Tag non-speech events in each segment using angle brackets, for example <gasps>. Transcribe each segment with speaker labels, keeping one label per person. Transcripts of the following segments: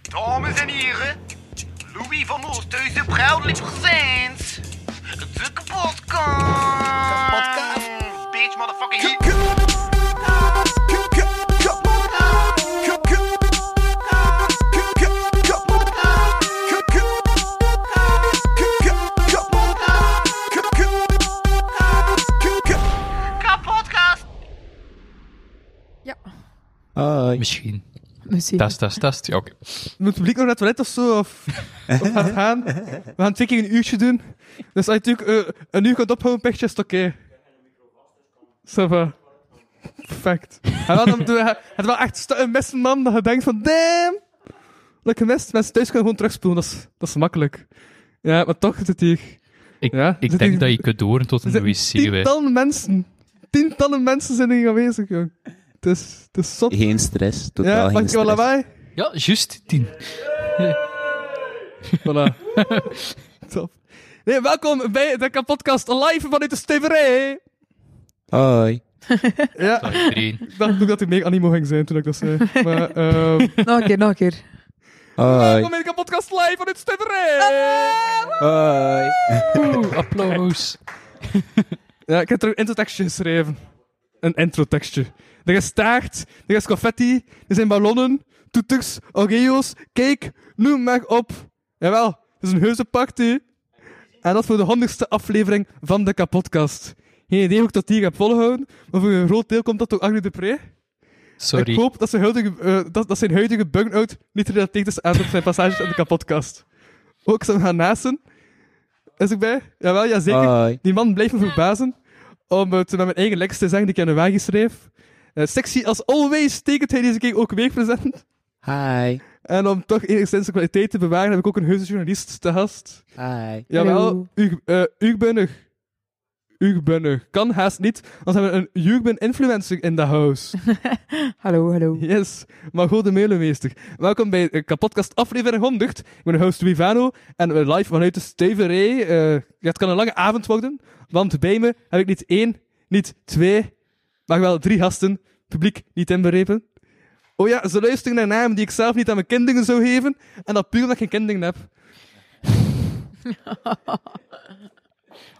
Speaker 1: Dames en heren, Louis van Oosthuizen, proudly presents de kapotkast.
Speaker 2: Kapotkast.
Speaker 1: Bitch, motherfucking heat. Kapotkast.
Speaker 3: Ja,
Speaker 4: Misschien.
Speaker 3: misschien.
Speaker 4: Test, test, test. Ja, oké.
Speaker 5: Moet het publiek nog naar het toilet of zo? <laughs> Of, of gaat het gaan? We gaan twee keer een uurtje doen. Dus als je natuurlijk eh, een uur gaat ophouden, pechtje, is het oké. Ça va. Perfect. En wel, dan, doe je- het is wel echt stu- een beste man dat je denkt van, damn. Dat ik mist. Mensen thuis kunnen gewoon terugspoelen, dat is, dat is makkelijk. Ja, maar toch zit het hier.
Speaker 4: Ik,
Speaker 5: Ja,
Speaker 4: ik
Speaker 5: zit
Speaker 4: denk
Speaker 5: hier-
Speaker 4: dat je kunt door tot
Speaker 5: Er
Speaker 4: een
Speaker 5: zijn
Speaker 4: wc. wij.
Speaker 5: tientallen mensen. Tientallen mensen zijn hier aanwezig, jong. Het is, het is zot.
Speaker 2: Geen stress, totaal
Speaker 5: Ja, maak
Speaker 2: geen
Speaker 5: je wel
Speaker 2: stress.
Speaker 5: lawaai?
Speaker 4: Ja, juist tien.
Speaker 5: Voilà. Top. Nee, welkom bij de kapotcast live vanuit de Steverij.
Speaker 2: Hoi.
Speaker 5: Ja,
Speaker 4: Dag iedereen.
Speaker 5: ik dacht ook dat ik mee animo ging zijn toen ik dat zei. Maar, ehm
Speaker 3: Nog een keer, nog een keer.
Speaker 2: Hoi.
Speaker 5: welkom bij de kapotcast live vanuit de Steverij.
Speaker 2: Hoi.
Speaker 4: Oeh, applaus.
Speaker 5: Ja, ik heb er een introtekstje geschreven. Een introtekstje. Er is taart, er is confetti, er zijn ballonnen, toeters, oreo's, cake, noem maar op. Jawel, het is een heuse party. En dat voor de honderdste aflevering van de kapotcast. Geen idee hoe ik dat hier heb volgehouden, maar voor een groot deel komt dat door Agri de Pre. Ik
Speaker 4: Sorry.
Speaker 5: hoop dat zijn huidige, eh, dat, dat zijn huidige burn-out niet gerelateerd is aan zijn passages in de kapotcast. Ook Sam gaan naasten. Is erbij? Jawel, jazeker.
Speaker 2: Hoi.
Speaker 5: Die man blijft me verbazen om het met mijn eigen lex te zeggen die ik aan de wagen schreef. Eh, sexy als always tekent hij deze keer ook weer present.
Speaker 2: Hi.
Speaker 5: En om toch enigszins de kwaliteit te bewaren heb ik ook een heuse journalist te gast.
Speaker 2: Hi.
Speaker 5: Jawel,
Speaker 3: Hallo.
Speaker 5: Ug- eh, Ugbunnig. Ugbunnig. Kan haast niet, want we hebben een Ugbun influencer in de house.
Speaker 3: Hallo, hallo.
Speaker 5: <laughs> Yes, maar goed de meulenmeester. Welkom bij eh, Kapotkast aflevering 100. Ik ben uw host Wivano en we live vanuit de Steverij. Eh, ja, het kan een lange avond worden, want bij me heb ik niet één, niet twee, maar wel drie gasten. Publiek niet inbegrepen. Oh ja, ze luisteren naar namen die ik zelf niet aan mijn kinderen zou geven. En dat puur omdat ik geen kinderen heb.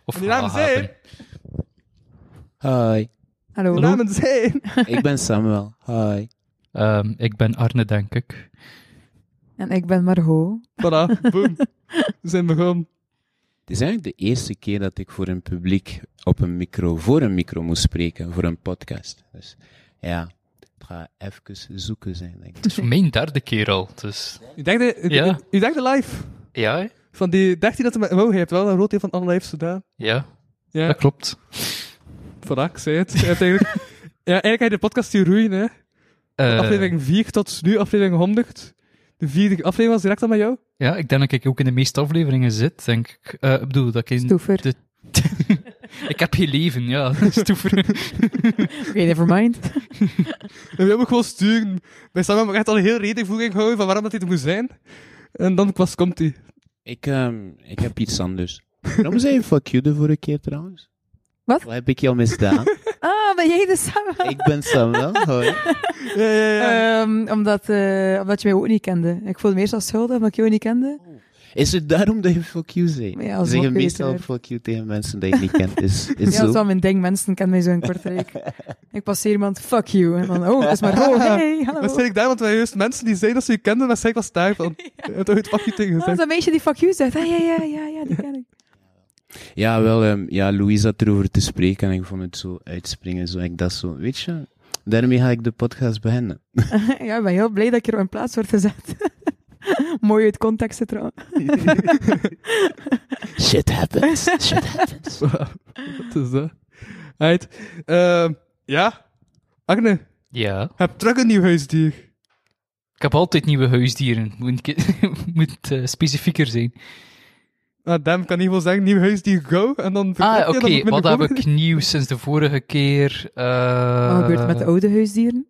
Speaker 4: Of
Speaker 5: Die namen
Speaker 4: ah,
Speaker 5: zijn...
Speaker 4: hapen.
Speaker 5: <laughs>
Speaker 2: Hoi.
Speaker 3: Hallo.
Speaker 5: Die namen zijn...
Speaker 2: Ik ben Samuel. Hoi.
Speaker 4: Ehm, ik ben Arne, denk ik.
Speaker 3: En ik ben Margot.
Speaker 5: Voilà, boom. We zijn begonnen.
Speaker 2: Het is eigenlijk de eerste keer dat ik voor een publiek op een micro, voor een micro moest spreken, voor een podcast. Dus ja, het gaat even zoeken zijn, denk ik.
Speaker 4: Het is mijn derde keer al. Dus.
Speaker 5: U denkt
Speaker 4: Ja.
Speaker 5: u denkt de live.
Speaker 4: Ja, hè?
Speaker 5: Van die 13 dat hij met wow, hij heeft wel een rood deel van alle lives gedaan.
Speaker 4: ja,
Speaker 5: Ja.
Speaker 4: dat klopt.
Speaker 5: Voilà, ik zei het. <laughs> Uiteindelijk, ja, eigenlijk had je de podcast hier roeien, hè.
Speaker 4: Eh,
Speaker 5: Aflevering 4 tot nu, aflevering 100. De vierde aflevering was direct al met jou.
Speaker 4: ja, ik denk dat ik ook in de meeste afleveringen zit, denk ik. Eh, ik bedoel, dat ik in...
Speaker 3: Stoever.
Speaker 4: de- ik heb geen leven, ja. <laughs>
Speaker 5: <laughs>
Speaker 4: Stoever.
Speaker 3: Oké, never mind.
Speaker 5: En we hebben ook gewoon sturen. Bij Sam hebben we echt al een heel redenvoering gehouden van waarom dat dit moet zijn. En dan pas komt hij.
Speaker 2: Ik, ehm, ik heb
Speaker 5: <laughs>
Speaker 2: iets anders. Waarom zei je fuck you de vorige keer trouwens?
Speaker 3: Wat?
Speaker 2: Wat heb ik jou misdaan?
Speaker 3: Ah, ben jij de Sam?
Speaker 2: ik ben Samuel. Hoi.
Speaker 5: Ja, ja, ja.
Speaker 3: Ehm, omdat, eh, omdat je mij ook niet kende. Ik voelde me eerst als schuldig omdat ik jou niet kende.
Speaker 2: Is het daarom dat je fuck you zei?
Speaker 3: Ja, als
Speaker 2: zeg je
Speaker 3: mokker
Speaker 2: meestal
Speaker 3: uiteraard.
Speaker 2: fuck you tegen mensen die je niet kent. Is,
Speaker 3: <laughs>
Speaker 2: is
Speaker 3: Ja, dat is
Speaker 2: zo?
Speaker 3: wel mijn ding. Mensen kennen mij zo in Kortrijk. ik passeer iemand, fuck you. En dan, oh, dat is Margot. Hey, hallo.
Speaker 5: Dat zei ik daar, want wij juist mensen die zeiden dat ze je kenden, maar zei ik was daar <laughs> van. Je hebt toch het pakje tegen
Speaker 3: Oh, dat is
Speaker 5: gezegd.
Speaker 3: dat meisje die fuck you zegt. Ah, ja, ja, ja, ja, die ken ik. <laughs>
Speaker 2: Ja, wel, ehm, ja, Louise zat erover te spreken en ik vond het zo uitspringen. Zo, ik dacht zo, weet je, daarmee ga ik de podcast beginnen.
Speaker 3: ja, ik ben heel blij dat ik er op mijn plaats wordt gezet. <laughs> Mooi uit context trouwens.
Speaker 2: Shit happens, shit happens.
Speaker 5: Wat is dat? Right. Ehm, ja. Agne, je
Speaker 4: ja.
Speaker 5: hebt terug een nieuw huisdier.
Speaker 4: Ik heb altijd nieuwe huisdieren. Moet, ik- <laughs> moet eh, specifieker zijn.
Speaker 5: Nou, Dem kan niet veel zeggen, nieuw huisdier, go. En dan vertrek
Speaker 4: Ah,
Speaker 5: je,
Speaker 4: oké.
Speaker 5: dan moet ik met
Speaker 4: Wat
Speaker 5: de
Speaker 4: heb
Speaker 5: volgende-
Speaker 4: ik nieuw sinds de vorige keer? Eh,
Speaker 3: Wat Oh, gebeurt er met de oude huisdieren?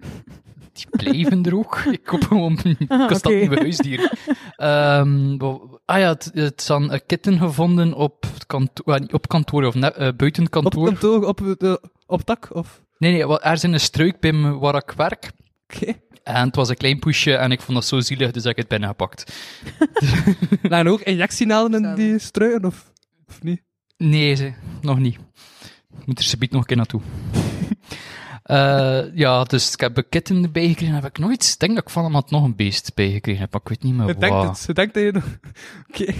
Speaker 4: Die blijven er
Speaker 3: <laughs>
Speaker 4: ook. <laughs> Ik koop gewoon een kast
Speaker 3: Ah, oké.
Speaker 4: nieuwe huisdier. Ehm, wa- ah ja, het, het zijn eh, kitten gevonden op het kantoor, niet op kantoor of net, eh, buiten
Speaker 5: Op
Speaker 4: kantoor.
Speaker 5: kantoor, op, de, op tak, of...
Speaker 4: Nee, nee, wa- er is een struik bij me waar ik werk.
Speaker 5: Oké.
Speaker 4: En het was een klein poesje en ik vond dat zo zielig, dus heb ik het binnengepakt.
Speaker 5: Lagen ook injectienaalden in die struiken, of, of niet?
Speaker 4: Nee, ze, nog niet. Ik moet er subiet nog een keer naartoe. <laughs> Eh, ja, dus ik heb een kitten erbij gekregen. Heb ik nooit. Ik denk dat ik van hem had nog een beest bijgekregen heb, maar ik weet niet meer
Speaker 5: Ik denk
Speaker 4: wat.
Speaker 5: het. Ze denkt dat je nog... Oké.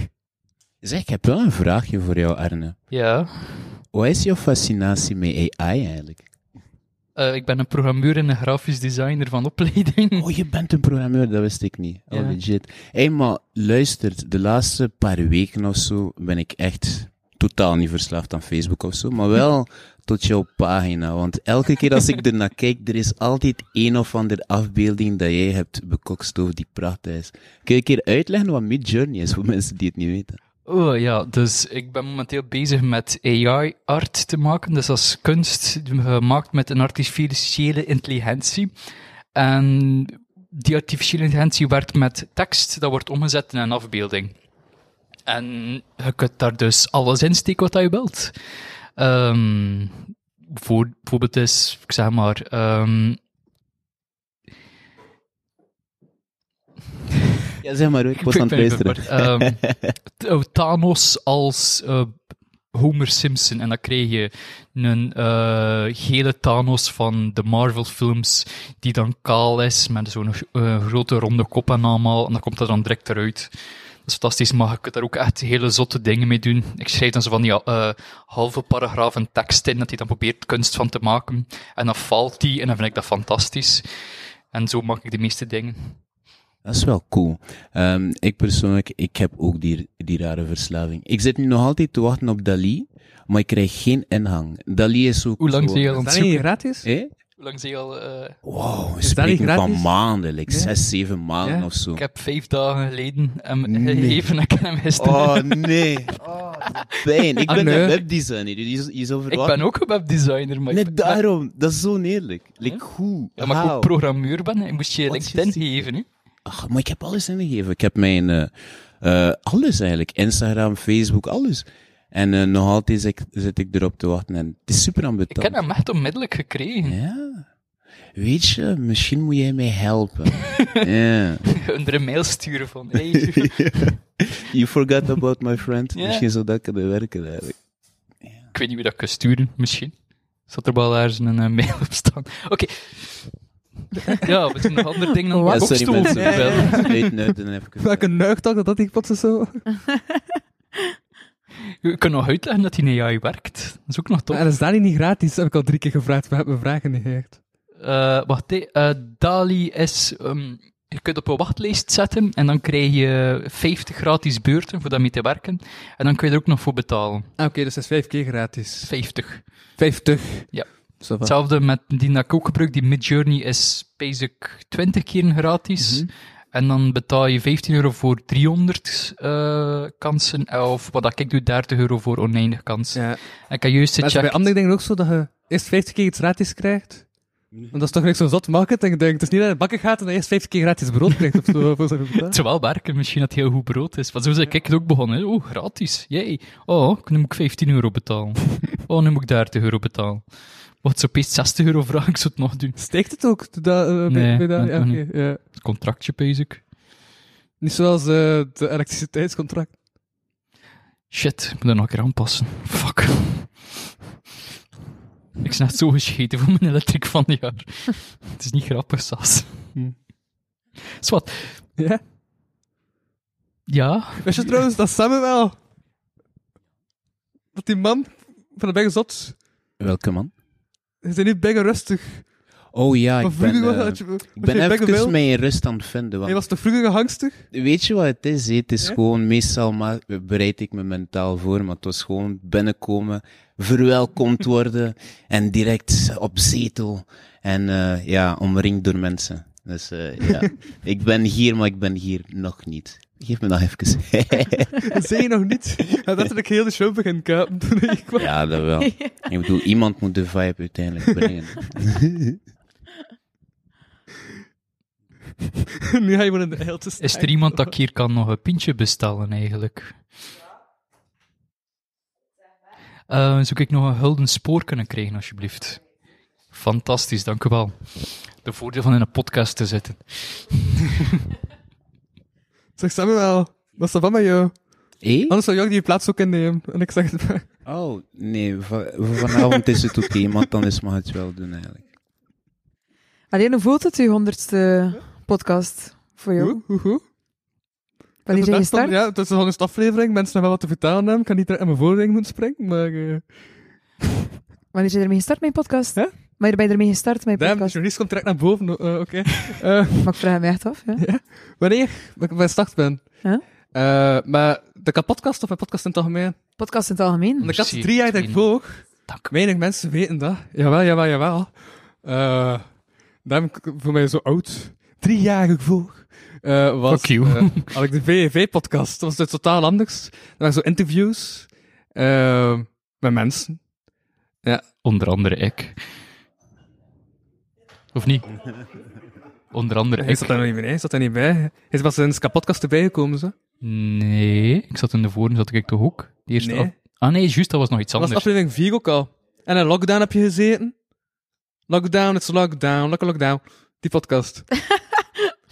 Speaker 2: Zeg, ik heb wel een vraagje voor jou, Arne.
Speaker 4: Ja.
Speaker 2: Wat is jouw fascinatie met AI eigenlijk?
Speaker 4: Eh, ik ben een programmeur en een grafisch designer van opleiding.
Speaker 2: Oh, je bent een programmeur, dat wist ik niet. Oh,
Speaker 4: Ja.
Speaker 2: legit. Hé, maar luister, de laatste paar weken of zo ben ik echt totaal niet verslaafd aan Facebook of zo, maar wel tot jouw pagina. Want elke keer als ik ernaar <laughs> kijk, er is altijd een of andere afbeelding dat jij hebt bekokstoofd die prachtig is. Kun je een keer uitleggen wat Midjourney is voor mensen die het niet weten?
Speaker 4: Oh ja, dus ik ben momenteel bezig met AI-art te maken. Dus dat is kunst eh, gemaakt met een artificiële intelligentie. En die artificiële intelligentie werd met tekst, dat wordt omgezet in een afbeelding. En je kunt daar dus alles in steken wat je wilt. Ehm, voor, bijvoorbeeld is, ik zeg maar... ehm,
Speaker 2: Ja, zeg maar eh, hoor, ik was
Speaker 4: ben-
Speaker 2: aan het
Speaker 4: ben- ben-
Speaker 2: luisteren.
Speaker 4: ben-
Speaker 2: <laughs>
Speaker 4: ehm, t- oh, Thanos als eh, Homer Simpson. En dan kreeg je een eh gele Thanos van de Marvel-films, die dan kaal is, met zo'n eh, grote ronde kop en allemaal. En dan komt dat dan direct eruit. Dat is fantastisch, maar je kunt daar ook echt hele zotte dingen mee doen. Ik schrijf dan zo van die eh, halve paragraaf een tekst in, dat hij dan probeert kunst van te maken. En dan valt die, en dan vind ik dat fantastisch. En zo maak ik de meeste dingen.
Speaker 2: Dat is wel cool. Ehm, ik persoonlijk, ik heb ook die, die rare verslaving. Ik zit nu nog altijd te wachten op Dali, maar ik krijg geen inhang. Dali is ook...
Speaker 4: Hoe lang
Speaker 2: zo-
Speaker 4: zie je al aan
Speaker 5: Is
Speaker 4: het
Speaker 5: dat niet
Speaker 4: zoeken?
Speaker 5: gratis?
Speaker 2: Eh?
Speaker 4: Hoe lang zie je al... eh,
Speaker 2: Wow, we
Speaker 5: Is Dali
Speaker 2: spreken van
Speaker 5: gratis?
Speaker 2: maanden, like
Speaker 5: Ja.
Speaker 2: zes, zeven maanden
Speaker 5: Ja.
Speaker 2: of zo.
Speaker 4: Ik heb vijf dagen geleden hem
Speaker 2: Nee.
Speaker 4: gegeven en ik heb hem gisteren.
Speaker 2: Oh
Speaker 4: <laughs>
Speaker 2: nee, oh, de pijn. Ik
Speaker 4: Ah,
Speaker 2: ben een
Speaker 4: nee.
Speaker 2: webdesigner, je, je, zou
Speaker 4: ik
Speaker 2: verwachten-
Speaker 4: ben ook een webdesigner, maar ik
Speaker 2: Net
Speaker 4: ben,
Speaker 2: daarom, dat is zo oneerlijk. Like, hoe?
Speaker 4: Ja, maar ik
Speaker 2: How?
Speaker 4: ook programmeur ben, ik moest je
Speaker 2: Wat
Speaker 4: LinkedIn
Speaker 2: is dit?
Speaker 4: geven. Hè?
Speaker 2: Ach, maar ik heb alles ingegeven. Ik heb mijn, eh, eh, alles eigenlijk. Instagram, Facebook, alles. En eh, nog altijd zit ik, zit ik erop te wachten. En het is super
Speaker 4: Ik
Speaker 2: ambetant.
Speaker 4: heb hem echt onmiddellijk gekregen.
Speaker 2: Ja. Weet je, misschien moet jij mij
Speaker 5: <laughs>
Speaker 2: helpen. Ja.
Speaker 4: <laughs> Onder een mail sturen van, hey,
Speaker 2: <laughs> You forgot about my friend.
Speaker 4: Ja.
Speaker 2: Misschien zou dat kunnen werken eigenlijk.
Speaker 4: ik weet niet wie dat kan sturen, misschien. Zat er wel daar een eh, mail op staan. Oké. Ja, we doen nog andere dingen dan
Speaker 3: Ja,
Speaker 2: Ja,
Speaker 4: wat
Speaker 2: sorry
Speaker 4: kopstoel.
Speaker 2: mensen.
Speaker 4: <laughs> Ja, ja.
Speaker 2: Ik Weet nu, dan heb ik het.
Speaker 5: Welke neugtak dat dat ik plots zo...
Speaker 4: Je kan nog uitleggen dat hij in AI werkt. Dat is ook nog tof.
Speaker 5: En is Dali niet gratis? Dat heb ik al drie keer gevraagd. We hebben vragen niet geëerd.
Speaker 4: Eh, wacht, hé. Eh, Dali is. ehm, je kunt op een wachtlijst zetten en dan krijg je 50 gratis beurten voor daarmee te werken. En dan kun je er ook nog voor betalen.
Speaker 5: Ah, oké, dus dat is vijf keer gratis.
Speaker 4: 50.
Speaker 5: 50.
Speaker 4: Ja.
Speaker 5: Zo van.
Speaker 4: Hetzelfde met die dat ik ook gebruik, die Midjourney is basic 20 keer gratis.
Speaker 5: Mhm.
Speaker 4: En dan betaal je 15 euro voor 300 eh, kansen. eh, Of wat dat ik doe, 30 euro voor oneindig kansen.
Speaker 5: Ja.
Speaker 4: En ik heb juist
Speaker 5: Maar is het bij
Speaker 4: gecheckt.
Speaker 5: andere dingen ook zo dat je eerst 50 keer iets gratis krijgt? Want dat is toch niks zo'n zot marketing denk. Het is niet dat je bakken gaat en dan eerst 50 keer gratis brood krijgt of zo. voor zo'n betaal.
Speaker 4: Het zou wel werken, misschien dat het heel goed brood is. Want zo ben ik het ook begonnen. hè. Oh, gratis. Jee. Oh, nu moet ik 15 euro betalen. Oh, nu moet ik 30 euro betalen. Wat zo opeens 60 euro vragen, ik zou het nog doen.
Speaker 5: Steekt het ook? Doe Dat, eh, bij-
Speaker 4: Nee,
Speaker 5: bij dat,
Speaker 4: dat
Speaker 5: ja,
Speaker 4: kan
Speaker 5: oké, ja.
Speaker 4: Het contractje, basic.
Speaker 5: Niet zoals eh het elektriciteitscontract.
Speaker 4: Shit, ik moet dat nog een keer aanpassen. Fuck. Ik ben net zo gescheten voor mijn elektric van het jaar. Het is niet grappig, Sas.
Speaker 5: Hm.
Speaker 4: Zwat.
Speaker 5: Ja?
Speaker 4: Ja,
Speaker 5: Weet je trouwens, dat Samuel... Dat die man van de Big Zot...
Speaker 2: Welke man?
Speaker 5: Ze zijn nu Big rustig.
Speaker 2: Oh ja,
Speaker 5: Maar
Speaker 2: ik ben,
Speaker 5: vroeger was
Speaker 2: eh,
Speaker 5: dat je...
Speaker 2: ik ben even
Speaker 5: mee.
Speaker 2: mijn rust aan het vinden. want
Speaker 5: Hij was de vroeger <laughs> hangstig.
Speaker 2: Weet je wat het is? hè? Het is
Speaker 5: Ja?
Speaker 2: gewoon, meestal ma- bereid ik me mentaal voor, maar het was gewoon binnenkomen,
Speaker 5: <laughs>
Speaker 2: verwelkomd worden en direct op zetel. En eh, ja, omringd door mensen. Dus
Speaker 5: <laughs>
Speaker 2: eh, ja, ik ben hier, maar ik ben hier nog niet. Geef me nog even. <laughs>
Speaker 5: Dat zei je nog niet. En dat ik heel de show begin kapen <laughs> toen ik kwam.
Speaker 2: ja, dat wel. Ik bedoel, iemand moet de vibe uiteindelijk
Speaker 5: <laughs>
Speaker 2: brengen.
Speaker 5: nu ga je maar in de heel te
Speaker 4: is er iemand dat ik hier kan nog een pintje bestellen, eigenlijk? Eh, zoek ik nog een gulden spoor kunnen krijgen, alsjeblieft? Fantastisch, dank u wel. De voordeel van in een podcast te zitten.
Speaker 5: Zeg Samuel, wat is dat van met jou?
Speaker 2: Eh?
Speaker 5: Anders zou Jordi die plaats ook innemen. En ik zeg het maar.
Speaker 2: Oh, nee, va- voor vanavond is het oké, maar dan is mag het wel doen eigenlijk.
Speaker 3: Alleen, hoe voelt het, uw honderdste podcast voor jou?
Speaker 5: Hoe, hoe, hoe?
Speaker 3: Wanneer zijn je
Speaker 5: Inderdaad,
Speaker 3: gestart?
Speaker 5: Ja, het is de honderdste aflevering. Mensen hebben wat te vertellen hebben. Ik kan niet direct in mijn voorring moeten springen, maar... eh
Speaker 3: Wanneer zijn je ermee gestart, mijn podcast?
Speaker 5: Hè?
Speaker 3: Wanneer ben je ermee gestart, mijn
Speaker 5: damn, de
Speaker 3: podcast?
Speaker 5: journalist komt direct naar boven. eh, Oké. <laughs> Eh,
Speaker 3: Maar ik vraag me echt af, ja.
Speaker 5: wanneer ik bij start ben?
Speaker 3: Ja.
Speaker 5: Eh, maar de kapotkast of mijn podcast in het algemeen?
Speaker 3: Podcast in het algemeen.
Speaker 5: Want de kast
Speaker 4: Merci,
Speaker 5: drie jaar dat ik
Speaker 4: Twino.
Speaker 5: volg,
Speaker 4: Dank.
Speaker 5: weinig mensen weten dat. Jawel, jawel, jawel. Eh daarom k- voel ik mij zo oud. Drie jaar dat ik volg. eh, was,
Speaker 4: Fuck you.
Speaker 5: eh, had ik de VV-podcast. Dat was dus totaal anders. Er waren zo interviews eh, met mensen.
Speaker 4: Onder andere ik. Of niet? Onder andere
Speaker 5: Hij zat
Speaker 4: ik.
Speaker 5: daar nog niet bij. Hij zat daar niet bij. Hij is pas sinds de podcast erbij gekomen. Zo.
Speaker 4: Nee, ik zat in de voren, zat ik de hoek. De eerste
Speaker 5: Nee.
Speaker 4: af- Ah nee, juist, dat was nog iets
Speaker 5: Dat was
Speaker 4: anders.
Speaker 5: aflevering 4 ook al. En in lockdown heb je gezeten. Lockdown, it's lockdown, lekker lockdown. Die
Speaker 4: <laughs>
Speaker 5: podcast.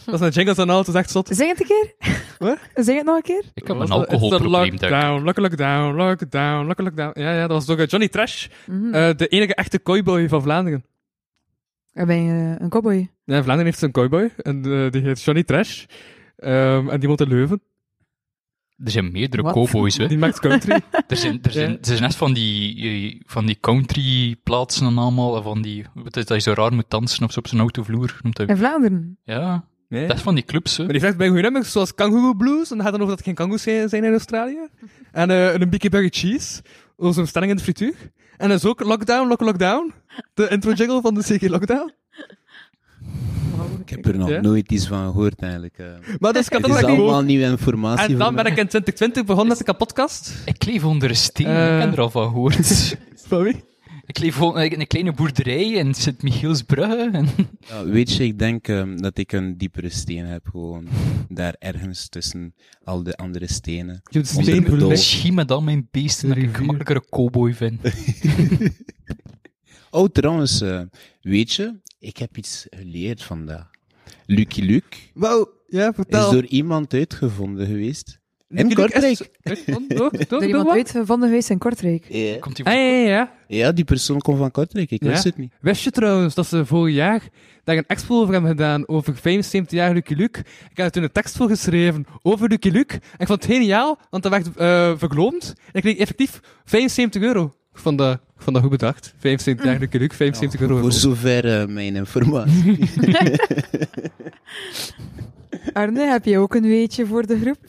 Speaker 5: dat zijn jingles en al, het is echt zot.
Speaker 3: Zeg het een keer.
Speaker 5: <laughs> Wat?
Speaker 3: Zeg het nog een keer.
Speaker 4: Ik heb
Speaker 5: Was
Speaker 4: een
Speaker 5: dat-
Speaker 4: alcoholprobleem,
Speaker 5: It's a
Speaker 4: denk ik.
Speaker 5: lockdown, lockdown, lockdown, lockdown, lockdown. Ja, ja, dat was door eh, Johnny Trash.
Speaker 3: Mhm.
Speaker 5: Eh, de enige echte cowboy van Vlaanderen.
Speaker 3: Dan ben je eh, een cowboy.
Speaker 5: Ja, Vlaanderen heeft zijn cowboy. En eh, die heet Johnny Trash. Ehm, en die woont in Leuven.
Speaker 4: Er zijn meerdere
Speaker 3: Wat?
Speaker 4: cowboys, hè.
Speaker 5: Die
Speaker 4: <laughs>
Speaker 5: maakt country.
Speaker 4: Er zijn, er zijn,
Speaker 5: Ja.
Speaker 4: er zijn echt van die, eh, van die country plaatsen en allemaal. en Van die, wat is dat je zo raar moet dansen op zo op zijn autovloer. Noemt dat,
Speaker 3: In
Speaker 5: Oh,
Speaker 3: Vlaanderen.
Speaker 4: ja,
Speaker 5: nee.
Speaker 4: dat is van die clubs. Hè.
Speaker 5: Maar die vraagt bij goede nummers, zoals Kangaroo Blues. En dan gaat dan over dat het geen kangoes zijn zijn in <laughs> Australië. En eh, een Biggie Burger Cheese. Over zo'n stelling in de frituur. En dat is ook Lockdown, Lock Lockdown. De intro jingle van de CG Lockdown.
Speaker 2: Ik heb er nog
Speaker 5: Ja?
Speaker 2: nooit iets van gehoord eigenlijk. eh.
Speaker 5: Maar <laughs> dus ik had dat
Speaker 2: Het is
Speaker 5: nog niet
Speaker 2: allemaal
Speaker 5: gehoord.
Speaker 2: nieuwe informatie
Speaker 5: En dan
Speaker 2: voor
Speaker 5: ben
Speaker 2: mij.
Speaker 5: ik in 2020 begonnen met de kapotkast.
Speaker 4: Ik leef onder een steen,
Speaker 5: Eh.
Speaker 4: ik heb er al van gehoord. <laughs>
Speaker 5: Van wie?
Speaker 4: ik leef on- in een kleine boerderij in Sint-Michielsbrugge.
Speaker 5: <laughs>
Speaker 4: En...
Speaker 2: Ja, weet je, ik denk ehm, dat ik een diepere steen heb gewoon. Daar ergens tussen al de andere stenen.
Speaker 5: Je hebt dus
Speaker 2: Onder de
Speaker 5: steenbloem.
Speaker 2: dol.
Speaker 4: Misschien met al mijn beesten dat ik een gemakkelijkere cowboy vind.
Speaker 2: Oh, trouwens, eh, weet je, ik heb iets geleerd vandaag. Lucky Luke
Speaker 5: Wauw, ja,
Speaker 2: is
Speaker 5: vertel.
Speaker 2: door iemand uitgevonden geweest.
Speaker 5: Lucky
Speaker 2: in
Speaker 5: Luke is-
Speaker 2: Kortrijk. <laughs>
Speaker 5: Door- door-
Speaker 3: Door
Speaker 5: door
Speaker 3: iemand eh,
Speaker 5: wat?
Speaker 3: uitgevonden geweest in Kortrijk.
Speaker 2: Ja.
Speaker 4: Komt die
Speaker 5: Ah, ja, ja, ja.
Speaker 2: Ja, die persoon komt van Kortrijk, ik
Speaker 5: Ja.
Speaker 2: wist het niet.
Speaker 5: Wist je trouwens dat ze vorig jaar daar een expo over hebben gedaan over 75 jaar Lucky Luke? Ik heb er toen een tekst voor geschreven over Lucky Luke. En ik vond het geniaal, want dat werd eh verkloond. En ik kreeg effectief 75 euro van de, van de goed bedacht. 75 jaar Lucky Luke, 75 euro.
Speaker 2: Voor zover eh, mijn informatie.
Speaker 5: <laughs>
Speaker 3: Arne, heb je ook een weetje voor de groep?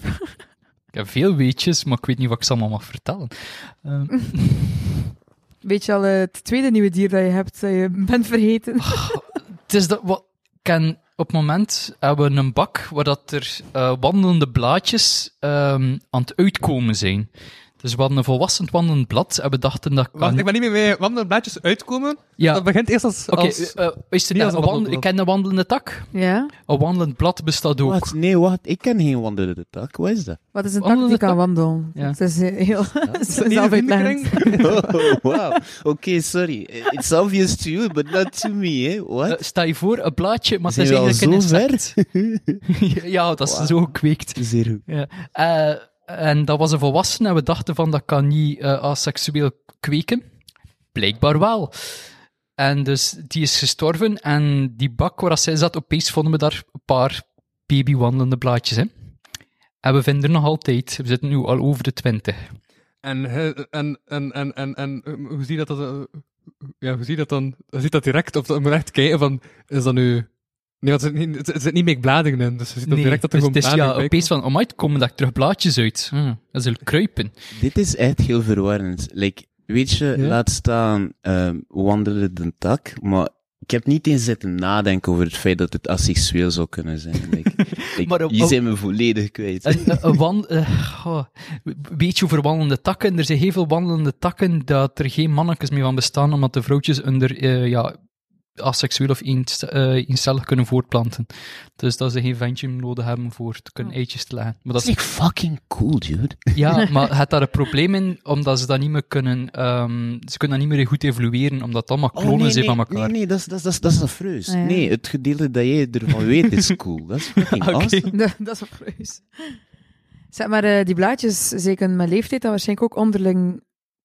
Speaker 4: Ik heb veel weetjes, maar ik weet niet wat ik ze allemaal mag vertellen. Ehm,
Speaker 3: Weet je al eh, het tweede nieuwe dier dat je hebt, dat je bent vergeten?
Speaker 5: Oh.
Speaker 4: Het is dat wat ken op het moment hebben we een bak waar dat er eh, wandelende blaadjes ehm, aan het uitkomen zijn. Dus we hadden een volwassen wandelend blad en we dachten dat kan.
Speaker 5: Wacht, ik ben niet meer mee. Wanneer de blaadjes uitkomen,
Speaker 4: ja,
Speaker 5: dat
Speaker 4: oké.
Speaker 5: begint eerst als... als...
Speaker 4: eh, is er eh,
Speaker 5: niet als een
Speaker 4: een wand-
Speaker 5: wandelblad.
Speaker 4: ik ken een wandelende tak.
Speaker 3: Ja?
Speaker 4: Een wandelend blad bestaat ook.
Speaker 2: Wat? Nee, wat? Ik ken geen wandelende tak. Wat is dat?
Speaker 3: Wat is een tak die
Speaker 4: Wandelende
Speaker 3: kan
Speaker 4: tak?
Speaker 3: wandelen?
Speaker 4: Ja.
Speaker 3: Het is eh, heel <laughs>
Speaker 5: Niet in de
Speaker 3: zelfuitleggend.
Speaker 5: vriendenkring?
Speaker 2: <laughs> Oh, wow. Oké, sorry. It's obvious to you, but not to me, hè?
Speaker 4: Eh,
Speaker 2: What?
Speaker 4: stel je voor, een blaadje, maar het
Speaker 2: Zijn
Speaker 4: is
Speaker 2: we al
Speaker 4: eigenlijk een
Speaker 2: zo ver?
Speaker 4: insect. <laughs> ja, dat is
Speaker 2: Wow.
Speaker 4: zo gekweekt.
Speaker 2: Zeer goed.
Speaker 4: Ja. Eh, en dat was een volwassene en we dachten van dat kan niet eh, asexueel kweken. Blijkbaar wel. En dus die is gestorven en die bak waar dat zij zat, opeens vonden we daar een paar babywandelende blaadjes in. En we vinden er nog altijd, we zitten nu al over de twintig.
Speaker 5: En, he- en, en, en, en, en eh, hoe zie je dat, dat eh, ja, hoe zie je dat dan? Je ziet dat direct, of je moet echt kijken van, is dat nu... Nee, want er zit niet, er zit niet meer bladeren in, dus je ziet dat direct dat er
Speaker 4: dus
Speaker 5: gewoon
Speaker 4: het is
Speaker 5: bladeren
Speaker 4: ja,
Speaker 5: bij
Speaker 4: opeens van, oh komen daar terug blaadjes uit.
Speaker 5: Hmm.
Speaker 4: Hm, dat is een kruipen.
Speaker 2: Dit is echt heel verwarrend. Like, weet je,
Speaker 5: Ja?
Speaker 2: laat staan ehm wandelen de tak, maar ik heb niet eens zitten nadenken over het feit dat het asexueel zou kunnen zijn. Like, <laughs> like,
Speaker 4: Maar op-
Speaker 2: je
Speaker 4: op-
Speaker 2: zijn me volledig kwijt.
Speaker 4: Een, een- een wan- eh, oh, weet je over wandelende takken? Er zijn heel veel wandelende takken dat er geen mannetjes meer van bestaan, omdat de vrouwtjes onder eh, ja, asexueel of inst- eh, instellig kunnen voortplanten. Dus dat ze geen ventje nodig hebben voor te
Speaker 2: Oh.
Speaker 4: kunnen eitjes te leggen. Maar dat
Speaker 2: Dat
Speaker 4: is
Speaker 2: is like fucking cool, dude. <laughs>
Speaker 4: ja, maar het daar een probleem in, omdat ze dat niet meer kunnen, ehm, ze kunnen dat niet meer goed evolueren, omdat het allemaal klonen zijn van elkaar.
Speaker 2: Oh, Nee, nee, dat is, dat is, dat is, dat is afreus.
Speaker 3: Ah, ja.
Speaker 2: Nee, het gedeelte dat jij ervan weet is cool. Dat is <laughs> fucking
Speaker 4: Oké.
Speaker 2: awesome.
Speaker 3: <laughs> Dat dat is vreus. Zeg maar, eh, die blaadjes, zeker met leeftijd, dan waarschijnlijk ook onderling...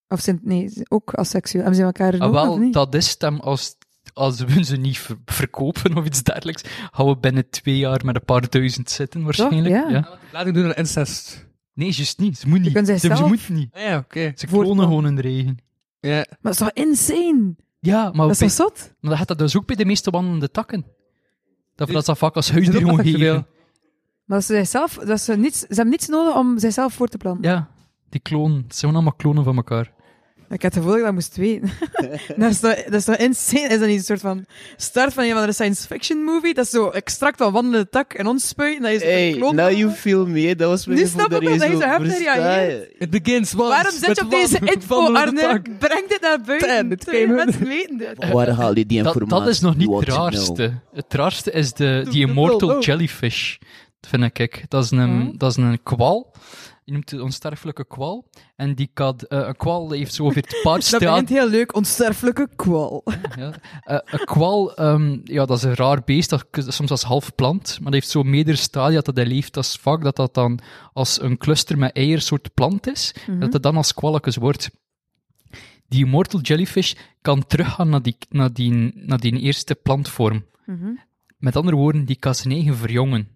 Speaker 3: Of zijn, nee, ze- ook asseksueel. Hebben ze elkaar
Speaker 4: Ah,
Speaker 3: genomen, of
Speaker 4: wel,
Speaker 3: niet?
Speaker 4: dat is het hem als, als we ze niet ver- verkopen of iets dergelijks, gaan we binnen twee jaar met een paar duizend zitten waarschijnlijk.
Speaker 3: ja.
Speaker 5: Laat ik doen een incest. Ah
Speaker 4: Nee, juist niet. Ze moet niet.
Speaker 3: kunnen zij
Speaker 4: ze, ze
Speaker 3: zelf-
Speaker 4: moet niet.
Speaker 5: Ja, oké.
Speaker 4: Ze klonen
Speaker 3: Voortplanten.
Speaker 4: gewoon in de regen.
Speaker 5: Ja.
Speaker 3: Maar dat is toch insane?
Speaker 4: Ja, maar,
Speaker 3: Dat is
Speaker 4: bij-
Speaker 3: toch zot?
Speaker 4: maar dat gaat dat dus ook bij de meeste wandelende takken. Dat, dat is dat vaak als
Speaker 5: Is dat ook
Speaker 4: huidroon
Speaker 5: asexueel?
Speaker 4: geven.
Speaker 3: Maar dat ze, zichzelf, dat ze, niets, ze hebben niets nodig om zichzelf voor te plannen.
Speaker 4: Ja, die klonen. Het zijn gewoon allemaal klonen van elkaar.
Speaker 3: Ik had het gevoel dat ik dat moest weten. <laughs> dat, is toch, dat is toch insane? Is dat niet een soort van start van een van de science fiction movie? Dat is zo extract van wandelende tak en ons spuiten. Dat is
Speaker 2: Hey, now you feel me. Dat was mijn
Speaker 3: Nu
Speaker 2: gevoel
Speaker 3: snap ik wel
Speaker 2: je
Speaker 3: dat je
Speaker 2: zo
Speaker 3: zo heftig
Speaker 2: versta-
Speaker 3: reageert.
Speaker 5: It begins once.
Speaker 3: Waarom zit je op deze info, Arne? Breng dit naar buiten.
Speaker 5: Ten, dit
Speaker 3: Twee
Speaker 5: came
Speaker 3: mensen weten dit.
Speaker 2: Waar haal je die
Speaker 4: Dat,
Speaker 2: informatie?
Speaker 4: dat is nog niet
Speaker 2: You
Speaker 4: het
Speaker 2: want to know.
Speaker 4: raarste. Het raarste is de, die Immortal
Speaker 5: Oh.
Speaker 4: Jellyfish. Dat vind ik. ik. Dat is een,
Speaker 3: Hmm.
Speaker 4: dat is een kwal. Je noemt het onsterfelijke kwal. En die kan, eh, een kwal heeft zo ongeveer het paar
Speaker 3: Dat
Speaker 4: straat.
Speaker 3: begint heel leuk. Onsterfelijke kwal.
Speaker 4: Ja. Eh, een kwal, ehm, ja, dat is een raar beest, dat is soms als half plant, maar dat heeft zo meerdere stadia dat hij leeft. Dat is vaak dat dat dan als een cluster met eieren soort plant is,
Speaker 3: Mhm.
Speaker 4: dat het dan als kwalletjes wordt. Die immortal jellyfish kan teruggaan naar die, naar die, naar die eerste plantvorm.
Speaker 3: Mhm.
Speaker 4: Met andere woorden, die kan zijn eigen verjongen.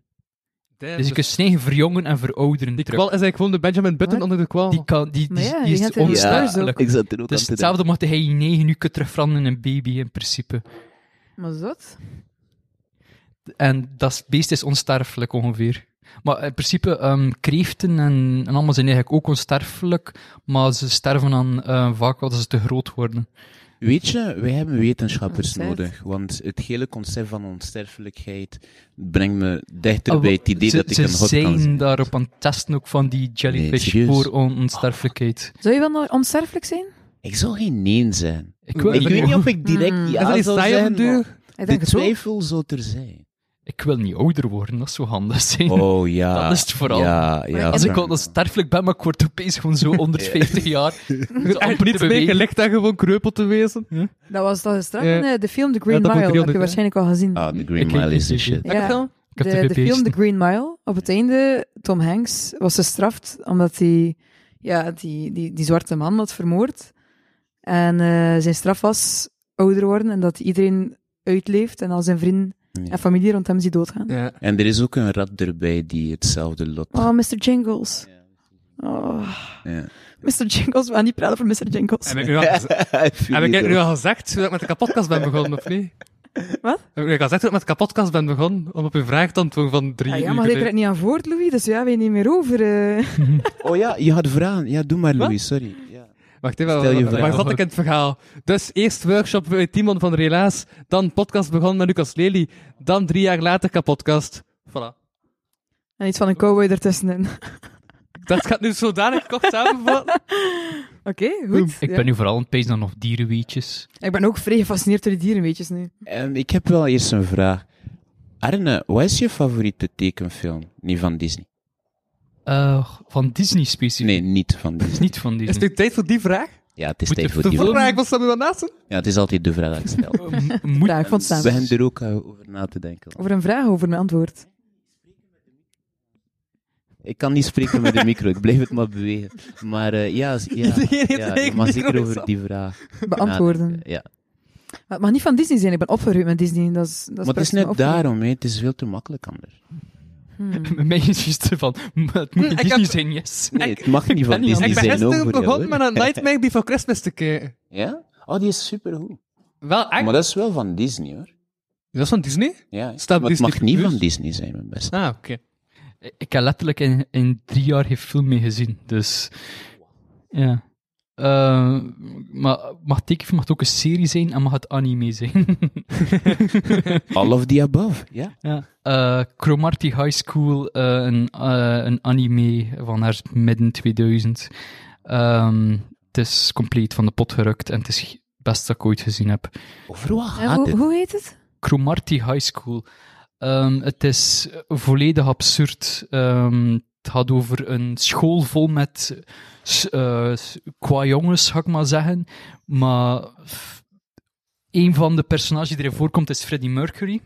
Speaker 4: Dus je kunt zijn eigen verjongen en verouderen
Speaker 5: Die
Speaker 4: terug.
Speaker 5: kwal is eigenlijk gewoon de Benjamin Button
Speaker 3: Wat?
Speaker 5: onder de kwal.
Speaker 4: Die, kan, die, die,
Speaker 3: Maar ja,
Speaker 4: die
Speaker 3: die
Speaker 4: is
Speaker 3: gaat er niet
Speaker 4: onsterfelijk.
Speaker 2: Ik zat
Speaker 4: Dus
Speaker 2: er ook aan te denken.
Speaker 4: hetzelfde mocht hij in negen uur terugveranderen in een baby in principe.
Speaker 3: Maar zot.
Speaker 4: En dat beest is onsterfelijk ongeveer. Maar in principe, ehm kreeften en, en allemaal zijn eigenlijk ook onsterfelijk, maar ze sterven aan eh, vaak wel dat ze te groot worden.
Speaker 2: Weet je, wij hebben wetenschappers
Speaker 3: Ontzettend.
Speaker 2: nodig, want het hele concept van onsterfelijkheid brengt me dichter
Speaker 4: Ah,
Speaker 2: bij het idee
Speaker 4: ze
Speaker 2: dat ik
Speaker 4: ze
Speaker 2: een hot
Speaker 4: zijn
Speaker 2: kan zijn.
Speaker 4: daarop aan het testen ook van die jellyfish
Speaker 2: serieus?
Speaker 4: voor on- onsterfelijkheid.
Speaker 3: Zou je wel nog onsterfelijk zijn?
Speaker 2: Ik zou geen nee zijn.
Speaker 4: Ik wil,
Speaker 2: Oh. ik weet niet
Speaker 4: ik,
Speaker 2: of ik direct
Speaker 3: Mm.
Speaker 5: is dat
Speaker 2: ja
Speaker 5: niet
Speaker 2: zou
Speaker 5: saai op
Speaker 2: zijn,
Speaker 5: de
Speaker 2: maar
Speaker 5: deur?
Speaker 3: Ik
Speaker 2: de
Speaker 3: denk het ook.
Speaker 2: twijfel zou er
Speaker 4: <laughs>
Speaker 2: zijn.
Speaker 4: wil niet ouder worden, dat zou handig zijn.
Speaker 2: Oh ja.
Speaker 4: Dat is het vooral.
Speaker 2: Ja,
Speaker 4: <laughs>
Speaker 2: ja.
Speaker 4: Als ik
Speaker 2: dan-
Speaker 4: al onsterfelijk ben, maar ik word opeens gewoon
Speaker 2: <laughs>
Speaker 4: zo 150 jaar.
Speaker 5: Je kunt echt
Speaker 4: amper
Speaker 5: niets
Speaker 4: te
Speaker 5: meer
Speaker 4: bewegen.
Speaker 5: gelegd aan gewoon kreupel te wezen.
Speaker 3: Hm? Dat was dat is straks
Speaker 5: Ja.
Speaker 3: in eh, de film The
Speaker 5: Ja,
Speaker 3: Green Mile.
Speaker 5: dat vond ik
Speaker 3: Dat heb
Speaker 5: heel
Speaker 3: je
Speaker 5: leuk, hè?
Speaker 3: waarschijnlijk al gezien.
Speaker 2: Ah, de
Speaker 4: Ik
Speaker 2: Green
Speaker 4: ken
Speaker 2: Mile
Speaker 4: die
Speaker 2: is de
Speaker 4: serie.
Speaker 2: shit.
Speaker 4: Welke film? Ik heb
Speaker 3: de,
Speaker 4: de
Speaker 3: de film The
Speaker 4: VP's.
Speaker 3: Green Mile, op het einde, Tom Hanks was gestraft omdat hij ja, die, die, die zwarte man had vermoord. En eh, zijn straf was ouder worden en dat iedereen uitleeft en al zijn vrienden
Speaker 2: Ja.
Speaker 3: en familie rond hem ziet doodgaan.
Speaker 5: Ja.
Speaker 2: En er is ook een rat erbij die hetzelfde lot. <laughs>
Speaker 3: Oh, Mr. Jingles. Oh,
Speaker 2: Ja.
Speaker 3: Mr. Jingles, we gaan niet praten over Mr. Jingles.
Speaker 5: Heb ik dus- nu al, gez-
Speaker 2: Ik vind
Speaker 5: heb ik
Speaker 2: het
Speaker 5: het nu
Speaker 2: ook.
Speaker 5: al gezegd hoe ik met de kapotkast ben begonnen, of niet?
Speaker 3: Wat?
Speaker 5: Heb ik nu al gezegd hoe ik met de kapotkast ben begonnen? Om op uw vraag te antwoorden van drie
Speaker 3: Ah, ja,
Speaker 5: uur
Speaker 3: maar ik
Speaker 5: geleden.
Speaker 3: krijg niet aan voort, Louis, dus ja, weet je niet meer over. eh.
Speaker 2: Oh ja, je had vragen. Ja, doe maar, Louis, sorry. Ja.
Speaker 5: Wacht even,
Speaker 2: Stel je
Speaker 5: waar- waar-
Speaker 2: vraag.
Speaker 5: waar zat ik in het verhaal? Dus eerst workshop met Timon van Relaas, dan podcast begonnen met Lucas Lely, dan drie jaar later kapotkast. Voilà.
Speaker 3: En iets van een cowboy ertussenin. <laughs>
Speaker 5: Dat gaat nu zodanig kort
Speaker 2: <laughs>
Speaker 5: samenvatten.
Speaker 3: Oké, goed.
Speaker 4: Ik
Speaker 3: ja.
Speaker 4: ben nu vooral een pees dan nog dierenweetjes.
Speaker 3: ik ben ook vrij gefascineerd door die dierenweetjes nu.
Speaker 2: Ehm, ik heb wel eerst een vraag. Arne, wat is je favoriete tekenfilm? Niet van Disney.
Speaker 4: Eh, van Disney specifiek.
Speaker 2: Nee, niet van Disney.
Speaker 4: Niet van
Speaker 5: Is
Speaker 4: Disney.
Speaker 5: het nu tijd voor die vraag?
Speaker 2: Ja, het is
Speaker 4: Moet je
Speaker 2: tijd voor
Speaker 4: te
Speaker 2: die
Speaker 5: De
Speaker 4: volgen?
Speaker 2: vraag.
Speaker 5: vraag was Samuel Naasten.
Speaker 2: Ja, het is altijd de vraag die ik stel.
Speaker 4: M- moet-
Speaker 3: Ja, ik vond het
Speaker 2: We
Speaker 3: samen.
Speaker 2: hebben er ook eh, over na te denken.
Speaker 3: Over een vraag, over mijn
Speaker 2: <laughs>
Speaker 3: antwoord.
Speaker 2: Ik kan niet spreken met de micro, ik blijf het maar bewegen. Maar eh, ja, z- ja,
Speaker 5: Iedereen heeft
Speaker 2: ja,
Speaker 5: eigen
Speaker 2: maar
Speaker 5: micro
Speaker 2: zeker
Speaker 5: in
Speaker 2: over
Speaker 5: zand.
Speaker 2: die vraag.
Speaker 3: Beantwoorden.
Speaker 2: nadenken, Ja.
Speaker 3: Maar het mag niet van Disney zijn, ik ben opgeruimd met Disney. Dat is, dat
Speaker 2: Maar het is
Speaker 3: praktisch mijn
Speaker 2: net
Speaker 3: opvoeding.
Speaker 2: daarom, hè. het is veel te makkelijk anders.
Speaker 4: Met mij is het van, "M, het moet
Speaker 5: Hm,
Speaker 4: niet
Speaker 5: ik
Speaker 4: Disney
Speaker 5: heb-
Speaker 4: zijn, yes.
Speaker 2: Nee, het mag niet van
Speaker 4: ben niet-
Speaker 2: Disney
Speaker 5: Ik ben
Speaker 2: zijn ook
Speaker 5: gisteren
Speaker 2: voor jou,
Speaker 5: begonnen
Speaker 2: hoor.
Speaker 5: met een Nightmare Before Christmas te kijken.
Speaker 2: Ja? Oh, die is supergoed.
Speaker 5: Wel echt?
Speaker 2: Maar dat is wel van Disney hoor.
Speaker 5: Dat is van Disney?
Speaker 2: Ja,
Speaker 5: Staat
Speaker 2: maar het
Speaker 5: Disney
Speaker 2: mag niet
Speaker 5: Plus?
Speaker 2: van Disney zijn, mijn beste.
Speaker 5: Ah, oké.
Speaker 4: Ik heb letterlijk in, in drie jaar geen film mee gezien, dus... Ja. Eh, maar mag tekenfilm mag het ook een serie zijn en mag het anime zijn. <laughs>
Speaker 2: All of the above, ja.
Speaker 4: ja. Eh, Cromarty High School, eh, een, eh, een anime van haar midden 2000. Ehm, het is compleet van de pot gerukt en het is beste dat ik ooit gezien heb.
Speaker 2: Over wat
Speaker 3: Eh,
Speaker 2: gaat
Speaker 3: hoe,
Speaker 2: dit?
Speaker 3: hoe heet het?
Speaker 4: Cromarty High School. Ehm, het is volledig absurd. Ehm, het gaat over een school vol met s- eh, s- qua jongens, ga ik maar zeggen. Maar f- een van de personages die erin voorkomt is Freddie Mercury.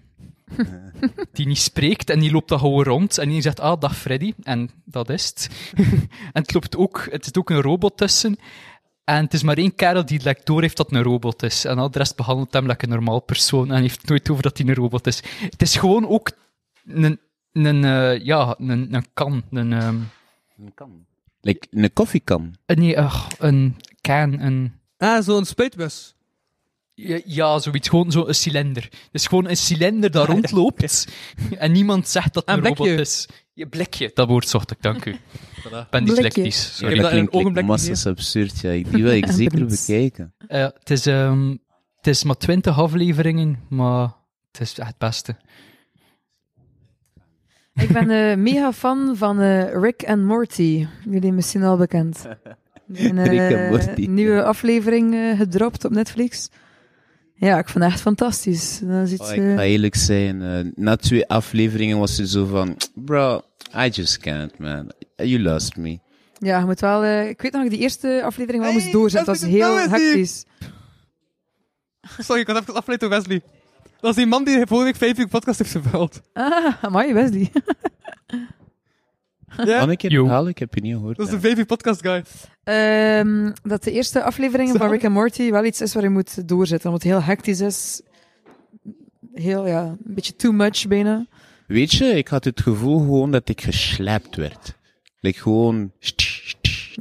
Speaker 4: Die niet spreekt en die loopt dan gewoon rond. En die zegt, ah, dag Freddy. En dat is het. <laughs> en het, loopt ook, het zit ook een robot tussen. En het is maar één kerel die het like, door heeft dat het een robot is. En al de rest behandelt hem like een normaal persoon en heeft het nooit over dat hij een robot is. Het is gewoon ook een, een, eh, ja, een, een kan. Een, ehm,
Speaker 2: Een kan. Like, een koffiekan.
Speaker 4: eh, nee, ach, een can. Een,
Speaker 5: Ah, zo'n spuitbus.
Speaker 4: ja, ja, zoiets. Gewoon zo'n cilinder. Het is gewoon een cilinder
Speaker 5: <laughs>
Speaker 4: dat rondloopt en niemand zegt dat het
Speaker 5: Een
Speaker 4: een robot
Speaker 5: blikje.
Speaker 4: is. Je blikje, dat woord zocht ik,
Speaker 5: <laughs>
Speaker 4: dank u. Ik ben
Speaker 3: Blikje.
Speaker 4: dyslectisch.
Speaker 5: heb
Speaker 4: Sorry.
Speaker 5: dat
Speaker 2: dat
Speaker 5: in een
Speaker 2: klinkt like,
Speaker 5: ogenblik
Speaker 2: massas absurd, ja. Die wil
Speaker 3: <laughs>
Speaker 2: ik zeker
Speaker 3: Prins.
Speaker 2: bekijken.
Speaker 4: Eh, Het is, ehm, het is maar twintig afleveringen, maar het is echt het beste.
Speaker 3: Ik ben
Speaker 2: <laughs>
Speaker 3: eh, mega fan van eh, Rick en Morty. Jullie misschien al
Speaker 2: <laughs>
Speaker 3: bekend. Een eh,
Speaker 2: Rick en Morty.
Speaker 3: nieuwe aflevering eh, gedropt op Netflix. Ja, ik vond het echt fantastisch. Dat is iets,
Speaker 2: Oh, ik
Speaker 3: eh,
Speaker 2: ga eerlijk zijn, eh, na twee afleveringen was ze zo van, bro, I just can't, man. You lost me.
Speaker 3: ja, je moet wel... eh, ik weet nog, die eerste aflevering wel
Speaker 5: Hey,
Speaker 3: moest doorzetten. Dat was
Speaker 5: dat is de
Speaker 3: heel
Speaker 5: Wesley!
Speaker 3: hectisch.
Speaker 5: Sorry, ik had even afgeleid door Wesley. Dat is die man die vorige week vijf uur podcast heeft geveld.
Speaker 3: Ah, amai, Wesley.
Speaker 5: Ja?
Speaker 2: Anneke,
Speaker 4: Yo.
Speaker 2: herhaal, Oh, ik heb je niet gehoord.
Speaker 5: Dat is
Speaker 2: hè.
Speaker 5: de vijf uur podcast guy.
Speaker 3: Ehm, dat de eerste aflevering van
Speaker 5: Sorry.
Speaker 3: Rick en Morty wel iets is waar je moet doorzetten. Omdat het heel hectisch is. Heel, ja, een beetje too much bijna.
Speaker 2: Weet je, ik had het gevoel gewoon dat ik gesleept werd. Like gewoon...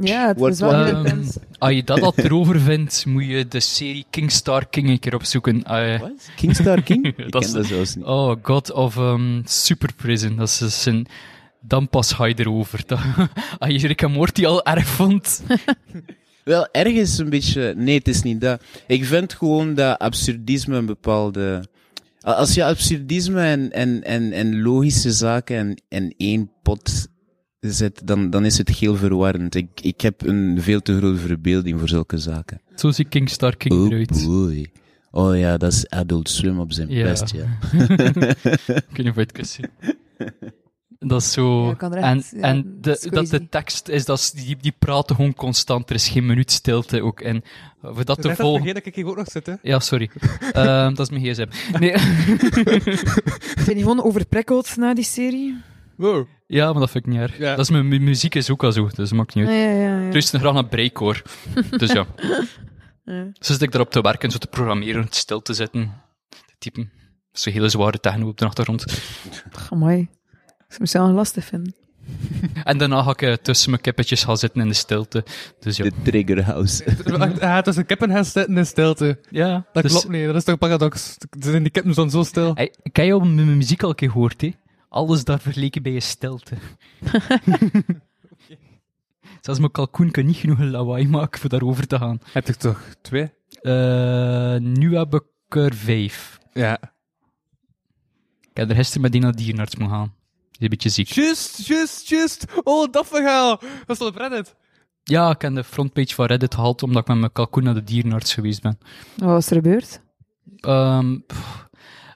Speaker 3: Ja, het
Speaker 2: Wordt
Speaker 3: is wel heel
Speaker 4: wel-
Speaker 3: intens.
Speaker 4: Ehm, Als je dat al erover vindt, moet je de serie Kingstar King een keer opzoeken. Eh,
Speaker 2: Wat?
Speaker 4: <laughs>
Speaker 2: Kingstar King? ik
Speaker 4: Dat
Speaker 2: ken
Speaker 4: is-
Speaker 2: dat zelfs niet.
Speaker 4: oh, God of ehm, Super Prison. Dat is dus een... Dan pas ga je erover. Dat- <laughs> Als je Rick en Morty al erg
Speaker 3: <laughs>
Speaker 4: vond.
Speaker 2: Wel, ergens een beetje... Nee, het is niet dat. Ik vind gewoon dat absurdisme een bepaalde... A- Als je absurdisme en, en, en, en logische zaken in, in één pot zet, dan, dan is het heel verwarrend. Ik, ik heb een veel te grote verbeelding voor zulke zaken.
Speaker 4: Zo ziet Kingstar King
Speaker 2: Oh
Speaker 4: eruit.
Speaker 2: boy. Oh ja, dat is Adult Swim op zijn
Speaker 4: Ja.
Speaker 2: best, ja.
Speaker 4: Ik weet niet of je het kunt zien. Dat is zo.
Speaker 3: Ja, ik kan er
Speaker 4: en
Speaker 3: echt- ja,
Speaker 4: en
Speaker 3: dat is
Speaker 4: de, dat
Speaker 3: crazy.
Speaker 4: de tekst is, dat is- die, die praten gewoon constant. Er is geen minuut stilte ook. En eh, voor dat te
Speaker 5: Ik dacht dat
Speaker 4: volgen.
Speaker 5: vergeet dat ik hier ook nog zit, hè.
Speaker 4: Ja, sorry. Ehm, dat is mijn gsm. Nee.
Speaker 3: Zijn die gewoon overprikkeld na die serie?
Speaker 5: <laughs> Wow.
Speaker 4: Ja, maar dat vind ik niet erg.
Speaker 5: Ja.
Speaker 4: Dat is mijn mu- muziek is ook al zo, dus dat maakt niet uit.
Speaker 3: Ja, ja, ja. ja.
Speaker 4: Luister graag naar break hoor. dus ja,
Speaker 3: <laughs> Ja.
Speaker 4: zo zit ik erop te werken, zo te programmeren, stil te zetten, te typen. Zo'n hele zware techno op de achtergrond.
Speaker 3: Ach, Amai. Ik zou mezelf lastig vinden.
Speaker 4: En daarna ga ik eh, tussen mijn kippetjes gaan zitten in de stilte. Dus ja.
Speaker 2: De Trigger House. <laughs>
Speaker 5: Ja, tussen kippen gaan zitten dus in stilte.
Speaker 4: Ja,
Speaker 5: Dat
Speaker 4: dus-
Speaker 5: klopt niet, dat is toch een paradox. Er Zijn die kippen dan zo stil?
Speaker 4: Hey, ik heb je al mijn mijn muziek al een keer gehoord, hè? Alles daar vergeleken bij je
Speaker 3: <laughs>
Speaker 4: stilte. Zelfs mijn kalkoen kan niet genoeg lawaai maken voor daarover te gaan.
Speaker 5: Heb ik toch twee?
Speaker 4: Eh, nu heb ik er vijf.
Speaker 5: Ja.
Speaker 4: Ik heb er gisteren met die naar de dierenarts moeten gaan. Die is een beetje ziek.
Speaker 5: Just, just, just. Oh, dat verhaal. Dat stond op Reddit.
Speaker 4: Ja, ik heb de frontpage van Reddit gehaald omdat ik met mijn kalkoen naar de dierenarts geweest ben.
Speaker 3: Wat was er gebeurd?
Speaker 4: Ehm pff,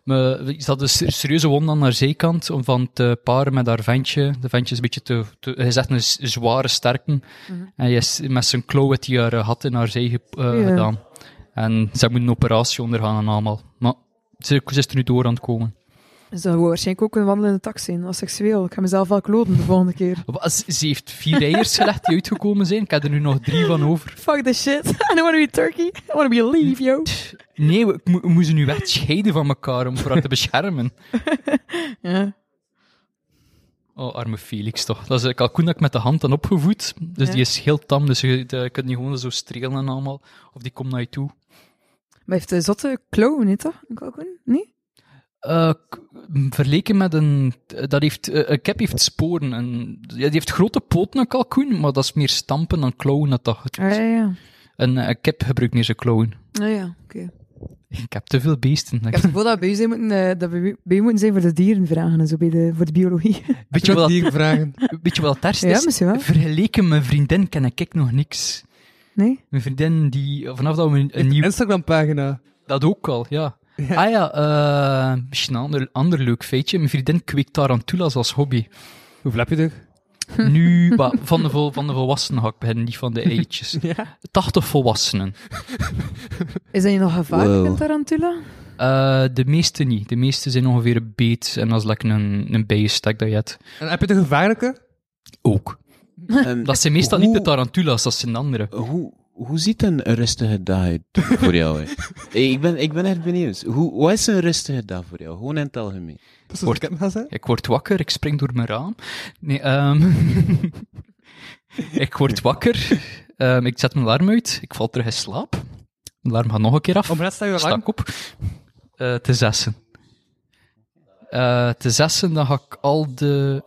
Speaker 4: me, ze had een ser- serieuze wond aan haar zijkant om van te paren met haar ventje. De ventje is een beetje te... te hij is echt een z- zware sterke. En hij is met zijn klauw heeft hij haar eh, gat in haar zij gep- eh,
Speaker 3: Ja.
Speaker 4: gedaan. En ze moet een operatie ondergaan en allemaal. Maar ze, ze is er nu door aan het komen.
Speaker 3: Dus dat zou waarschijnlijk ook een wandelende tak zijn, als seksueel. Ik ga mezelf wel kloten de volgende keer.
Speaker 4: Wa- ze- Ze heeft vier eiers gelegd die uitgekomen zijn. Ik heb er nu nog drie van over.
Speaker 3: Fuck the shit. <laughs> I don't want to be turkey. I want to be a leaf, yo.
Speaker 4: Nee, we, ik mo- we moeten nu echt scheiden van elkaar om voor haar te beschermen.
Speaker 3: Ja.
Speaker 4: <laughs> Oh, arme Felix toch. Dat is een kalkoen dat ik met de hand dan opgevoed. Dus
Speaker 3: Ja.
Speaker 4: die is heel tam, dus je je kunt die gewoon zo strelen en allemaal. Of die komt naar je toe.
Speaker 3: Maar heeft een zotte klauw, niet toch? Een kalkoen? Nee?
Speaker 4: Eh, k- verleken met een... Dat heeft, eh, een kip heeft sporen. En, ja, die heeft grote poten, een kalkoen, maar dat is meer stampen dan klauwen dat dat goed doet.
Speaker 3: Ah, ja, ja.
Speaker 4: Een eh, kip gebruikt meer zijn klauwen.
Speaker 3: Ah, ja, oké.
Speaker 4: Ik heb te veel beesten.
Speaker 3: Ik heb het gevoel dat we bij u zijn moeten, eh, dat we bij u moeten zijn voor de dierenvragen en zo, bij de, voor de biologie. <laughs>
Speaker 4: Weet je wat
Speaker 5: <laughs> Die vragen.
Speaker 4: Weet je wat het ergste
Speaker 3: Ja,
Speaker 4: is?
Speaker 3: misschien wel.
Speaker 4: Vergeleken met mijn vriendin ken ik nog niks.
Speaker 3: Nee?
Speaker 4: Mijn vriendin, die, vanaf dat we een, een nieuw...
Speaker 5: Instagram-pagina.
Speaker 4: Dat ook al, ja. Ah ja, eh, misschien een ander, ander leuk feitje. Mijn vriendin kweekt tarantulas als hobby.
Speaker 5: Hoeveel heb je er?
Speaker 4: Nu, wa- van de, vol- van de volwassenen hak beginnen, niet van de eitjes.
Speaker 5: Ja.
Speaker 4: 80 volwassenen.
Speaker 3: Is dat je nog gevaarlijk,
Speaker 2: Wow.
Speaker 3: een tarantula?
Speaker 4: Eh, de meeste niet. De meeste zijn ongeveer een beet en dat is lekker een, een bijenstek dat je hebt.
Speaker 5: En heb je de gevaarlijke?
Speaker 4: Ook.
Speaker 2: Ehm,
Speaker 4: Dat zijn meestal niet de tarantulas, dat zijn de andere.
Speaker 2: hoe, hoe ziet een rustige dag uit voor jou? hè? <laughs> Hey, ik, ben, ik ben echt benieuwd. Hoe, wat is een rustige dag voor jou? Gewoon in het algemeen.
Speaker 5: Dat is
Speaker 4: Wordt-
Speaker 5: wat ik heb gezegd.
Speaker 4: Ik word wakker, ik spring door mijn raam. Nee, ehm <laughs> ik word wakker, ehm, ik zet mijn alarm uit, ik val terug in slaap. Mijn alarm gaat nog een keer af.
Speaker 5: Om sta je
Speaker 4: Sta
Speaker 5: lang.
Speaker 4: ik op. Eh, te zessen. Eh, te zessen, dan ga ik al de...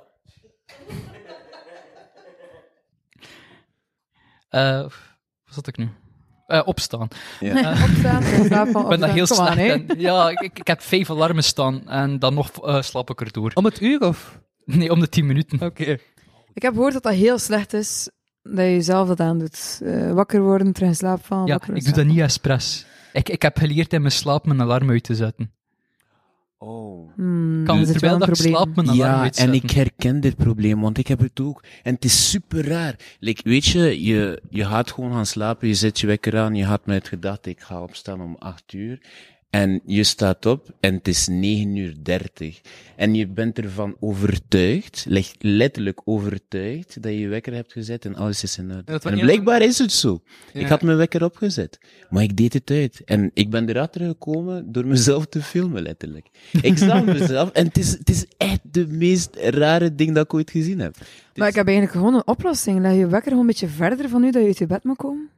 Speaker 4: Eh, wat zat ik nu? Eh, <laughs> opstaan.
Speaker 2: Ja.
Speaker 3: Opstaan, slaap van
Speaker 4: Ik ben daar heel
Speaker 3: Kom aan,
Speaker 4: slecht
Speaker 3: hè.
Speaker 4: in. Ja, ik, ik- ik heb vijf alarmen staan en dan nog eh, slaap ik erdoor. <laughs>
Speaker 5: Om het uur of?
Speaker 4: Nee, om de tien minuten.
Speaker 3: Oh,
Speaker 5: Oké.
Speaker 3: Ik heb gehoord dat dat heel slecht is, dat je jezelf dat aandoet. Eh, wakker worden, terug in slaap van,
Speaker 4: Ja,
Speaker 3: wakker
Speaker 4: ik doe dat
Speaker 3: slaap.
Speaker 4: niet expres. Ik, ik heb geleerd in mijn slaap mijn alarm uit te zetten.
Speaker 2: Oh.
Speaker 3: Hmm,
Speaker 4: Kan
Speaker 3: dat is wel
Speaker 4: terwijl
Speaker 3: een
Speaker 4: dat ik
Speaker 3: probleem.
Speaker 4: slaap mijn alarm
Speaker 2: Ja, en
Speaker 4: uitzetten.
Speaker 2: ik herken dit probleem, want ik heb het ook. En het is super raar. Like, weet je, je, je gaat gewoon gaan slapen, je zet je wekker aan, je had met gedacht, ik ga opstaan om 8 uur. En je staat op en het is 9 uur 30. En je bent ervan overtuigd, like, letterlijk overtuigd, dat je je wekker hebt gezet en alles is in
Speaker 5: dat
Speaker 2: orde.
Speaker 5: we
Speaker 2: En
Speaker 5: eerst-
Speaker 2: blijkbaar is het zo.
Speaker 5: Ja.
Speaker 2: Ik had mijn wekker opgezet, maar ik deed het uit. En ik ben erachter gekomen door mezelf te filmen, letterlijk. Ik zag mezelf en het is, het is echt de meest rare ding dat ik ooit gezien heb.
Speaker 3: Maar ik heb eigenlijk gewoon een oplossing. Leg je wekker gewoon een beetje verder van nu dat je uit je bed moet komen.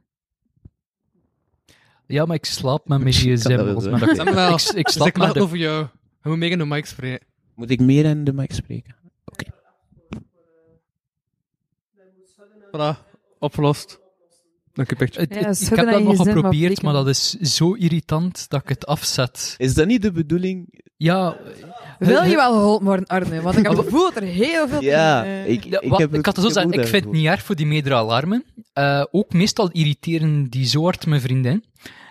Speaker 4: Ja, maar ik slaap met mijn gsm.
Speaker 2: dat wel
Speaker 4: volgens
Speaker 2: zo.
Speaker 4: mij.
Speaker 2: <laughs>
Speaker 4: Dat-
Speaker 5: Samuel,
Speaker 4: Ik, ik
Speaker 5: Dus ik
Speaker 4: slaap met
Speaker 5: laat
Speaker 4: de...
Speaker 5: over jou. We moeten meer in de mic spreken.
Speaker 2: Moet ik meer aan de mic spreken?
Speaker 5: Voilà. Opgelost. Dank je, Picture.
Speaker 4: Het-
Speaker 3: Ja,
Speaker 4: het-
Speaker 3: schudden
Speaker 4: ik heb
Speaker 3: aan
Speaker 4: dat
Speaker 3: je
Speaker 4: nog
Speaker 3: gsm, maar
Speaker 4: geprobeerd,
Speaker 3: flikken.
Speaker 4: maar dat is zo irritant dat ik het afzet.
Speaker 2: Is dat niet de bedoeling?
Speaker 4: Ja,
Speaker 3: Wil je wel geholpen worden, Arne? Want ik heb het gevoel dat er heel veel...
Speaker 2: Ja,
Speaker 3: eh,
Speaker 2: ik,
Speaker 4: Ja,
Speaker 2: ik,
Speaker 4: wat-
Speaker 2: heb
Speaker 4: ik had het zo zeggen, ik vind het niet erg voor die meerdere alarmen. Eh, ook meestal irriteren die zo hard mijn vriendin,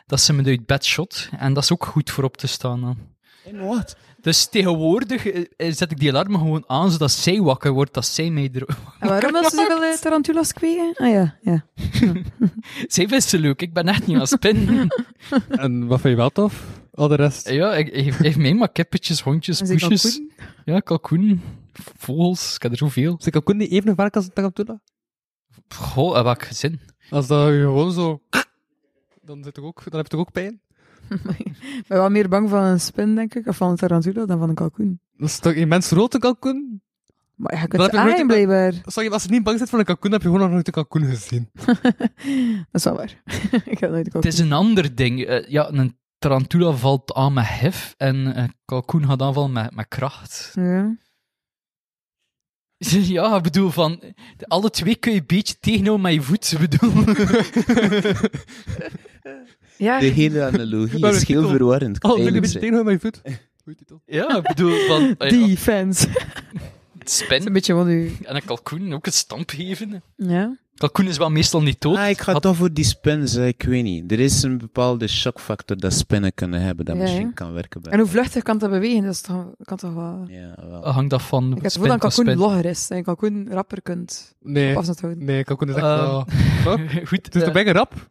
Speaker 4: dat ze me uit bed shot. En dat is ook goed voor op te staan dan.
Speaker 2: niet. Wat?
Speaker 4: Dus tegenwoordig eh, eh, zet ik die alarmen gewoon aan, zodat zij wakker wordt, dat zij mij er... <laughs>
Speaker 3: En waarom wil ze zoveel eh, tarantulas kweken? Ah ja, ja.
Speaker 4: zij vindt ze leuk, ik ben echt niet aan het
Speaker 3: <laughs>
Speaker 4: spinnen.
Speaker 5: En wat vind je wel tof? Al de rest.
Speaker 4: ja, ik, ik, ik meen maar kippetjes, hondjes,
Speaker 3: En ze
Speaker 4: poesjes.
Speaker 3: kalkoen?
Speaker 4: Ja, kalkoen, vogels, ik heb er zoveel.
Speaker 5: Is ik ook niet even gevaarlijk als een tarantula?
Speaker 4: Goh, eh, welk gezin.
Speaker 5: Als dat gewoon zo... Dan, zit er ook, dan heb je toch ook pijn?
Speaker 3: Ik ben wel meer bang van een spin, denk ik, of van een tarantula, dan van een kalkoen.
Speaker 5: Dat is toch immens rood, een kalkoen?
Speaker 3: Maar ja, je
Speaker 5: Dat
Speaker 3: kunt
Speaker 5: heb
Speaker 3: ze
Speaker 5: ik nooit
Speaker 3: aaien,
Speaker 5: in-
Speaker 3: blijkbaar.
Speaker 5: Sorry, als je niet bang bent voor een kalkoen, heb je gewoon nog nooit een kalkoen <laughs> gezien.
Speaker 3: Dat is wel waar. <laughs> ik heb nooit een
Speaker 4: Het is
Speaker 3: kalkoen.
Speaker 4: een ander ding. Eh, ja, een tarantula valt aan met hef en een kalkoen gaat aanvallen met, met kracht.
Speaker 3: Ja.
Speaker 4: <laughs> Ja, ik bedoel, van de- alle twee kun je een beetje tegenhouden met je voet. Ik bedoel,
Speaker 3: Ja,
Speaker 2: De hele
Speaker 4: <laughs>
Speaker 2: analogie
Speaker 5: Waar
Speaker 2: is
Speaker 5: het
Speaker 2: heel
Speaker 5: titel-
Speaker 2: verwarrend. kan
Speaker 5: Oh, druk een
Speaker 2: eigenlijk
Speaker 5: beetje
Speaker 2: zijn.
Speaker 5: tegen met je voet. Goeie titel.
Speaker 4: <laughs> ja, ik bedoel, <laughs> van eh, ja,
Speaker 3: defense. <laughs> Dat
Speaker 4: een
Speaker 3: is
Speaker 4: spin
Speaker 3: een beetje wat u...
Speaker 4: en een kalkoen ook een stamp geven.
Speaker 3: Ja.
Speaker 4: Kalkoen is wel meestal niet dood.
Speaker 2: Ah, ik ga
Speaker 4: Had-
Speaker 2: toch voor die spin zeggen, ik weet niet. Er is een bepaalde shockfactor dat spinnen kunnen hebben, dat
Speaker 3: Ja,
Speaker 2: misschien
Speaker 3: hè?
Speaker 2: kan werken bij.
Speaker 3: En hoe vluchtig kan dat bewegen? Dat is toch, kan toch wel...
Speaker 2: Ja, wel.
Speaker 4: hangt dat van
Speaker 3: Ik heb het
Speaker 4: spin
Speaker 3: gevoel dat een
Speaker 4: tot
Speaker 3: kalkoen
Speaker 4: spin.
Speaker 3: logger is. Dat je een kalkoen rapper kunt
Speaker 5: Nee,
Speaker 3: op afstand houden.
Speaker 5: nee, kalkoen is echt
Speaker 4: Eh,
Speaker 5: wel... <laughs>
Speaker 4: <laughs> Goed,
Speaker 5: Het is
Speaker 4: eh,
Speaker 5: toch bijna rap?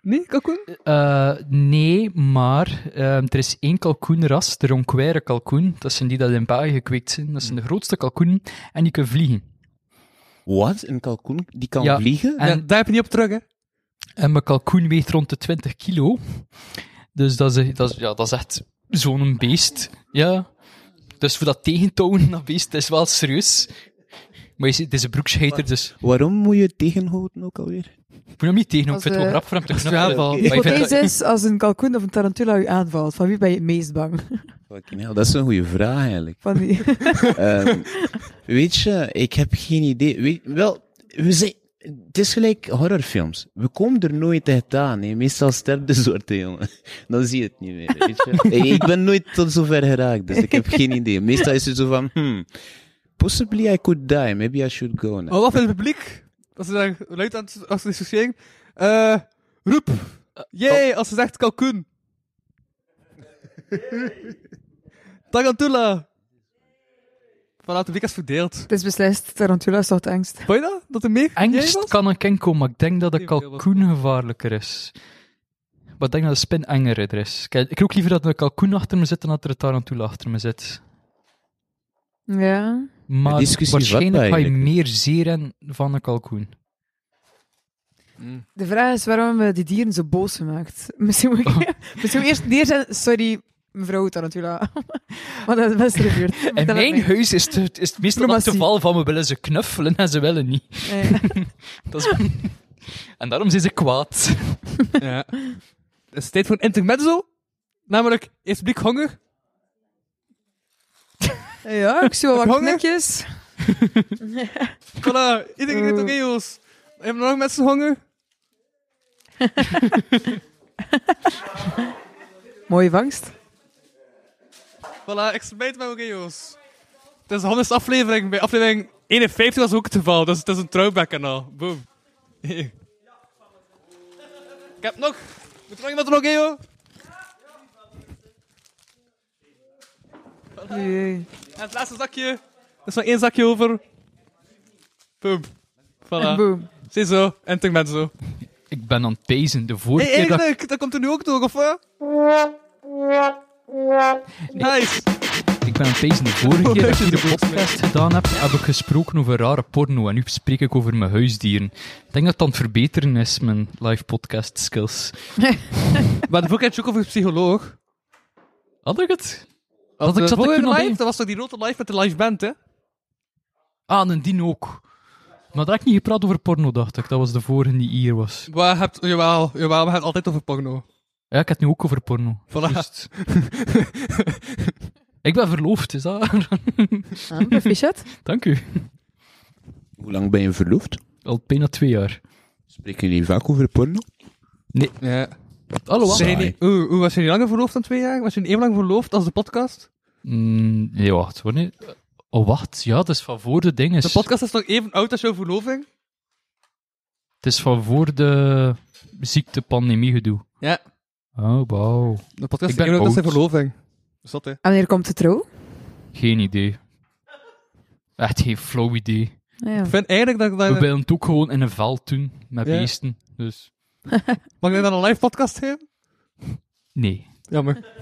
Speaker 5: Nee, kalkoen?
Speaker 4: Eh, nee, maar ehm, er is één kalkoenras, de Ronquaire kalkoen. Dat zijn die dat in België gekweekt zijn. Dat zijn de grootste kalkoenen en die kunnen vliegen.
Speaker 2: Wat? Een kalkoen die kan
Speaker 4: Ja.
Speaker 2: vliegen?
Speaker 4: En,
Speaker 5: Ja, daar heb je niet op terug, hè?
Speaker 4: en mijn kalkoen weegt rond de 20 kilo. Dus dat is, dat is, ja, dat is echt zo'n beest. Ja. Dus voor dat tegentoon, dat beest, dat is wel serieus. Maar je ziet, het is een broekscheiter, dus ik
Speaker 2: Waarom moet je het tegenhouden ook alweer?
Speaker 4: moet hem niet tegenhouden.
Speaker 3: Als,
Speaker 4: Ik vind het wel
Speaker 3: eh,
Speaker 4: grappig voor hem te
Speaker 5: als je
Speaker 4: knuffelen.
Speaker 5: aanvalt.
Speaker 4: Maar
Speaker 3: De
Speaker 4: ik vind dat-
Speaker 3: hypothese is, als een kalkoen of een tarantula u aanvalt, van wie ben je het meest bang? <laughs>
Speaker 2: Fucking hell, dat is een goede vraag eigenlijk.
Speaker 3: Van <laughs> die...
Speaker 2: Ehm,
Speaker 4: <laughs>
Speaker 2: weet je, ik heb geen idee. Weet- wel, we zijn, het is gelijk horrorfilms. We komen er nooit echt aan. Hè. Meestal sterft de soorten, jongen. <laughs> Dan zie je het niet meer. Weet
Speaker 4: <laughs>
Speaker 2: je? ik, ik ben nooit tot zover geraakt, dus ik heb geen idee. Meestal is het zo van, hmm, possibly I could die, maybe I should go now.
Speaker 5: Oh,
Speaker 4: Oh.
Speaker 5: Maar wat vindt het publiek? Als ze daar luid aan het associëren, Eh, roep. Jee, als ze zegt kalkoen. Tarantula. Voilà, de week is verdeeld.
Speaker 3: Het is beslist, Tarantula is toch de angst.
Speaker 5: Vond je dat? Dat er meer jij
Speaker 4: Angst
Speaker 5: was?
Speaker 4: kan een kenko, maar ik denk dat de
Speaker 5: Ik weet wel
Speaker 4: kalkoen gevaarlijker is. Maar ik denk dat de spin enger is. Kijk, ik rook liever dat er een kalkoen achter me zit dan dat er een tarantula achter me zit.
Speaker 3: Ja.
Speaker 4: Maar
Speaker 2: De discussie is
Speaker 4: waarschijnlijk
Speaker 2: vatbaar
Speaker 4: ga je
Speaker 2: eigenlijk.
Speaker 4: meer zeer in van een kalkoen.
Speaker 3: De vraag is waarom we die dieren zo boos gemaakt. <laughs> Misschien moet ik, misschien moet ik eerst neerzetten. Sorry, mevrouw Tarantula. <laughs> Want dat is best in de buurt.
Speaker 4: In
Speaker 3: Vertel het
Speaker 4: mijn
Speaker 3: mij.
Speaker 4: huis is het, is het meestal het
Speaker 3: Diplomatie.
Speaker 4: geval van we willen ze knuffelen en ze willen niet.
Speaker 3: Nee.
Speaker 4: Dat is... <laughs> en daarom zijn ze kwaad.
Speaker 5: Ja. Het is tijd voor een intermezzo. Namelijk, eerst blik honger.
Speaker 3: Ja, ik zie wel wat
Speaker 5: Honger?
Speaker 3: knikjes.
Speaker 5: Voilà, iedereen weet
Speaker 3: Eh.
Speaker 5: oké, jongens. Hebben er nog mensen honger?
Speaker 3: Mooie vangst.
Speaker 5: Voilà, ik smijt met oké, jongens. Het is de honderdste aflevering. Bij aflevering 51 was ook het geval. Dus het is een throwback-kanaal. Boom. <laughs> ik heb nog. Moet er nog iemand een oké, joh?
Speaker 3: Jee.
Speaker 5: En het laatste zakje. Er is nog één zakje over. Boom.
Speaker 3: En
Speaker 5: Voilà.
Speaker 3: boom.
Speaker 5: Ziezo, intermezzo.
Speaker 4: Ik ben aan het pezen. De vorige
Speaker 5: Hé,
Speaker 4: keer dat...
Speaker 5: eigenlijk, dat komt er nu ook door, of wat?
Speaker 4: <laughs>
Speaker 5: Nice.
Speaker 4: Ik ben aan het pezen. De vorige keer dat ik de podcast gedaan heb, heb ik gesproken over rare porno. En nu spreek ik over mijn huisdieren. Ik denk dat het aan het verbeteren is, mijn live podcast skills.
Speaker 5: Maar de boek had je ook over een psycholoog.
Speaker 4: Had ik het?
Speaker 5: Want
Speaker 4: ik
Speaker 5: de
Speaker 4: zat te
Speaker 5: vorige
Speaker 4: kunnen
Speaker 5: live,
Speaker 4: denken.
Speaker 5: dat was toch die rode live met de live band, hè?
Speaker 4: Ah, en die ook. Maar daar heb ik niet gepraat over porno, dacht ik. Dat was de vorige die hier was.
Speaker 5: Waar hebt, jawel, jawel, we hebben het altijd over porno.
Speaker 4: Ja, ik heb het nu ook over porno.
Speaker 5: Voilà.
Speaker 4: Juist. <laughs> ik ben verloofd, is dat?
Speaker 3: Ah, een fichet.
Speaker 4: Dank u.
Speaker 2: Hoe lang ben je verloofd?
Speaker 4: Al bijna twee jaar.
Speaker 2: Spreken jullie vaak over porno?
Speaker 5: Ja.
Speaker 4: Hallo,
Speaker 2: Zeg-
Speaker 5: Zijn jullie, oeh, oeh, was jullie langer verloofd dan twee jaar? Was jullie even lang verloofd als de podcast?
Speaker 4: Mm, nee, wacht. Wanneer... Oh, wacht. Ja, het is van voor de dingen.
Speaker 5: De podcast is toch even oud als jouw verloving?
Speaker 4: Het is van voor de ziektepandemie gedoe.
Speaker 5: Ja.
Speaker 4: Oh, wauw.
Speaker 5: De podcast
Speaker 4: Ik
Speaker 5: is
Speaker 4: ben
Speaker 5: even oud als zijn
Speaker 4: oud.
Speaker 5: verloving. Zot, hè?
Speaker 3: En wanneer Ah, komt de trouw?
Speaker 4: Geen idee. Echt geen flow idee.
Speaker 3: Ah, Ja.
Speaker 5: Ik vind eigenlijk dat ik
Speaker 4: We
Speaker 5: dat...
Speaker 4: wilden het ook gewoon in een veld doen, met
Speaker 5: Ja.
Speaker 4: beesten. Dus,
Speaker 5: Mag ik dat een live podcast geven?
Speaker 4: nee.
Speaker 5: Jammer.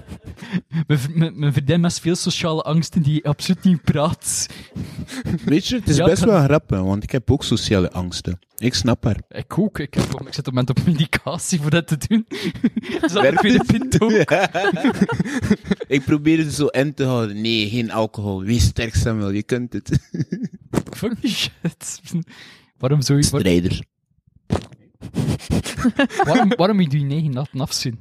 Speaker 4: Mijn v- Mijn mijn vriendin heeft veel sociale angsten die absoluut niet praat.
Speaker 2: Weet je, het is
Speaker 4: Ja,
Speaker 2: best
Speaker 4: kan-
Speaker 2: wel grappig, want ik heb ook sociale angsten. Ik snap haar.
Speaker 4: Ik ook. Ik, heb, ik zit op het moment op medicatie voor dat te doen. <laughs> dus dat ik weer pinto. <laughs>
Speaker 2: ik probeer het zo in te houden. Nee, geen alcohol. Wees sterk, Samuel. Je kunt het.
Speaker 4: Fuck die shit. Waarom zou je... waar-
Speaker 2: Strijder.
Speaker 4: waarom, waarom je die negen natten afzien?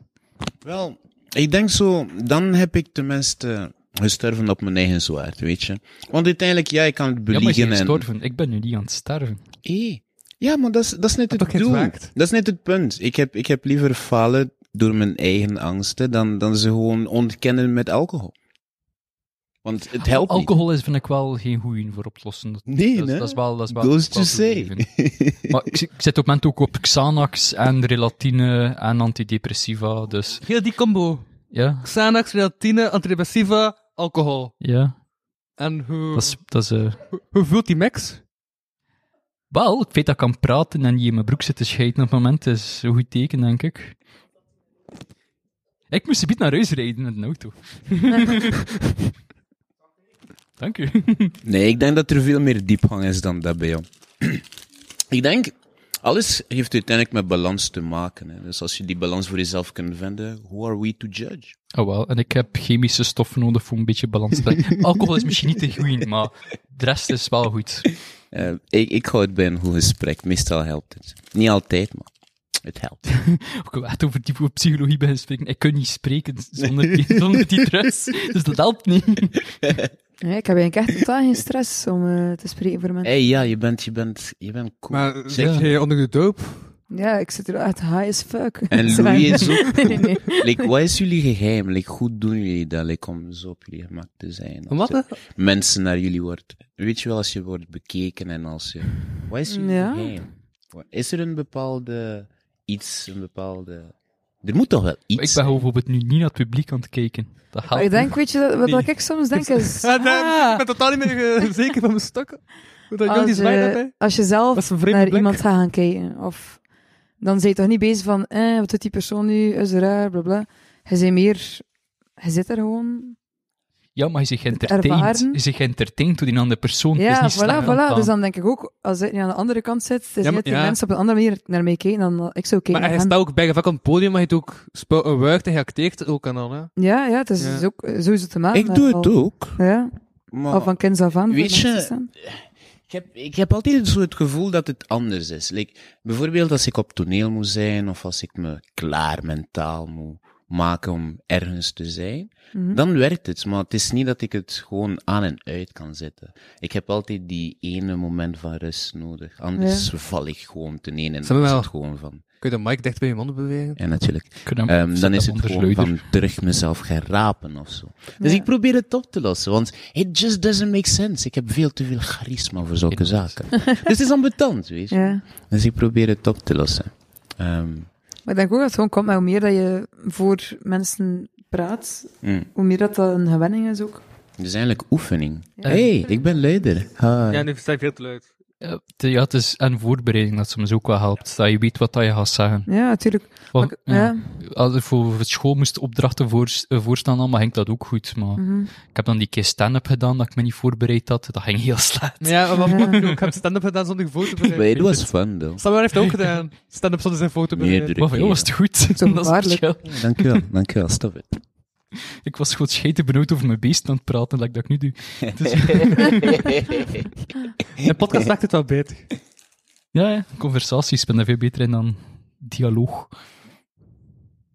Speaker 2: Wel, ik denk zo, dan heb ik tenminste gestorven op mijn eigen zwaard, weet je. Want uiteindelijk, ja, ik kan het
Speaker 4: Ja, maar je
Speaker 2: beliegen
Speaker 4: bent
Speaker 2: en...
Speaker 4: gestorven. Ik ben nu niet aan het sterven.
Speaker 2: Hé. Ja, maar dat is, dat is net
Speaker 5: Heb
Speaker 2: het
Speaker 5: ik het
Speaker 2: doel.
Speaker 5: waakt?
Speaker 2: Dat is net het punt. Ik heb, ik heb liever falen door mijn eigen angsten dan, dan ze gewoon ontkennen met alcohol. Want het helpt
Speaker 4: Ah, Alcohol is, vind ik wel geen goeie voor oplossen. Dat,
Speaker 2: niet. Nee,
Speaker 4: dat,
Speaker 2: hè?
Speaker 4: dat is wel... Dat is wel
Speaker 2: Goes
Speaker 4: dat
Speaker 2: to
Speaker 4: is wel
Speaker 2: say.
Speaker 4: toegeven. Maar ik, zit- ik zit op het moment ook op Xanax en relatine en antidepressiva, dus
Speaker 5: Heel die combo.
Speaker 4: ja,
Speaker 5: Xanax, relatine, antidepressiva, alcohol.
Speaker 4: ja,
Speaker 5: En hoe,
Speaker 4: dat is... Dat is eh,
Speaker 5: hoe, hoe voelt die mix?
Speaker 4: wel, ik weet dat ik kan praten en niet in mijn broek zit te scheiden op het moment, is een goed teken, denk ik. Ik moest een beetje naar huis rijden met een auto. <laughs> Dank u.
Speaker 2: Nee, ik denk dat er veel meer diepgang is dan dat bij jou. <clears throat> ik denk, alles heeft uiteindelijk met balans te maken. Hè. Dus als je die balans voor jezelf kunt vinden, who are we to judge?
Speaker 4: Oh wel, en ik heb chemische stoffen nodig voor een beetje balans te brengen. <laughs> Alcohol is misschien niet de goeie, maar de rest is wel goed.
Speaker 2: Eh, ik, ik hou het bij een goed gesprek. Meestal helpt het. Niet altijd, maar het helpt.
Speaker 4: ook wel echt over die psychologie ben spreken. Ik kan niet spreken zonder <laughs> die, zonder die stress. Dus dat helpt niet.
Speaker 3: Nee, ik heb eigenlijk echt totaal geen stress om eh, te spreken voor mensen.
Speaker 2: <laughs> hey, ja, je bent, je bent, je bent cool.
Speaker 5: Maar
Speaker 2: Zeg,
Speaker 5: zeg je onder de doop?
Speaker 3: Ja, ik zit er echt high as fuck. <laughs>
Speaker 2: En Louis is ook
Speaker 3: Nee, nee, nee.
Speaker 2: Like, wat is jullie geheim? Like, hoe doen jullie dat? Like, om zo op jullie gemak te zijn. Als
Speaker 5: Wat? hè?
Speaker 2: er mensen naar jullie wordt. Weet je wel, als je wordt bekeken en als je... Wat is jullie
Speaker 3: Ja.
Speaker 2: geheim? Wat- Is er een bepaalde iets, een bepaalde... Er moet toch wel
Speaker 4: Maar ik
Speaker 2: iets
Speaker 4: ben gewoon bijvoorbeeld nu niet naar het publiek aan het kijken. Dat gaat
Speaker 3: Maar ik denk, weet Ah, je, dat- wat
Speaker 5: Nee.
Speaker 3: ik soms denk is...
Speaker 5: <laughs> Ja, daar- Ik
Speaker 3: ah,
Speaker 5: ben totaal niet meer <laughs> eh, zeker van mijn stokken. Hoe dat jong die
Speaker 3: als,
Speaker 5: zwaai dat,
Speaker 3: je-
Speaker 5: hè.
Speaker 3: als je
Speaker 5: Dat
Speaker 3: zelf
Speaker 5: is een vreemde
Speaker 3: naar
Speaker 5: blik.
Speaker 3: iemand gaat gaan kijken, of, dan ben je toch niet bezig van, eh, wat doet die persoon nu, is er raar, bla bla. Je bent meer... Je zit er gewoon.
Speaker 4: Ja, maar je zegt geëntertained.
Speaker 3: ervaren.
Speaker 4: Je zegt geëntertained door die andere persoon. het is
Speaker 3: Ja,
Speaker 4: niet slecht
Speaker 3: voilà, voilà.
Speaker 4: gedaan.
Speaker 3: Dus dan denk ik ook, als hij niet aan de andere kant zit, het is
Speaker 5: Ja,
Speaker 3: niet
Speaker 5: maar-
Speaker 3: dat die
Speaker 5: ja.
Speaker 3: mensen op een andere manier naar mij kijken dan dat ik zou kijken
Speaker 5: Maar hij
Speaker 3: naar hen.
Speaker 5: staat ook bij gevak op het podium, maar hij heeft ook spouw en wuigt en hij acteert het ook aan al, hè.
Speaker 3: Ja, ja, het is
Speaker 5: Ja.
Speaker 3: dus ook, eh, zo is het te maken.
Speaker 2: Ik doe het
Speaker 3: al-
Speaker 2: ook,
Speaker 3: Ja,
Speaker 2: maar...
Speaker 3: al van kinds af aan. voor
Speaker 2: Weet je-
Speaker 3: mensen staan.
Speaker 2: Ik heb, ik heb altijd zo het gevoel dat het anders is. Like, bijvoorbeeld als ik op toneel moet zijn, of als ik me klaar mentaal moet maken om ergens te zijn, dan werkt het. Maar het is niet dat ik het gewoon aan en uit kan zetten. Ik heb altijd die ene moment van rust nodig. Anders val ik gewoon ten een en dan is
Speaker 5: Samuel.
Speaker 2: het gewoon van.
Speaker 5: Kun je de mic dicht bij je mond bewegen?
Speaker 2: Ja, natuurlijk.
Speaker 4: Ik kan hem
Speaker 2: Ehm, dan
Speaker 4: zetten
Speaker 2: is het
Speaker 4: onder
Speaker 2: gewoon
Speaker 4: Schreuder.
Speaker 2: van terug mezelf gaan rapen of zo. Dus
Speaker 3: Ja.
Speaker 2: ik probeer het op te lossen, want it just doesn't make sense. Ik heb veel te veel charisma voor zulke zaken. <laughs> dus het is ambetant, weet je.
Speaker 3: Ja.
Speaker 2: Dus ik probeer het op te lossen. Ehm,
Speaker 3: Maar ik denk ook dat het gewoon komt met hoe meer dat je voor mensen praat,
Speaker 2: mm.
Speaker 3: hoe meer dat dat een gewenning is ook.
Speaker 2: Het is dus eigenlijk oefening. hey, ik ben leider. Hi.
Speaker 5: Ja, nu versta ik veel te luid.
Speaker 4: Ja, het- ja, het is en voorbereiding dat soms ook wel helpt. Dat je weet wat dat je gaat zeggen.
Speaker 3: Ja, natuurlijk.
Speaker 4: Want,
Speaker 3: Maar-
Speaker 4: ja,
Speaker 3: ja.
Speaker 4: Als ik voor voor school moest opdrachten voor, eh, voorstaan, dan ging dat ook goed. Maar
Speaker 3: Mhm.
Speaker 4: ik heb dan die keer stand-up gedaan dat ik me niet voorbereid had. Dat ging heel slecht.
Speaker 5: Ja, maar wat moet ik doen? Ik heb stand-up gedaan zonder foto te
Speaker 2: <laughs> But it
Speaker 5: bereiden.
Speaker 2: was fun, though.
Speaker 5: Samuel heeft ook gedaan. Stand-up zonder zijn foto bereiden.
Speaker 2: Meerdere
Speaker 4: Maar van, joh, was het goed?
Speaker 3: Zo
Speaker 4: <laughs> Dat is het
Speaker 3: waarlijk.
Speaker 4: verschil.
Speaker 2: Dankjewel, dankjewel. Stop it.
Speaker 4: Ik was gewoon scheten benauwd over mijn beest aan het praten, like dat ik nu doe.
Speaker 5: In podcast lijkt het wel beter.
Speaker 4: Ja, ja, conversaties. Ik ben daar veel beter in dan dialoog.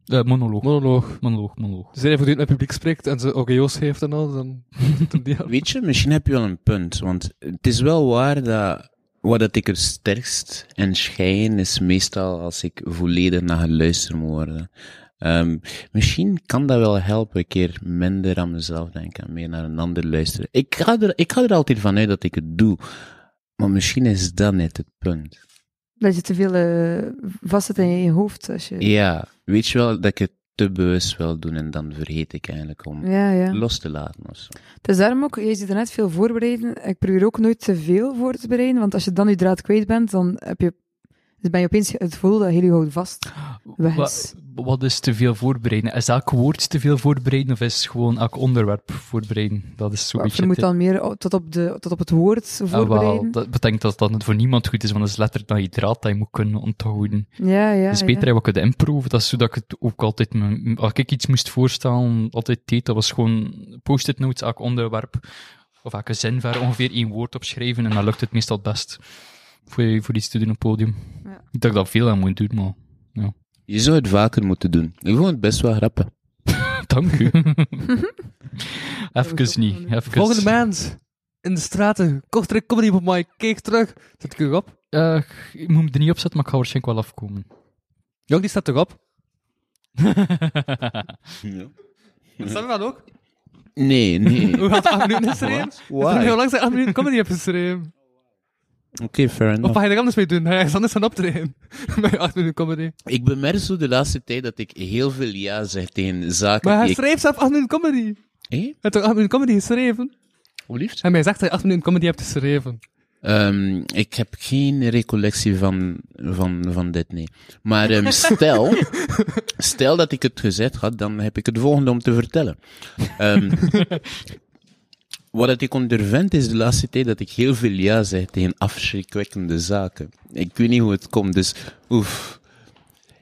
Speaker 4: Eh, monoloog.
Speaker 5: Monoloog.
Speaker 4: Monoloog, monoloog.
Speaker 5: Dus hij voortdurend naar het publiek spreekt en ze OGO's heeft en al, dan <laughs> doet hem die aan.
Speaker 2: Weet je, misschien heb je wel een punt. Want het is wel waar dat wat dat ik het sterkst en schijn is meestal als ik volledig naar geluisterd moet worden. Ehm, misschien kan dat wel helpen, een keer minder aan mezelf denken, en meer naar een ander luisteren. Ik ga er, ik ga er altijd vanuit dat ik het doe. Maar misschien is dat net het punt.
Speaker 3: Dat je te veel eh, vast zit in je hoofd. Als je...
Speaker 2: Ja, weet je wel dat ik het te bewust wil doen en dan vergeet ik eigenlijk om
Speaker 3: Ja, ja.
Speaker 2: los te laten of zo.
Speaker 3: Het is daarom ook, je ziet er net veel voorbereiden. Ik probeer ook nooit te veel voor te bereiden, want als je dan je draad kwijt bent, dan heb je, dan ben je opeens het gevoel dat heel je houdt vast. Weg is.
Speaker 4: Wat, wat is te veel voorbereiden? Is elk woord te veel voorbereiden of is gewoon elk onderwerp voorbereiden? Dat is zo'n
Speaker 3: Maar
Speaker 4: beetje...
Speaker 3: Je moet
Speaker 4: het-
Speaker 3: dan meer o- tot op, de, tot op het woord
Speaker 4: Ah,
Speaker 3: voorbereiden.
Speaker 4: wel, dat betekent dat dat voor niemand goed is, want dat is letterlijk dat je draad dat je moet kunnen onthouden.
Speaker 3: Ja, ja.
Speaker 4: Het is beter wat ik het improven. Dat is zodat ik het ook altijd, mijn- als ik iets moest voorstellen, altijd deed. Dat was gewoon post-it notes, elk onderwerp of elke zin waar ongeveer één woord opschrijven. En dan lukt het meestal het best voor, je- voor iets te doen op het podium.
Speaker 3: Ja.
Speaker 4: Ik dacht dat ik veel aan moet doen, maar
Speaker 2: Je zou het vaker moeten doen. Ik vond het best wel grappig.
Speaker 4: dank
Speaker 5: <laughs>
Speaker 4: u. <laughs>
Speaker 3: moet ik ook
Speaker 4: even niet.
Speaker 3: wel doen.
Speaker 4: Even.
Speaker 5: Volgende maand in de straten, Kortrijk Comedy op mij, keek terug. Zet ik u op?
Speaker 4: Eh, ik moet me er niet op zetten, maar ik ga waarschijnlijk wel afkomen.
Speaker 5: Jong, die staat toch op?
Speaker 2: <laughs> Ja.
Speaker 5: Samuel ook?
Speaker 2: Nee, nee.
Speaker 5: Hoe gaat 8 minuten in stream?
Speaker 2: Why?
Speaker 5: Hoe lang zijn 8 minuten comedy op een stream?
Speaker 2: Oké, fair
Speaker 5: Of
Speaker 2: enough.
Speaker 5: ga je er anders mee doen? Ga je ergens anders gaan optreden? <laughs> Met 8 minuten comedy.
Speaker 2: Ik bemerk zo de laatste tijd dat ik heel veel ja zeg tegen zaken
Speaker 5: Maar hij
Speaker 2: die ik...
Speaker 5: schreef zelf 8 minuten comedy. Hij
Speaker 2: Hé,
Speaker 5: heeft toch 8 minuten comedy geschreven?
Speaker 2: hoe liefst?
Speaker 5: En mij zegt dat je 8 minuten comedy hebt geschreven.
Speaker 2: Ehm, ik heb geen recollectie van, van, van dit, nee. Maar ehm, stel, stel dat ik het gezet had, dan heb ik het volgende om te vertellen. Ehm, wat dat ik ondervind is de laatste tijd dat ik heel veel ja zeg tegen afschrikwekkende zaken. Ik weet niet hoe het komt, dus oef.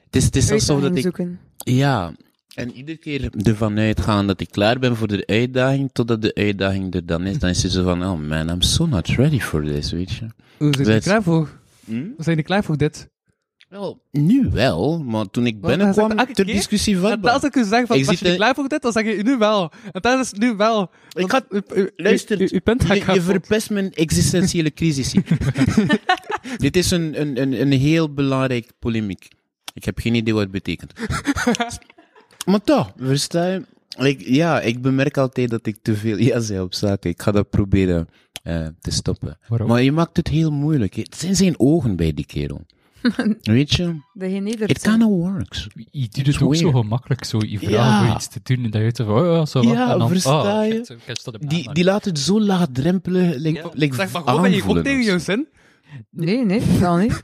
Speaker 2: Het is, het is alsof dat ik
Speaker 3: Zoeken.
Speaker 2: Ja, en iedere keer ervan uitgaan dat ik klaar ben voor de uitdaging, totdat de uitdaging er dan is, dan is het zo van, oh man, I'm so not ready for this, weet je.
Speaker 5: Hoe zijn jullie
Speaker 2: Zet.
Speaker 5: klaar voor?
Speaker 2: Hm?
Speaker 5: Zijn jullie klaar voor dit?
Speaker 2: Wel, nu wel, maar toen ik
Speaker 5: Maar hij
Speaker 2: binnenkwam,
Speaker 5: zegt elke
Speaker 2: ter
Speaker 5: keer-
Speaker 2: discussie
Speaker 5: En als
Speaker 2: vatbaar.
Speaker 5: ik u zeg van,
Speaker 2: Ik
Speaker 5: was
Speaker 2: zit
Speaker 5: je niet
Speaker 2: in-
Speaker 5: klaar voor dit? Dan zeg je nu wel. En dat is nu wel. Want
Speaker 2: had-
Speaker 5: u- u- u-
Speaker 2: luister,
Speaker 5: u- uw punt ga ik
Speaker 2: <laughs> Je, je
Speaker 5: gaan
Speaker 2: verpest mijn existentiële crisis hier. Dit is een, een, een, een heel belangrijk polemiek. Ik heb geen idee wat het betekent. maar toch, versta je? Ik, ja, ik bemerk altijd dat ik te veel ja zei op zaken. Ik ga dat proberen eh, te stoppen.
Speaker 4: Waarom?
Speaker 2: Maar je maakt het heel moeilijk. Het zijn zijn ogen bij die kerel. Weet je,
Speaker 3: Dat je
Speaker 2: it
Speaker 3: nedert bent.
Speaker 2: kinda works.
Speaker 4: Je doet het
Speaker 2: It's
Speaker 4: ook zo
Speaker 2: weird.
Speaker 4: gemakkelijk, zo je vraagt
Speaker 2: Ja.
Speaker 4: voor iets te doen en dat je het van, oh ja, zo wat.
Speaker 2: Ja,
Speaker 4: en dan,
Speaker 2: versta
Speaker 4: oh,
Speaker 2: je?
Speaker 4: shit, ik heb dat in mijn
Speaker 2: Die,
Speaker 4: hand.
Speaker 2: die laat het zo laagdrempelig, like, like
Speaker 5: Zeg maar gewoon, ben je ook
Speaker 2: aanvoelen
Speaker 5: tegen
Speaker 2: of zo.
Speaker 5: jouw zin?
Speaker 3: Nee, nee, totaal <laughs> niet.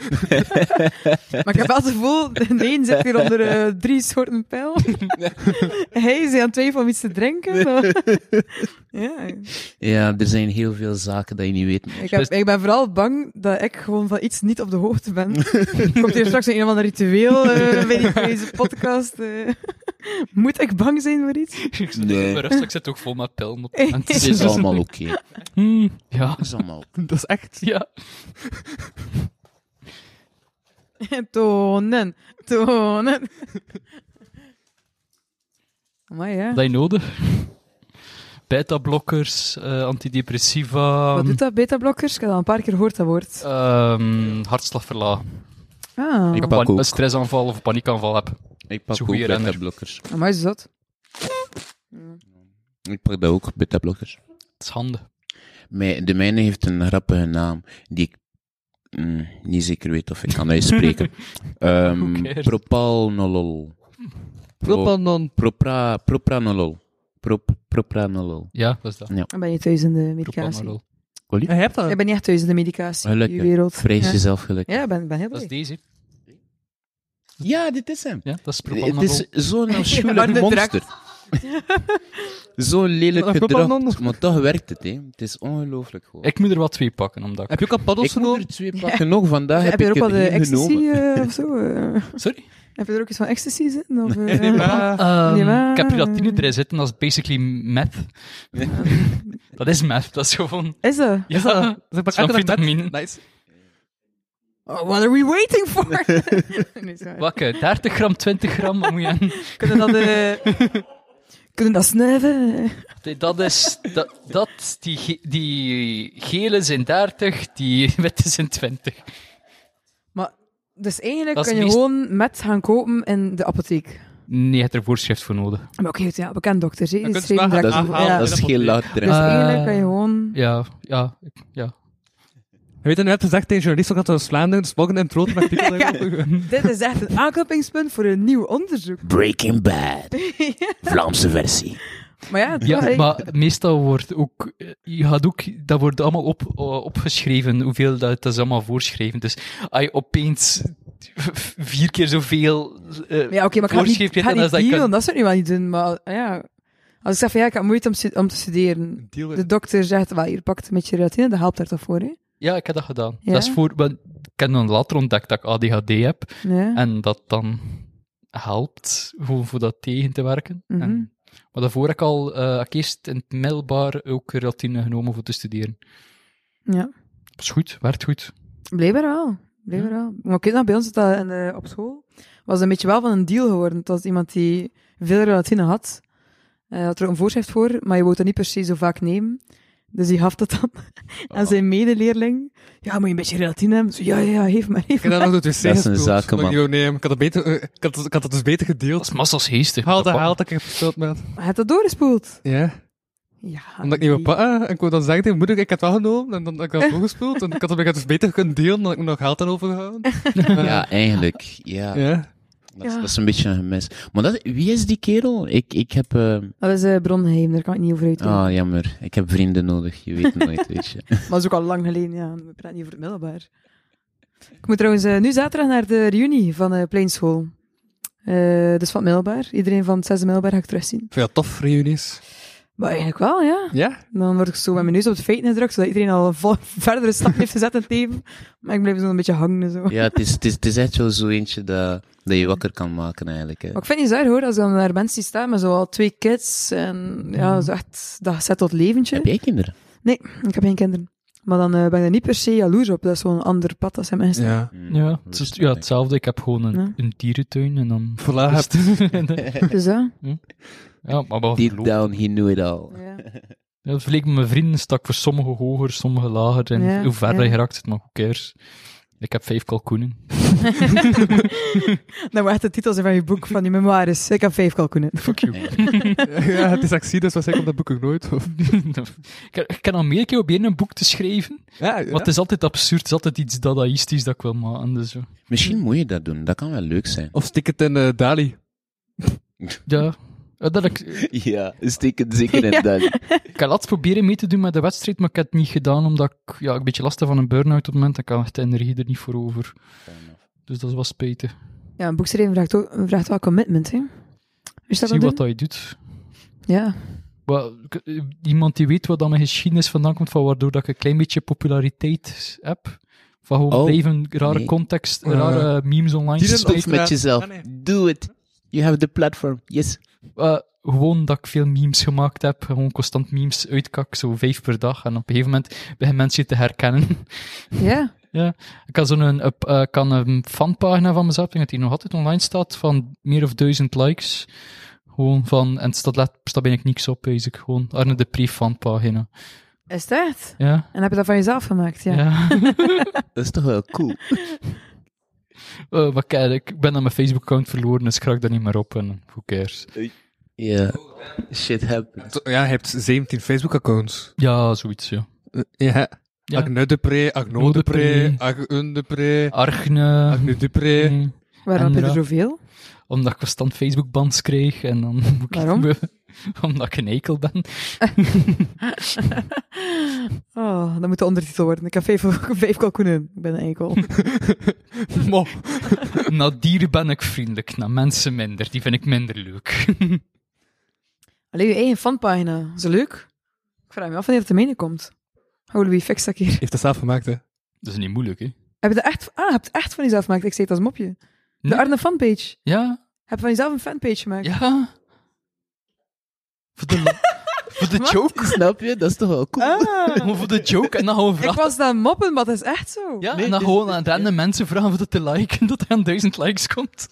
Speaker 3: maar ik heb wel het gevoel, de een zit hier onder eh, drie soorten <laughs> pijl. Hij is aan het twijfelen om iets te drinken. maar- ja,
Speaker 2: Ja, er zijn heel veel zaken dat je niet weet.
Speaker 3: ik, heb, ik ben vooral bang dat ik gewoon van iets niet op de hoogte ben. Komt hier straks een of ander ritueel eh, bij, die- bij deze podcast. eh. Moet ik bang zijn voor iets?
Speaker 4: Ik zit
Speaker 2: Nee.
Speaker 4: nee. rustig, ik zit ook vol met pillen op.
Speaker 2: <laughs>
Speaker 3: Hey.
Speaker 4: En het
Speaker 2: Het
Speaker 4: is-
Speaker 2: is allemaal oké. Het
Speaker 4: <laughs> Hmm, ja,
Speaker 2: is allemaal oké.
Speaker 5: Dat is echt.
Speaker 4: ja.
Speaker 3: <laughs> Tonen, tonen. Maar ja,
Speaker 4: Heb je nodig? Beta-blokkers, eh, antidepressiva,
Speaker 3: wat doet dat? Beta-blokkers? Ik heb al een paar keer gehoord dat woord.
Speaker 4: ehm, hartslagverlaag.
Speaker 3: Ah,
Speaker 2: Ik
Speaker 4: Pan-
Speaker 2: pak ook.
Speaker 4: Een stressaanval of paniekaanval heb.
Speaker 2: Ik
Speaker 4: Zo'n
Speaker 2: pak
Speaker 4: goeie
Speaker 2: ook
Speaker 4: renner.
Speaker 2: beta-blokkers.
Speaker 3: maar is dat?
Speaker 2: Ik pak dat ook, beta-blokkers.
Speaker 4: Het is handig.
Speaker 2: Mijn- De mijne heeft een grappige naam die ik mm, niet zeker weet of ik kan uitspreken.
Speaker 4: Who
Speaker 2: Ehm
Speaker 4: cares?
Speaker 2: propanolol. Pro,
Speaker 5: Propanon.
Speaker 2: propra, propranolol. Prop, propranolol.
Speaker 4: Ja, dat is dat.
Speaker 3: Dan ben je thuis in de medicatie.
Speaker 4: Propanolol.
Speaker 5: Ja, je hebt dat.
Speaker 3: Ik ben niet echt thuis in de medicatie.
Speaker 2: Gelukkig.
Speaker 3: in die wereld.
Speaker 2: Vrees
Speaker 3: ja.
Speaker 2: jezelf gelukkig.
Speaker 3: Ja, ik ben, ben heel
Speaker 4: Dat is
Speaker 3: blij.
Speaker 4: deze.
Speaker 2: Ja, dit is hem.
Speaker 4: Ja, dat is propanolol.
Speaker 2: Het is zo'n afschuwelijk
Speaker 3: maar de
Speaker 2: monster. zo'n lelijk
Speaker 5: Maar
Speaker 2: gedrag,
Speaker 5: propanon-
Speaker 2: maar toch werkt het, hè. Het is ongelooflijk gewoon.
Speaker 4: Ik moet er wel twee pakken, omdat ik...
Speaker 5: Heb je ook al
Speaker 2: Ik
Speaker 5: paddels
Speaker 2: moet
Speaker 5: genomen?
Speaker 2: er twee pakken nog, vandaag
Speaker 3: Heb
Speaker 2: heb
Speaker 3: je er
Speaker 2: ik
Speaker 3: ook
Speaker 2: er
Speaker 3: wat eh,
Speaker 2: één
Speaker 3: ecstasy
Speaker 2: genomen.
Speaker 3: eh, of zo? eh?
Speaker 4: Sorry?
Speaker 3: heb je er ook iets van ecstasy zitten? Of, eh,
Speaker 5: Ja.
Speaker 4: Ehm,
Speaker 3: Nee, maar-
Speaker 4: Ik heb piratine erin zitten, dat is basically meth. <laughs> dat is meth, dat is gewoon...
Speaker 3: Is dat?
Speaker 4: Ja,
Speaker 5: dat- Ze pak
Speaker 4: Zo'n
Speaker 5: dus echt een
Speaker 4: vitamine.
Speaker 5: bed. Nice.
Speaker 3: Oh, what are we waiting for? <laughs> nee, sorry.
Speaker 4: Wakke, 30 gram, 20 gram, wat moet je aan...
Speaker 3: Kunnen dat... eh, kunnen dat snuiven?
Speaker 4: Nee, Dat is, dat, dat die, ge- die gele zijn 30, die witte zijn 20.
Speaker 3: Maar, dus eigenlijk
Speaker 4: Dat is
Speaker 3: kan je
Speaker 4: meest-
Speaker 3: gewoon met gaan kopen in de apotheek.
Speaker 4: Nee, je hebt er voorschrift voor nodig.
Speaker 3: Maar oké, goed, ja, bekend dokters. hè, die
Speaker 5: kunt
Speaker 3: schrijven
Speaker 5: smaken
Speaker 2: Dat is,
Speaker 3: direct over-
Speaker 5: aanhalen.
Speaker 3: ja.
Speaker 2: Ah, dat
Speaker 3: Dus
Speaker 2: is heel laagdrempelig.
Speaker 4: Eh,
Speaker 3: eigenlijk kan je gewoon...
Speaker 4: Ja, ja, ik- ja.
Speaker 5: Weet je, nu heb je gezegd tegen journalist ook dat we Vlaanderen smoggen en brood
Speaker 2: <laughs>
Speaker 5: met artikel daarover.
Speaker 3: Dit is echt een aanknopingspunt voor een nieuw onderzoek.
Speaker 2: Breaking
Speaker 4: <laughs>
Speaker 2: Bad. Vlaamse versie.
Speaker 3: Maar ja,
Speaker 4: ja
Speaker 3: hey.
Speaker 4: maar meestal wordt ook, eh, je gaat ook, dat wordt allemaal op, eh, opgeschreven, hoeveel dat, dat is allemaal voorschreven. Dus als je opeens vier keer zoveel eh
Speaker 3: Ja, oké, maar ik ga het
Speaker 4: voorschrift
Speaker 3: niet, ik ga het
Speaker 4: weet, dan is
Speaker 3: niet
Speaker 4: dat
Speaker 3: dealen,
Speaker 4: kan-
Speaker 3: dat zou ik nu wel niet doen, maar ja. Als ik zeg van ja, ik heb moeite om, stu- om te studeren.
Speaker 5: Deal
Speaker 3: De dokter zegt, wel, hier pakt met je reatine, dat helpt daar toch voor, hè?
Speaker 4: Ja, ik heb dat gedaan.
Speaker 3: Ja?
Speaker 4: Dat is voor, want ik heb dan later ontdekt dat ik ADHD heb.
Speaker 3: Ja.
Speaker 4: En dat dan helpt gewoon voor dat tegen te werken.
Speaker 3: Mhm.
Speaker 4: En- maar daarvoor heb ik al eh, heb ik eerst in het middelbaar ook relatine genomen voor te studeren.
Speaker 3: ja.
Speaker 4: Dat is goed, werkt goed.
Speaker 3: Blijkbaar wel. Blijkbaar wel. Maar kijk, nou, bij ons zat dat in de- op school was een beetje wel van een deal geworden. Het was iemand die veel relatine had. Hij had er ook een voorschrift voor, maar je wou dat niet per se zo vaak nemen. Dus die gaf dat dan <laughs> aan zijn medeleerling. Ja, moet je een beetje relatine hebben? Zo, ja, ja, ja, geef maar, geef
Speaker 5: Ik heb
Speaker 3: maar.
Speaker 5: dat nog door het dus wc
Speaker 2: een
Speaker 5: gespeeld, omdat
Speaker 2: zakenman.
Speaker 5: Ik, die wou nemen. ik, had dat beter, eh, ik, had, dat- ik had dat dus beter
Speaker 4: Dat
Speaker 5: gedeeld.
Speaker 4: is massas geestig.
Speaker 5: Haal de
Speaker 4: Dat
Speaker 5: haal dat ik heb gespeeld, man.
Speaker 3: Hij had dat doorgespoeld.
Speaker 5: Ja.
Speaker 3: Ja.
Speaker 5: Omdat ik niet wou pakken. En ik wou dan zeggen tegen moeder, ik heb dat genomen. En dan heb ik dat doorgespeeld. En ik had dat ik had dus beter kunnen delen, dan had ik nog geld aan overgehouden.
Speaker 2: <laughs> Ja, eigenlijk. Ja,
Speaker 5: Ja.
Speaker 2: Dat, is,
Speaker 3: Ja.
Speaker 2: dat is een beetje een gemis. Maar dat, wie is die kerel? Ik, ik heb... eh,
Speaker 3: Dat is eh brongeheim, daar kan ik niet over uit.
Speaker 2: Ah, jammer. Ik heb vrienden nodig. Je weet nooit, weet je.
Speaker 4: <laughs>
Speaker 3: Maar dat is ook al lang geleden, ja. We praten niet over het middelbaar. Ik moet trouwens eh, nu zaterdag naar de reunie van eh Pleinschool. Eh dus van het middelbaar. Iedereen van het zesde middelbaar ga ik terugzien.
Speaker 5: Veel tof, reunies.
Speaker 3: Maar eigenlijk wel, ja.
Speaker 5: Ja?
Speaker 3: Dan word ik zo met mijn neus op de feiten gedrukt, zodat iedereen al een vol- <laughs> verdere stap heeft gezet in het leven. Maar ik blijf zo een beetje hangen en zo.
Speaker 2: Ja, het is, het is, het is echt wel zo eentje dat, dat je wakker kan maken, eigenlijk. Hè.
Speaker 3: Maar ik vind het niet zo erg, hoor, als ik dan naar mensen die staan met zoal twee kids. En ja, zo echt, dat zet tot leventje.
Speaker 2: Mm. Heb jij kinderen?
Speaker 3: Nee, ik heb geen kinderen. Maar dan eh, ben ik er niet per se jaloers op. Dat is zo'n ander pad als zijn mensen.
Speaker 5: Ja.
Speaker 2: Hm,
Speaker 4: pa-
Speaker 2: Hmm.
Speaker 4: Ja, het is, ja, hetzelfde. Ik heb gewoon een,
Speaker 3: Ja. Ah,
Speaker 4: een dierentuin en dan...
Speaker 5: Voilà,
Speaker 3: <laughs>
Speaker 5: heb
Speaker 3: Dus ja.
Speaker 4: <laughs> ja, maar wel
Speaker 2: Deep
Speaker 4: verloop.
Speaker 2: down, he knew it all.
Speaker 3: ja.
Speaker 4: Ja, het verleek met mijn vrienden stak voor sommige hoger, sommige lager. En
Speaker 3: Ja,
Speaker 4: hoe verder
Speaker 3: ja.
Speaker 4: geraakt het, maar hoe cares. Ik heb vijf kalkoenen. <laughs>
Speaker 3: <laughs> Dat was echt de titel zijn van je boek, van je memoires. Ik heb vijf kalkoenen.
Speaker 4: Fuck you.
Speaker 5: <laughs> ja, het is actie, dus waarschijnlijk op dat boek ook nooit. Of...
Speaker 4: ik, ik kan al meer keer proberen een boek te schrijven,
Speaker 5: Ja,
Speaker 4: maar het is altijd absurd. Het is altijd iets dadaïstisch dat ik wil maken. Dus, ja.
Speaker 2: Misschien moet je dat doen. Dat kan wel leuk zijn.
Speaker 5: Of stik het in eh, Dali.
Speaker 4: ja. Ja, Dat ik,
Speaker 2: <laughs> Ja, steek het
Speaker 4: <laughs>
Speaker 2: zeker in dan.
Speaker 4: ik had laatst proberen mee te doen met de wedstrijd, maar ik heb het niet gedaan, omdat ik ja, een beetje last heb van een burn-out op het moment. Ik had de energie er niet voor over. Dus dat was spijtig.
Speaker 3: Ja, een boek schrijven vraagt, ook, vraagt wel commitment, hè. Is dat
Speaker 4: Zie
Speaker 3: wel
Speaker 4: wat
Speaker 3: doen?
Speaker 4: dat je doet.
Speaker 3: Ja.
Speaker 4: Wel, ik- eh, iemand die weet wat dan mijn geschiedenis vandaan komt, van waardoor dat ik een klein beetje populariteit heb. Van gewoon
Speaker 2: Oh,
Speaker 4: blijven rare
Speaker 2: nee.
Speaker 4: context,
Speaker 5: Eh,
Speaker 4: rare memes online Dus
Speaker 5: die
Speaker 4: smijten.
Speaker 5: dat
Speaker 2: Stop met
Speaker 5: Ja.
Speaker 2: jezelf.
Speaker 5: Ah, nee.
Speaker 2: Do it. You have the platform. Yes.
Speaker 4: Eh, gewoon dat ik veel memes gemaakt heb. Gewoon constant memes uitkak, zo vijf per dag. En op een gegeven moment beginnen mensen je te herkennen. <laughs>
Speaker 3: Ja.
Speaker 4: ik had zo'n een, eh, ik had een fanpagina van mezelf, ik denk dat die nog altijd online staat, van meer of duizend likes. Gewoon van, en het staat, let- staat bijna niks op, basic. Gewoon Arne de Pre-fanpagina.
Speaker 3: Is dat? echt?
Speaker 4: Ja,
Speaker 3: En heb je dat van jezelf gemaakt, ja.
Speaker 4: ja.
Speaker 2: Dat is toch wel cool.
Speaker 4: Eh, maar kijk, ik ben aan mijn Facebook-account verloren, dus ik raak daar niet meer op. En who cares?
Speaker 2: Ja. Shit happens.
Speaker 5: Ja, je hebt 17 Facebook-accounts.
Speaker 4: Ja, zoiets, ja.
Speaker 5: Ja. Ah.
Speaker 4: Ja.
Speaker 5: Agne Dupré, Agno
Speaker 4: Agno
Speaker 5: Dupré,
Speaker 4: Dupré.
Speaker 5: Agne Dupré,
Speaker 4: Argne.
Speaker 5: Agne Dupré.
Speaker 4: Mm,
Speaker 3: Waarom
Speaker 4: En
Speaker 3: heb je er
Speaker 4: ra- <laughs>
Speaker 3: zoveel?
Speaker 4: Omdat ik constant Facebook-bands kreeg. En dan <laughs> moet ik
Speaker 3: Waarom?
Speaker 4: omdat ik een eikel ben.
Speaker 3: Oh, dat moet de ondertitel worden. Ik heb vijf, <laughs> vijf kalkoenen. Ik ben een
Speaker 4: <laughs>
Speaker 3: enkel.
Speaker 5: Mo.
Speaker 4: Na dieren ben ik vriendelijk, na mensen minder. Die vind ik minder leuk. <laughs>
Speaker 3: Alleen je eigen fanpagina. Is dat leuk? Ik vraag me af wanneer het te menen komt. Holy wie fix dat hier.
Speaker 5: Heeft dat zelf gemaakt, hè?
Speaker 4: Dat is niet moeilijk, hè?
Speaker 3: Heb je dat echt, ah, heb je het echt van jezelf gemaakt? Ik zei het als mopje. De
Speaker 4: Nee.
Speaker 3: Arne fanpage.
Speaker 4: Ja,
Speaker 3: Heb je van jezelf een fanpage gemaakt?
Speaker 4: Ja. Voor
Speaker 3: <laughs>
Speaker 4: de, voor de joke.
Speaker 2: Snap je? Dat is toch wel cool.
Speaker 3: Ah,
Speaker 4: Gewoon voor de joke. En dan gewoon
Speaker 3: ik
Speaker 4: vragen.
Speaker 3: was dan moppen, maar dat is echt zo.
Speaker 4: Ja,
Speaker 2: Nee, dus-
Speaker 4: en dan
Speaker 2: dit-
Speaker 4: gewoon aan random mensen vragen voor dat te liken. Dat er aan duizend likes komt.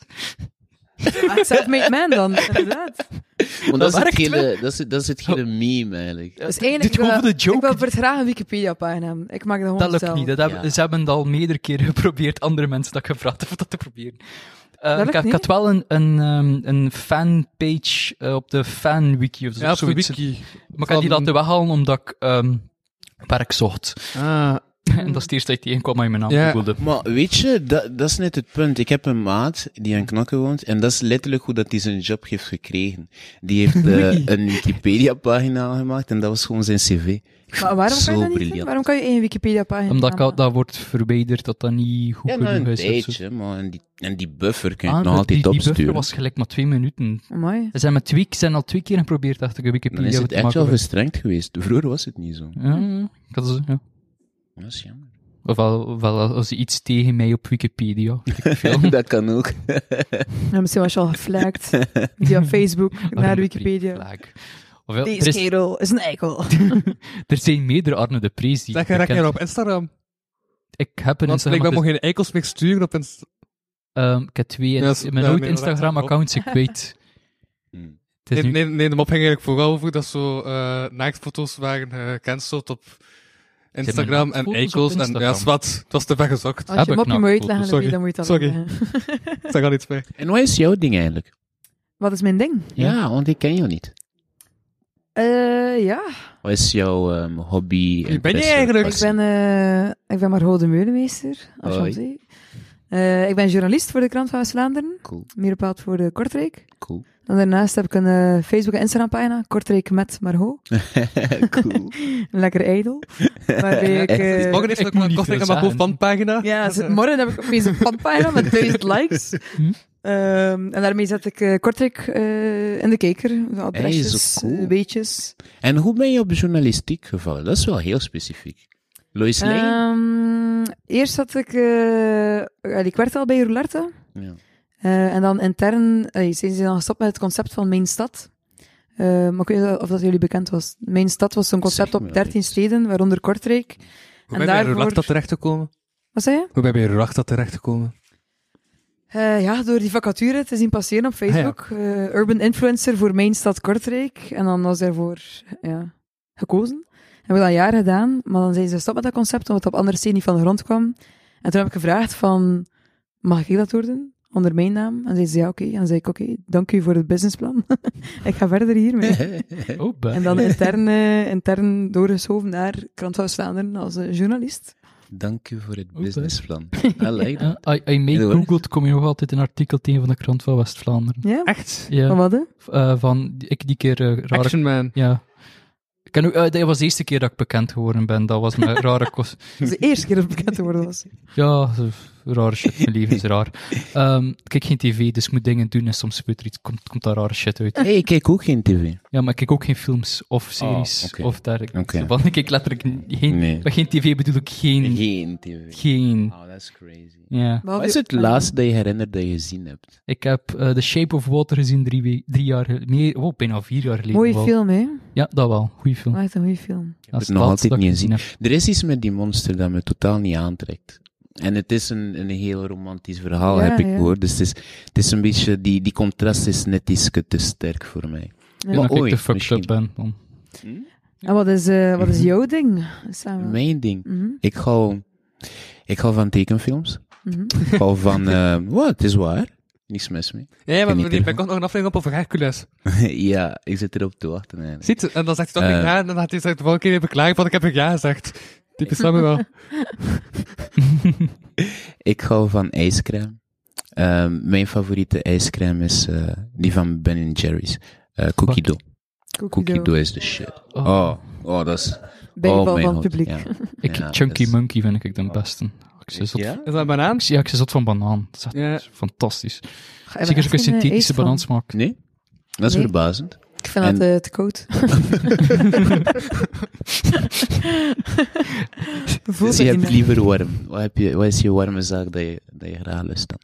Speaker 3: Ah, self-made man dan, inderdaad.
Speaker 2: Want
Speaker 4: Dat
Speaker 2: dat, is
Speaker 4: werkt
Speaker 2: hetgene, dat, is, dat is hetgene meme eigenlijk.
Speaker 3: Dus
Speaker 4: Dit-
Speaker 3: eigenlijk
Speaker 4: dit gewoon
Speaker 3: wil-
Speaker 4: voor de joke.
Speaker 3: Ik wil voor het graag een Wikipedia-pagina. Ik maak dat gewoon
Speaker 4: dat lukt
Speaker 3: zelf.
Speaker 4: niet. Dat hebben,
Speaker 2: Ja.
Speaker 4: Ze hebben het al meerdere keren <laughs> geprobeerd. Andere mensen dat ik gevraagd heb om dat te proberen. Eh,
Speaker 3: lukt
Speaker 4: ik, had- ik
Speaker 3: niet?
Speaker 4: had wel een, een, ehm, een fanpage eh, op de fanwiki of zo.
Speaker 5: Ja,
Speaker 4: of
Speaker 5: op de
Speaker 4: zoiets.
Speaker 5: wiki.
Speaker 4: Maar ik had die
Speaker 5: Van-
Speaker 4: laten weghalen omdat ik ehm werk
Speaker 3: <laughs>
Speaker 4: zocht.
Speaker 5: Ah,
Speaker 4: en dat is het eerste dat ik tegenkwam waar je mijn naam
Speaker 5: Ja.
Speaker 4: googelde.
Speaker 2: Maar weet je, dat, dat is net het punt. Ik heb een maat die aan Knokke woont en dat is letterlijk hoe dat hij zijn job heeft gekregen. Die heeft eh, een Wikipedia-pagina gemaakt en dat was gewoon zijn cv.
Speaker 3: Maar waarom
Speaker 2: Zo
Speaker 3: kan je dat niet doen?
Speaker 2: briljant.
Speaker 3: Waarom kan je één Wikipedia-pagina
Speaker 4: Omdat ik al-
Speaker 3: aanmaken?
Speaker 4: dat wordt verwijderd, dat dat niet goed
Speaker 2: Ja, nou
Speaker 4: genoeg
Speaker 2: een
Speaker 4: is. of zo.
Speaker 2: tijdje, maar en die, en die buffer kun je
Speaker 4: Ah,
Speaker 2: nog
Speaker 4: dat-
Speaker 2: altijd
Speaker 4: die, die
Speaker 2: opsturen.
Speaker 4: buffer was gelijk maar twee minuten.
Speaker 3: Amai.
Speaker 4: Ze zijn, met twee, ze zijn al twee keer geprobeerd, dacht ik, een
Speaker 2: Dan
Speaker 4: Wikipedia
Speaker 2: is het
Speaker 4: te
Speaker 2: echt
Speaker 4: maken.
Speaker 2: wel verstrengd geweest. Vroeger was het niet zo.
Speaker 4: Ja, ja, dat is, ja.
Speaker 2: Dat is jammer.
Speaker 4: Ofwel, ofwel als iets tegen mij op Wikipedia. weet
Speaker 2: <laughs>
Speaker 4: ik veel.
Speaker 2: dat kan ook.
Speaker 3: Ja, misschien was je al
Speaker 4: <laughs>
Speaker 3: geflagd via Facebook naar
Speaker 4: Arne de
Speaker 3: Wikipedia.
Speaker 4: Pre-flag. Ofwel, er,
Speaker 3: Deze
Speaker 4: is,
Speaker 3: kerel is een eikel.
Speaker 4: er zijn meerdere Arne de Prees die
Speaker 5: dat
Speaker 4: ik
Speaker 5: ga ik
Speaker 4: herkend-
Speaker 5: er op Instagram.
Speaker 4: Ik heb een
Speaker 5: Want ik
Speaker 4: Instagram.
Speaker 5: mag
Speaker 4: dus-
Speaker 5: geen eikels meer sturen op Instagram.
Speaker 4: ehm, ik heb twee
Speaker 5: Ja, dat is-
Speaker 4: in mijn
Speaker 5: ja,
Speaker 4: oude
Speaker 5: nee, dat is
Speaker 4: Instagram-accounts,
Speaker 5: <laughs>
Speaker 4: ik weet.
Speaker 2: Hmm.
Speaker 4: Het is nu-
Speaker 5: Nee, nee, nee, de mop ging eigenlijk vooral over dat zo eh, naaktfoto's waren gecanceld op Instagram en
Speaker 4: naaktfoto's op
Speaker 5: eikels. En
Speaker 4: Instagram?
Speaker 5: ja, zwart. Het was te ver gezocht.
Speaker 3: Als je
Speaker 4: ik
Speaker 3: een mopje
Speaker 4: nou
Speaker 3: moet
Speaker 4: gevoeld.
Speaker 3: uitleggen,
Speaker 5: Sorry.
Speaker 3: dan moet je dat
Speaker 5: Sorry.
Speaker 3: uitleggen.
Speaker 5: Ik zag al iets mee.
Speaker 2: En wat is jouw ding eigenlijk?
Speaker 3: Wat is mijn ding?
Speaker 2: Ja,
Speaker 4: Ja.
Speaker 2: want ik ken jou niet.
Speaker 3: Eh, ja,
Speaker 2: Wat is jouw ehm,
Speaker 5: Wie
Speaker 2: hobby?
Speaker 5: ben je
Speaker 2: interesse,
Speaker 5: eigenlijk?
Speaker 3: ik
Speaker 2: passie?
Speaker 3: ben, eh, ik ben Margot de Meulemeester. als je
Speaker 2: Hoi.
Speaker 3: hem ziet. Eh, ik ben journalist voor de Krant van West-Vlaanderen.
Speaker 2: Cool,
Speaker 3: Meer bepaald voor de Kortrijk.
Speaker 2: cool.
Speaker 3: En daarnaast heb ik een eh, Facebook- en Instagram-pagina. Kortrijk met Margot.
Speaker 2: cool.
Speaker 3: Een lekker ijdel.
Speaker 2: <laughs>
Speaker 3: Waarbij ik... eh,
Speaker 5: Morgen heeft
Speaker 4: ik
Speaker 5: ook
Speaker 4: moet
Speaker 5: een
Speaker 4: niet
Speaker 5: korting
Speaker 4: veel
Speaker 5: aan mijn
Speaker 4: zeggen.
Speaker 5: hoofdpagina.
Speaker 3: Ja, ze-
Speaker 2: eh,
Speaker 3: morgen heb ik opeens een fanpagina met
Speaker 2: <laughs>
Speaker 3: 1000 likes.
Speaker 4: Hm.
Speaker 3: Ehm, en daarmee zet ik eh, Kortrijk eh, in de kijker. De adresjes,
Speaker 2: zo cool.
Speaker 3: eh, weetjes.
Speaker 2: <laughs> En hoe ben je op journalistiek gevallen? Dat is wel heel specifiek. Lois Lane?
Speaker 3: Ehm, eerst had ik... eh, allee, ik werkte al bij Roulette.
Speaker 2: Ja.
Speaker 3: Eh, en dan intern eh, zijn ze dan gestopt met het concept van Mijn Stad. Eh, maar ik weet niet of dat jullie bekend was. Mijn Stad was zo'n concept
Speaker 2: Zeg me
Speaker 3: op
Speaker 2: wel
Speaker 3: 13 steden, waaronder Kortrijk. en
Speaker 5: Hoe ben je bij Roulette
Speaker 3: daarvoor...
Speaker 5: dat terecht gekomen?
Speaker 3: Wat zei je?
Speaker 5: Hoe ben je bij Roulette dat terecht gekomen?
Speaker 3: Eh, ja, door die vacature te zien passeren op Facebook. Eh, Urban Influencer voor mijn stad Kortrijk. En dan was daarvoor ja, gekozen. Hebben we dat een jaar gedaan, maar dan zijn ze gestopt met dat concept, omdat het op andere steden niet van de grond kwam. En toen heb ik gevraagd van, mag ik dat doordoen? Onder mijn naam? En zei ze, ja, oké. En dan zei ik, oké, dank u voor het businessplan. <laughs> ik ga verder hiermee.
Speaker 4: Oh, bah.
Speaker 3: En dan intern, eh, intern doorgeschoven naar Krant van Vlaanderen als eh, journalist.
Speaker 2: <laughs> Dank u voor het
Speaker 4: Oké.
Speaker 2: businessplan. I like that.
Speaker 4: <laughs> Ja, als je meegoogelt, kom je nog altijd een artikel tegen van de krant van West-Vlaanderen.
Speaker 3: Ja,
Speaker 5: Echt?
Speaker 3: van
Speaker 4: Ja,
Speaker 3: wat hè?
Speaker 4: eh, van ik die keer eh, rare...
Speaker 5: Action Man.
Speaker 4: Ja. Ik ken ook, eh, dat was de eerste keer dat ik bekend geworden ben. Dat was
Speaker 5: <laughs>
Speaker 4: mijn rare kost...
Speaker 3: Dat is de eerste keer dat ik bekend geworden was.
Speaker 4: Ja, rare shit. Mijn leven is raar. Ehm, ik kijk geen tv, dus ik moet dingen doen en soms gebeurt er iets, komt, komt daar rare shit uit.
Speaker 2: hey, ik kijk ook geen tv.
Speaker 4: Ja, maar ik kijk ook geen films of series
Speaker 2: Ah, oké.
Speaker 4: of dergelijke.
Speaker 2: Oké.
Speaker 4: Want ik kijk letterlijk geen...
Speaker 2: Nee.
Speaker 4: Bij geen tv bedoel ik geen...
Speaker 2: Geen tv.
Speaker 4: Geen...
Speaker 2: Oh, that's crazy.
Speaker 4: Ja.
Speaker 2: Wat is het laatste dat je herinnert dat je gezien hebt?
Speaker 4: Ik heb eh, The Shape of Water gezien drie, we- drie jaar geleden. Meer, oh, bijna vier jaar geleden.
Speaker 3: Mooie
Speaker 4: wel.
Speaker 3: film, hè?
Speaker 4: Ja, dat wel. Goeie film.
Speaker 3: Echt een goede film.
Speaker 4: Dat is
Speaker 2: het nog
Speaker 4: laatste
Speaker 2: altijd
Speaker 4: dat ik
Speaker 2: niet gezien.
Speaker 4: heb.
Speaker 2: Er is iets met die monster dat me totaal niet aantrekt. En het is een, een heel romantisch verhaal,
Speaker 3: Ja,
Speaker 2: heb ik
Speaker 3: ja.
Speaker 2: gehoord. Dus het is, het is een beetje, die, die contrast is net iets te sterk voor mij.
Speaker 4: Ik denk
Speaker 2: Maar
Speaker 4: dat ik
Speaker 2: ooit,
Speaker 4: te fucked
Speaker 2: misschien.
Speaker 4: up ben. Dan.
Speaker 3: En wat is, eh, wat is jouw ding? Samen.
Speaker 2: Mhm. Mijn ding.
Speaker 3: Mhm,
Speaker 2: Ik hou, ik hou van tekenfilms.
Speaker 3: mhm.
Speaker 2: Ik hou
Speaker 3: <laughs>
Speaker 2: van, eh wat, het is waar. Niks mis mee. <laughs>
Speaker 5: Ja, ja,
Speaker 2: Ken
Speaker 5: maar
Speaker 2: die
Speaker 5: die
Speaker 2: telefoon?
Speaker 5: ben ik ook nog een aflevering op over Hercules.
Speaker 2: ja, ik zit erop te wachten eigenlijk.
Speaker 5: Ziet, en dan zegt hij toch
Speaker 2: Eh.
Speaker 5: niet ja, en dan had hij gezegd, de volgende keer heb ik klaar, want ik heb een ja gezegd.
Speaker 3: <laughs>
Speaker 5: Typisch Samuel.
Speaker 2: Ik hou van ijscrème. Ehm, mijn favoriete ijscrème is eh, die van Ben Jerry's. eh Cookie Dough. Cookie Dough is de shit.
Speaker 4: Oh.
Speaker 2: Oh, oh, dat is...
Speaker 3: Bijval
Speaker 2: oh, mijn
Speaker 3: van het
Speaker 2: god,
Speaker 3: publiek.
Speaker 2: ja.
Speaker 4: Ik,
Speaker 2: Ja,
Speaker 4: Chunky
Speaker 2: dat is- Oh.
Speaker 4: Monkey vind ik de beste. Ik zei zot,
Speaker 2: Ja?
Speaker 5: Is dat een banaan?
Speaker 4: ik zei- ja, ik zei zot van banaan. Dat is echt
Speaker 5: Ja.
Speaker 4: fantastisch.
Speaker 3: Ga je
Speaker 4: Zeker
Speaker 3: echt
Speaker 4: ook een
Speaker 3: een, eh, eet
Speaker 4: synthetische
Speaker 3: van? <laughs>
Speaker 4: banaansmaak.
Speaker 2: Nee? Dat is
Speaker 3: Nee.
Speaker 2: verbazend.
Speaker 3: Ik vind dat eh, te
Speaker 2: <laughs>
Speaker 3: koud. <laughs> Voel dat
Speaker 2: Dus je
Speaker 3: niet
Speaker 2: hebt
Speaker 3: meer.
Speaker 2: liever warm. Wat, heb je, wat is je warme zaak dat je, dat je graag lust dan?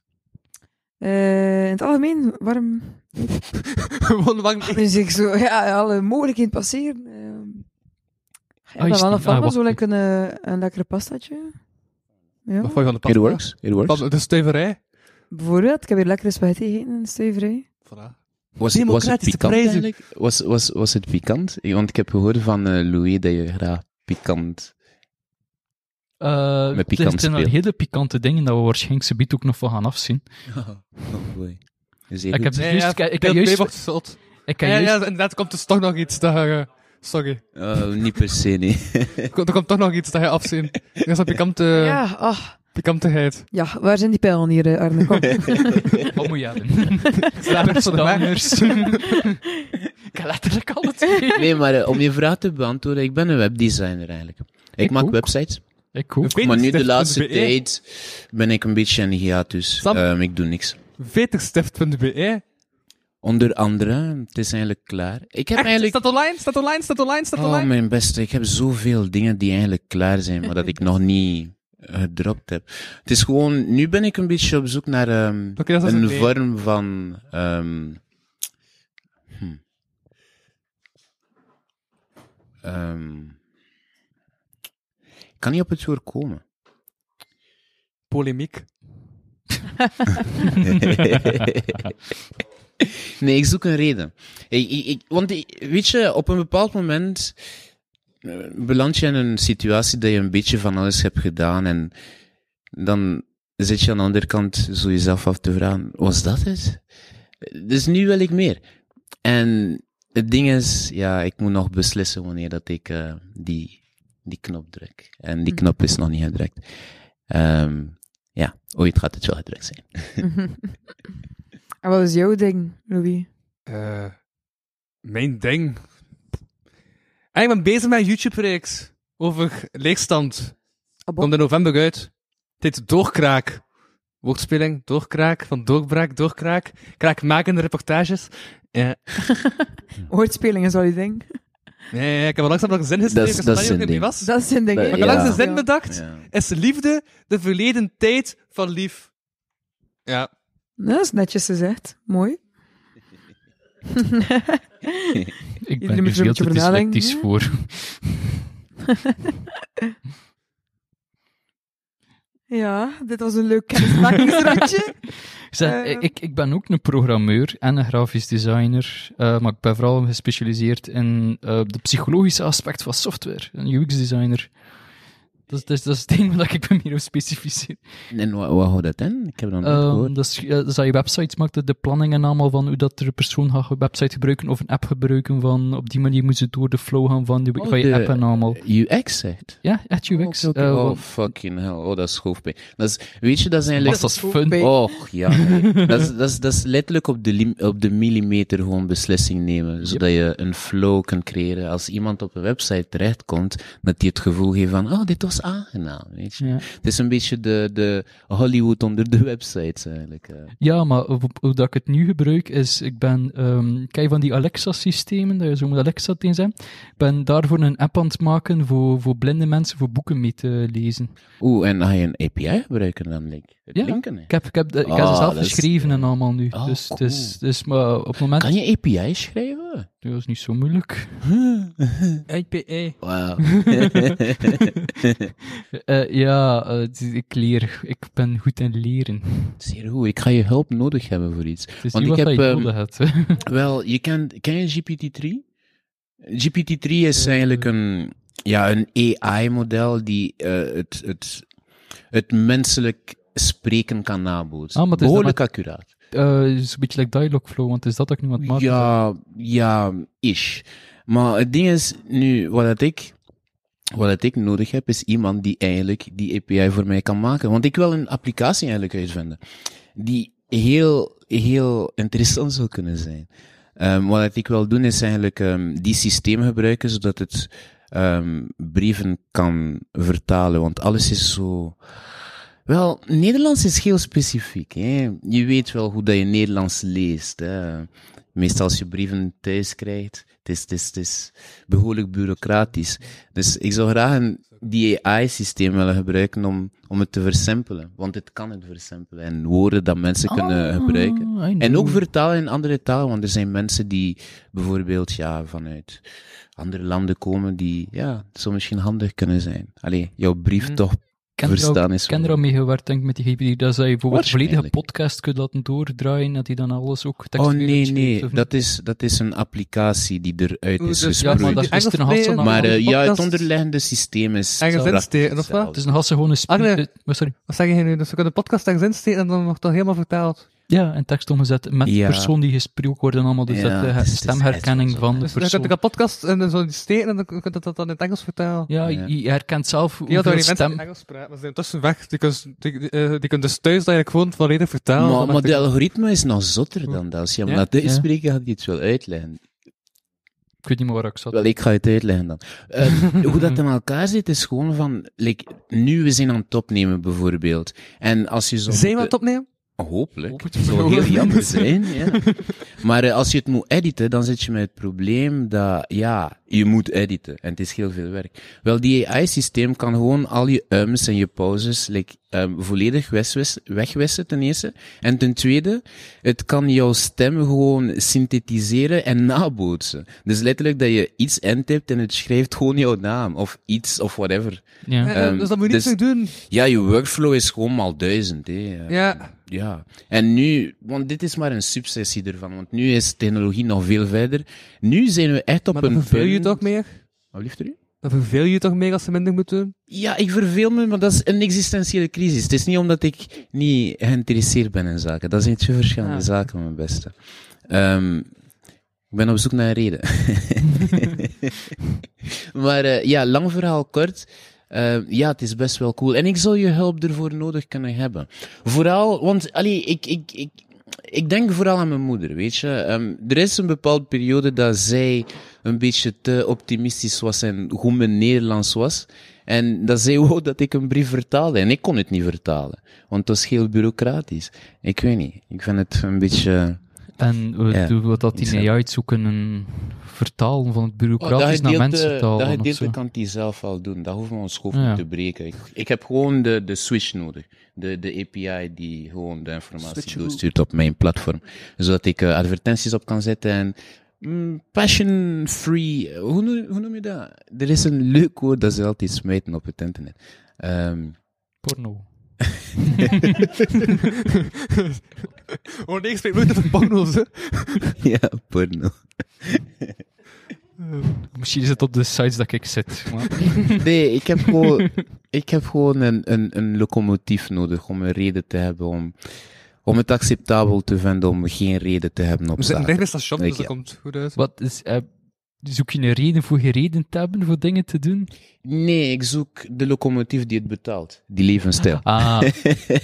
Speaker 3: Eh, in het algemeen, warm. <laughs>
Speaker 5: Gewoon lang.
Speaker 3: Dus ik zo, ja, alle mogelijkheden passeren. Uh,
Speaker 2: Oh,
Speaker 4: Ah,
Speaker 3: ja,
Speaker 4: is
Speaker 3: dan wel
Speaker 4: die-
Speaker 3: een van,
Speaker 4: ah, wacht.
Speaker 3: zo lekker een, eh, een lekkere pastaatje. Ja.
Speaker 5: Wat vond je van de
Speaker 2: It
Speaker 5: pasta?
Speaker 2: works, it works.
Speaker 5: Pasta- De stuiverij.
Speaker 3: Bijvoorbeeld, ik heb hier lekkere spaghetti gegeten in de stuiverij.
Speaker 5: Voilà.
Speaker 2: Was, was het
Speaker 5: Democratische
Speaker 2: pikant
Speaker 5: prijzen.
Speaker 2: eigenlijk? Was, was, was het pikant? Want ik heb gehoord van eh, Louis dat je graag pikant...
Speaker 4: Eh,
Speaker 2: Met pikant
Speaker 4: er zijn al
Speaker 2: speel.
Speaker 4: hele pikante dingen dat we waarschijnlijk zo ook nog van gaan afzien.
Speaker 2: Oh, boy. Dus
Speaker 4: Ik heb
Speaker 5: Nee,
Speaker 4: juist...
Speaker 5: ja,
Speaker 4: Ik heb
Speaker 5: deel twee
Speaker 4: juist...
Speaker 5: wordt zot.
Speaker 4: Ik heb
Speaker 5: Ja, ja,
Speaker 4: juist...
Speaker 5: inderdaad komt dus toch nog iets dat je... eh, <laughs> Sorry.
Speaker 2: Oh, niet per se,
Speaker 4: <laughs>
Speaker 2: nee.
Speaker 5: Er komt- er komt toch nog iets dat je afzien. Dat is een pikante...
Speaker 2: Eh.
Speaker 3: Ja, ah,
Speaker 5: <laughs> Pikantigheid.
Speaker 3: ja, waar zijn die pijlen hier, eh, Arne?
Speaker 2: <laughs>
Speaker 3: Kom.
Speaker 4: Wat moet je hebben?
Speaker 5: Slaapers voor de weg.
Speaker 4: Anders. Ik heb letterlijk al het idee.
Speaker 2: Nee, maar eh, om je vraag te beantwoorden, ik ben een webdesigner eigenlijk. Ik,
Speaker 4: Ik
Speaker 2: maak
Speaker 4: ook. <laughs>
Speaker 2: websites,
Speaker 4: Ik ook.
Speaker 2: maar nu de
Speaker 5: Veterstift.be.
Speaker 2: laatste
Speaker 4: E.
Speaker 2: tijd ben ik een beetje een hiatus.
Speaker 5: Sam?
Speaker 2: Ehm, ik doe niks.
Speaker 5: Veterstift.be.
Speaker 2: Onder andere, het is eigenlijk klaar. Ik heb
Speaker 5: Echt?
Speaker 2: eigenlijk...
Speaker 5: Staat online? Staat online? Staat online? Staat
Speaker 2: Oh,
Speaker 5: online?
Speaker 2: mijn beste, ik heb zoveel dingen die eigenlijk klaar zijn, maar dat ik nog niet eh, gedropt heb. Het is gewoon, nu ben ik een beetje op zoek naar ehm,
Speaker 5: Oké, dat is
Speaker 2: een
Speaker 5: oké.
Speaker 2: vorm van. ehm, hm. Ehm, ik kan niet op het woord komen.
Speaker 5: Polemiek.
Speaker 2: <laughs> nee, ik zoek een reden. Ik, ik, ik- want ik- weet je, op een bepaald moment eh, beland je in een situatie dat je een beetje van alles hebt gedaan en dan zit je aan de andere kant zo jezelf af te vragen, was dat het? Dus nu wil ik meer. En het ding is, ja, ik moet nog beslissen wanneer dat ik eh, die, die knop druk. En die knop is nog niet gedrukt. Ehm, ja, ooit gaat het wel gedrukt zijn.
Speaker 3: en wat is jouw ding, Louis?
Speaker 5: Eh, mijn ding. En ik ben bezig met een YouTube-reeks over leegstand.
Speaker 3: Ah, bon.
Speaker 5: Komt in november uit. Dit heet Doorkraak. Woordspeling, doorkraak, van doorbraak, doorkraak. Kraakmakende reportages. Eh,
Speaker 3: Woordspeling is wel je ding.
Speaker 5: nee, ik heb al langzaam nog een zin geschreven.
Speaker 2: is-
Speaker 5: ik
Speaker 2: dat
Speaker 5: snap
Speaker 2: is
Speaker 5: niet
Speaker 2: een
Speaker 5: wat die
Speaker 2: ding.
Speaker 5: was.
Speaker 3: Dat is een ding.
Speaker 2: Dat-
Speaker 3: hè?
Speaker 5: Maar ik heb
Speaker 2: Ja.
Speaker 5: langs een zin bedacht.
Speaker 2: Ja.
Speaker 5: Is liefde de verleden tijd van lief? Ja.
Speaker 3: Dat is netjes gezegd. Mooi.
Speaker 4: Ik
Speaker 3: Iedereen
Speaker 4: ben
Speaker 3: moet
Speaker 4: dus
Speaker 3: er een
Speaker 4: heel
Speaker 3: beetje
Speaker 4: te
Speaker 3: over nadenken.
Speaker 4: dyslectisch voor.
Speaker 3: Ja, dit was een leuk kennismakingsrondje.
Speaker 4: Zeg,
Speaker 3: Eh.
Speaker 4: ik, ik ben ook een programmeur en een grafisch designer, eh, maar ik ben vooral gespecialiseerd in eh, de psychologische aspect van software, een UX-designer. Dat is, dat is, dat is het ding dat ik me meer op specificeer.
Speaker 2: En wat, wat houdt dat in? Ik heb dat nog nooit
Speaker 4: Ehm,
Speaker 2: gehoord.
Speaker 4: dat, is, eh, dat is dat je websites maakt, de- de planningen allemaal van hoe dat er een persoon gaat een website gebruiken of een app gebruiken. Van, op die manier moet ze door de flow gaan van, die,
Speaker 2: Oh,
Speaker 4: van je
Speaker 2: de-
Speaker 4: app en allemaal.
Speaker 2: UX zegt.
Speaker 4: Ja, echt UX.
Speaker 2: Oh, oké,
Speaker 4: eh,
Speaker 2: oké. oh
Speaker 4: want-
Speaker 2: fucking hell. Oh, dat is hoofdpijn. Dat is, weet je, dat zijn
Speaker 4: was
Speaker 2: eigenlijk...
Speaker 4: dat fun?
Speaker 3: Bij-
Speaker 2: Och, ja.
Speaker 4: <laughs>
Speaker 2: nee. dat, is, dat, is, dat is letterlijk op de, lim- op de millimeter gewoon beslissing nemen. Zodat je een flow kan creëren. Als iemand op een website terechtkomt, dat die het gevoel geeft van, oh, dit was aangenaam, weet je.
Speaker 4: Ja.
Speaker 2: Het is een beetje de, de Hollywood onder de websites eigenlijk. eh.
Speaker 4: Ja, maar hoe, hoe dat ik het nu gebruik is, ik ben, ehm kijk van die Alexa-systemen, dat je zo moet Alexa tegen zijn. Ik ben daarvoor een app aan het maken voor, voor blinde mensen, voor boeken mee te lezen.
Speaker 2: Oeh, en ga je een API gebruiken dan, Link? Het
Speaker 4: Ja.
Speaker 2: linken, hè?
Speaker 4: Ik heb, ik heb, de- ik heb
Speaker 2: Ah,
Speaker 4: ze zelf
Speaker 2: dat is-
Speaker 4: geschreven en allemaal nu.
Speaker 2: Oh,
Speaker 4: dus,
Speaker 2: cool.
Speaker 4: dus, dus maar op het moment,
Speaker 2: Kan je API schrijven?
Speaker 4: dat is niet zo moeilijk.
Speaker 5: IPA.
Speaker 2: Wauw.
Speaker 4: Eh, ja, eh, het is- ik leer. Ik ben goed in leren.
Speaker 2: Zeer goed. Ik ga je hulp nodig hebben voor iets.
Speaker 4: Het is
Speaker 2: Want
Speaker 4: niet
Speaker 2: ik
Speaker 4: wat
Speaker 2: heb,
Speaker 4: je
Speaker 2: ehm,
Speaker 4: nodig hebt. <laughs>
Speaker 2: Wel, je kent, ken je GPT-3? GPT-3 is
Speaker 4: Eh,
Speaker 2: eigenlijk een, ja, een AI-model die eh, het, het, het menselijk spreken kan nabootsen.
Speaker 4: Ah, maar het is dan
Speaker 2: Behoorlijk accuraat.
Speaker 4: Eh, het is een beetje like dialogue flow, want is dat ook nu wat maakt?
Speaker 2: Ja, ja, ish. Maar het ding is, nu, wat dat ik, wat dat ik nodig heb, is iemand die eigenlijk die API voor mij kan maken. Want ik wil een applicatie eigenlijk uitvinden. Die heel, heel interessant zou kunnen zijn. Ehm, wat dat ik wil doen, is eigenlijk ehm, die systemen gebruiken, zodat het ehm, brieven kan vertalen. Want alles is zo... Wel, Nederlands is heel specifiek. Hè? Je weet wel hoe dat je Nederlands leest. Hè? Meestal als je brieven thuis krijgt, het is, het is, het is behoorlijk bureaucratisch. Dus ik zou graag een, die AI-systeem willen gebruiken om, om het te versimpelen. Want het kan het versimpelen en woorden dat mensen
Speaker 4: Ah.
Speaker 2: kunnen eh, gebruiken.
Speaker 4: I know.
Speaker 2: En ook vertalen in andere talen, want er zijn mensen die bijvoorbeeld ja, vanuit andere landen komen die ja, zo misschien handig kunnen zijn. Allee, jouw
Speaker 4: Hmm.
Speaker 2: brief toch Oh,
Speaker 4: Ik heb er al-
Speaker 2: verstaan is
Speaker 4: Ik heb er al mee gewerkt, denk ik, met die GPT. Dat zij bijvoorbeeld een volledige
Speaker 2: Waarschijnlijk.
Speaker 4: podcast kunt laten doordraaien, dat hij dan alles ook
Speaker 2: Oh
Speaker 4: tekstueel
Speaker 2: nee,
Speaker 4: uitschrijft,
Speaker 2: nee,
Speaker 4: of
Speaker 2: dat is, dat is een applicatie die eruit
Speaker 5: Oeh,
Speaker 2: is
Speaker 5: dus-
Speaker 4: Ja,
Speaker 2: gesproeid.
Speaker 4: maar dat is
Speaker 5: Engels
Speaker 4: gisteren had ze
Speaker 5: leren.
Speaker 4: nog-
Speaker 2: Maar eh, ja, het
Speaker 5: podcast-
Speaker 2: onderliggende systeem is.
Speaker 5: Ergens
Speaker 2: prachtig
Speaker 5: insteken, of wat?
Speaker 2: hetzelfde.
Speaker 4: Het is nog altijd gewoon een
Speaker 5: Ah, nee.
Speaker 4: speech- maar sorry.
Speaker 5: Wat zeg je nu? Dus we kunnen de podcast ergens insteken en dan wordt dat helemaal vertaald.
Speaker 4: Ja, en tekst omgezet met de
Speaker 2: Ja.
Speaker 4: persoon die gesproken wordt en allemaal. Dus
Speaker 2: Ja,
Speaker 4: dat de
Speaker 2: het is- het is
Speaker 4: stemherkenning
Speaker 2: echt zo.
Speaker 4: van de
Speaker 5: Dus dan kun
Speaker 4: persoon.
Speaker 5: je de podcast en dan zo insteken en dan kun je dat dan in het Engels vertalen.
Speaker 4: Ja,
Speaker 2: Ja.
Speaker 4: je je herkent zelf
Speaker 5: Die
Speaker 4: hoeveel
Speaker 5: hadden wel die mensen
Speaker 4: stem...
Speaker 5: die Engels praten, maar ze zijn tussen weg. Die kunnen die, die, eh, die kunnen dus thuis dat eigenlijk gewoon volledig vertalen.
Speaker 2: maar
Speaker 5: Dan
Speaker 2: maar
Speaker 5: dacht
Speaker 2: de
Speaker 5: ik,
Speaker 2: algoritme is nog zotter dan dat. Als je hem
Speaker 5: Ja?
Speaker 2: laat
Speaker 4: Ja.
Speaker 2: uitspreken, had hij het wel uitleggen.
Speaker 4: Ik weet niet meer waar ik zat.
Speaker 2: Wel, ik ga het uitleggen dan. Eh,
Speaker 5: <laughs>
Speaker 2: hoe dat in elkaar zit, is gewoon van. Like, nu we zijn aan het opnemen, bijvoorbeeld. En als je zo.
Speaker 5: Zijn we aan het opnemen?
Speaker 2: Hopelijk.
Speaker 4: Hopelijk.
Speaker 2: Het zou heel jammer zijn. Ja. Maar eh, als je het moet editen, dan zit je met het probleem dat, ja, je moet editen. En het is heel veel werk. Wel, die AI-systeem kan gewoon al je ums en je pauzes like, ehm, volledig wegwis- wegwissen, ten eerste. En ten tweede, het kan jouw stem gewoon synthetiseren en nabootsen. Dus letterlijk dat je iets intipt en het schrijft gewoon jouw naam. Of iets, of whatever.
Speaker 4: Ja.
Speaker 5: Eh, eh,
Speaker 2: Ehm,
Speaker 5: dus dat moet je niet
Speaker 2: dus-
Speaker 5: meer doen.
Speaker 2: Ja, je workflow is gewoon maal duizend, hè.
Speaker 5: Ja.
Speaker 2: Ja, en nu, want dit is maar een subsessie ervan, want nu is technologie nog veel verder. Nu zijn we echt op
Speaker 5: Maar
Speaker 2: een
Speaker 5: dan verveel je
Speaker 2: punt-
Speaker 5: toch meer?
Speaker 2: Wat liefst er u?
Speaker 5: Dan verveel je toch meer als ze minder moeten doen? <laughs>
Speaker 2: Ja, ik verveel me, maar dat is een existentiële crisis. Het is niet omdat ik niet geïnteresseerd ben in zaken. Dat zijn twee verschillende
Speaker 5: Ah.
Speaker 2: zaken, mijn beste. Ehm, ik ben op zoek naar een reden. <laughs> maar eh, ja, lang verhaal kort. Ehm, ja, het is best wel cool. En ik zou je hulp ervoor nodig kunnen hebben. Vooral, want allee, ik, ik, ik, ik denk vooral aan mijn moeder, weet je. Ehm, er is een bepaalde periode dat zij een beetje te optimistisch was en hoe mijn Nederlands was. En dat <laughs> zij wou dat ik een brief vertaalde. En ik kon het niet vertalen. Want het was heel bureaucratisch. Ik weet niet. Ik vind het een beetje...
Speaker 4: En we
Speaker 2: Ja, Oh,
Speaker 4: doen wat dat die
Speaker 2: exact.
Speaker 4: mee uitzoeken, een vertalen van het bureaucratisch naar mensentaal.
Speaker 2: dat
Speaker 4: dan of
Speaker 2: gedeelte
Speaker 4: zo.
Speaker 2: kan die zelf al doen. Dat hoeft ons hoofd
Speaker 4: Ja.
Speaker 2: niet te breken. Ik, ik heb gewoon de, de switch nodig. De, de API die gewoon de informatie doorstuurt op mijn platform. Zodat ik eh, advertenties op kan zetten en mm, passion free. eh, Hoe, noem- hoe noem je dat? Er is een leuk woord dat ze altijd smijten op het internet. Ehm, <laughs>
Speaker 4: Porno.
Speaker 5: Oh nee, ik spreek nooit over porno's, hè.
Speaker 2: ja, porno.
Speaker 4: Misschien is het op de sites dat ik zit. Maar...
Speaker 2: <laughs> Nee, ik heb gewoon. ik heb gewoon een, een, een locomotief nodig om een reden te hebben om, om het acceptabel te vinden om geen reden te hebben op
Speaker 5: We zitten
Speaker 2: zaken.
Speaker 5: dicht bij het station,
Speaker 2: Ik-
Speaker 5: dus dat
Speaker 2: ja.
Speaker 5: komt goed uit.
Speaker 4: Wat is, eh, zoek je een reden voor geen reden te hebben voor dingen te doen?
Speaker 2: Nee, ik zoek de locomotief die het betaalt. Die <laughs> levensstijl.
Speaker 4: Ah,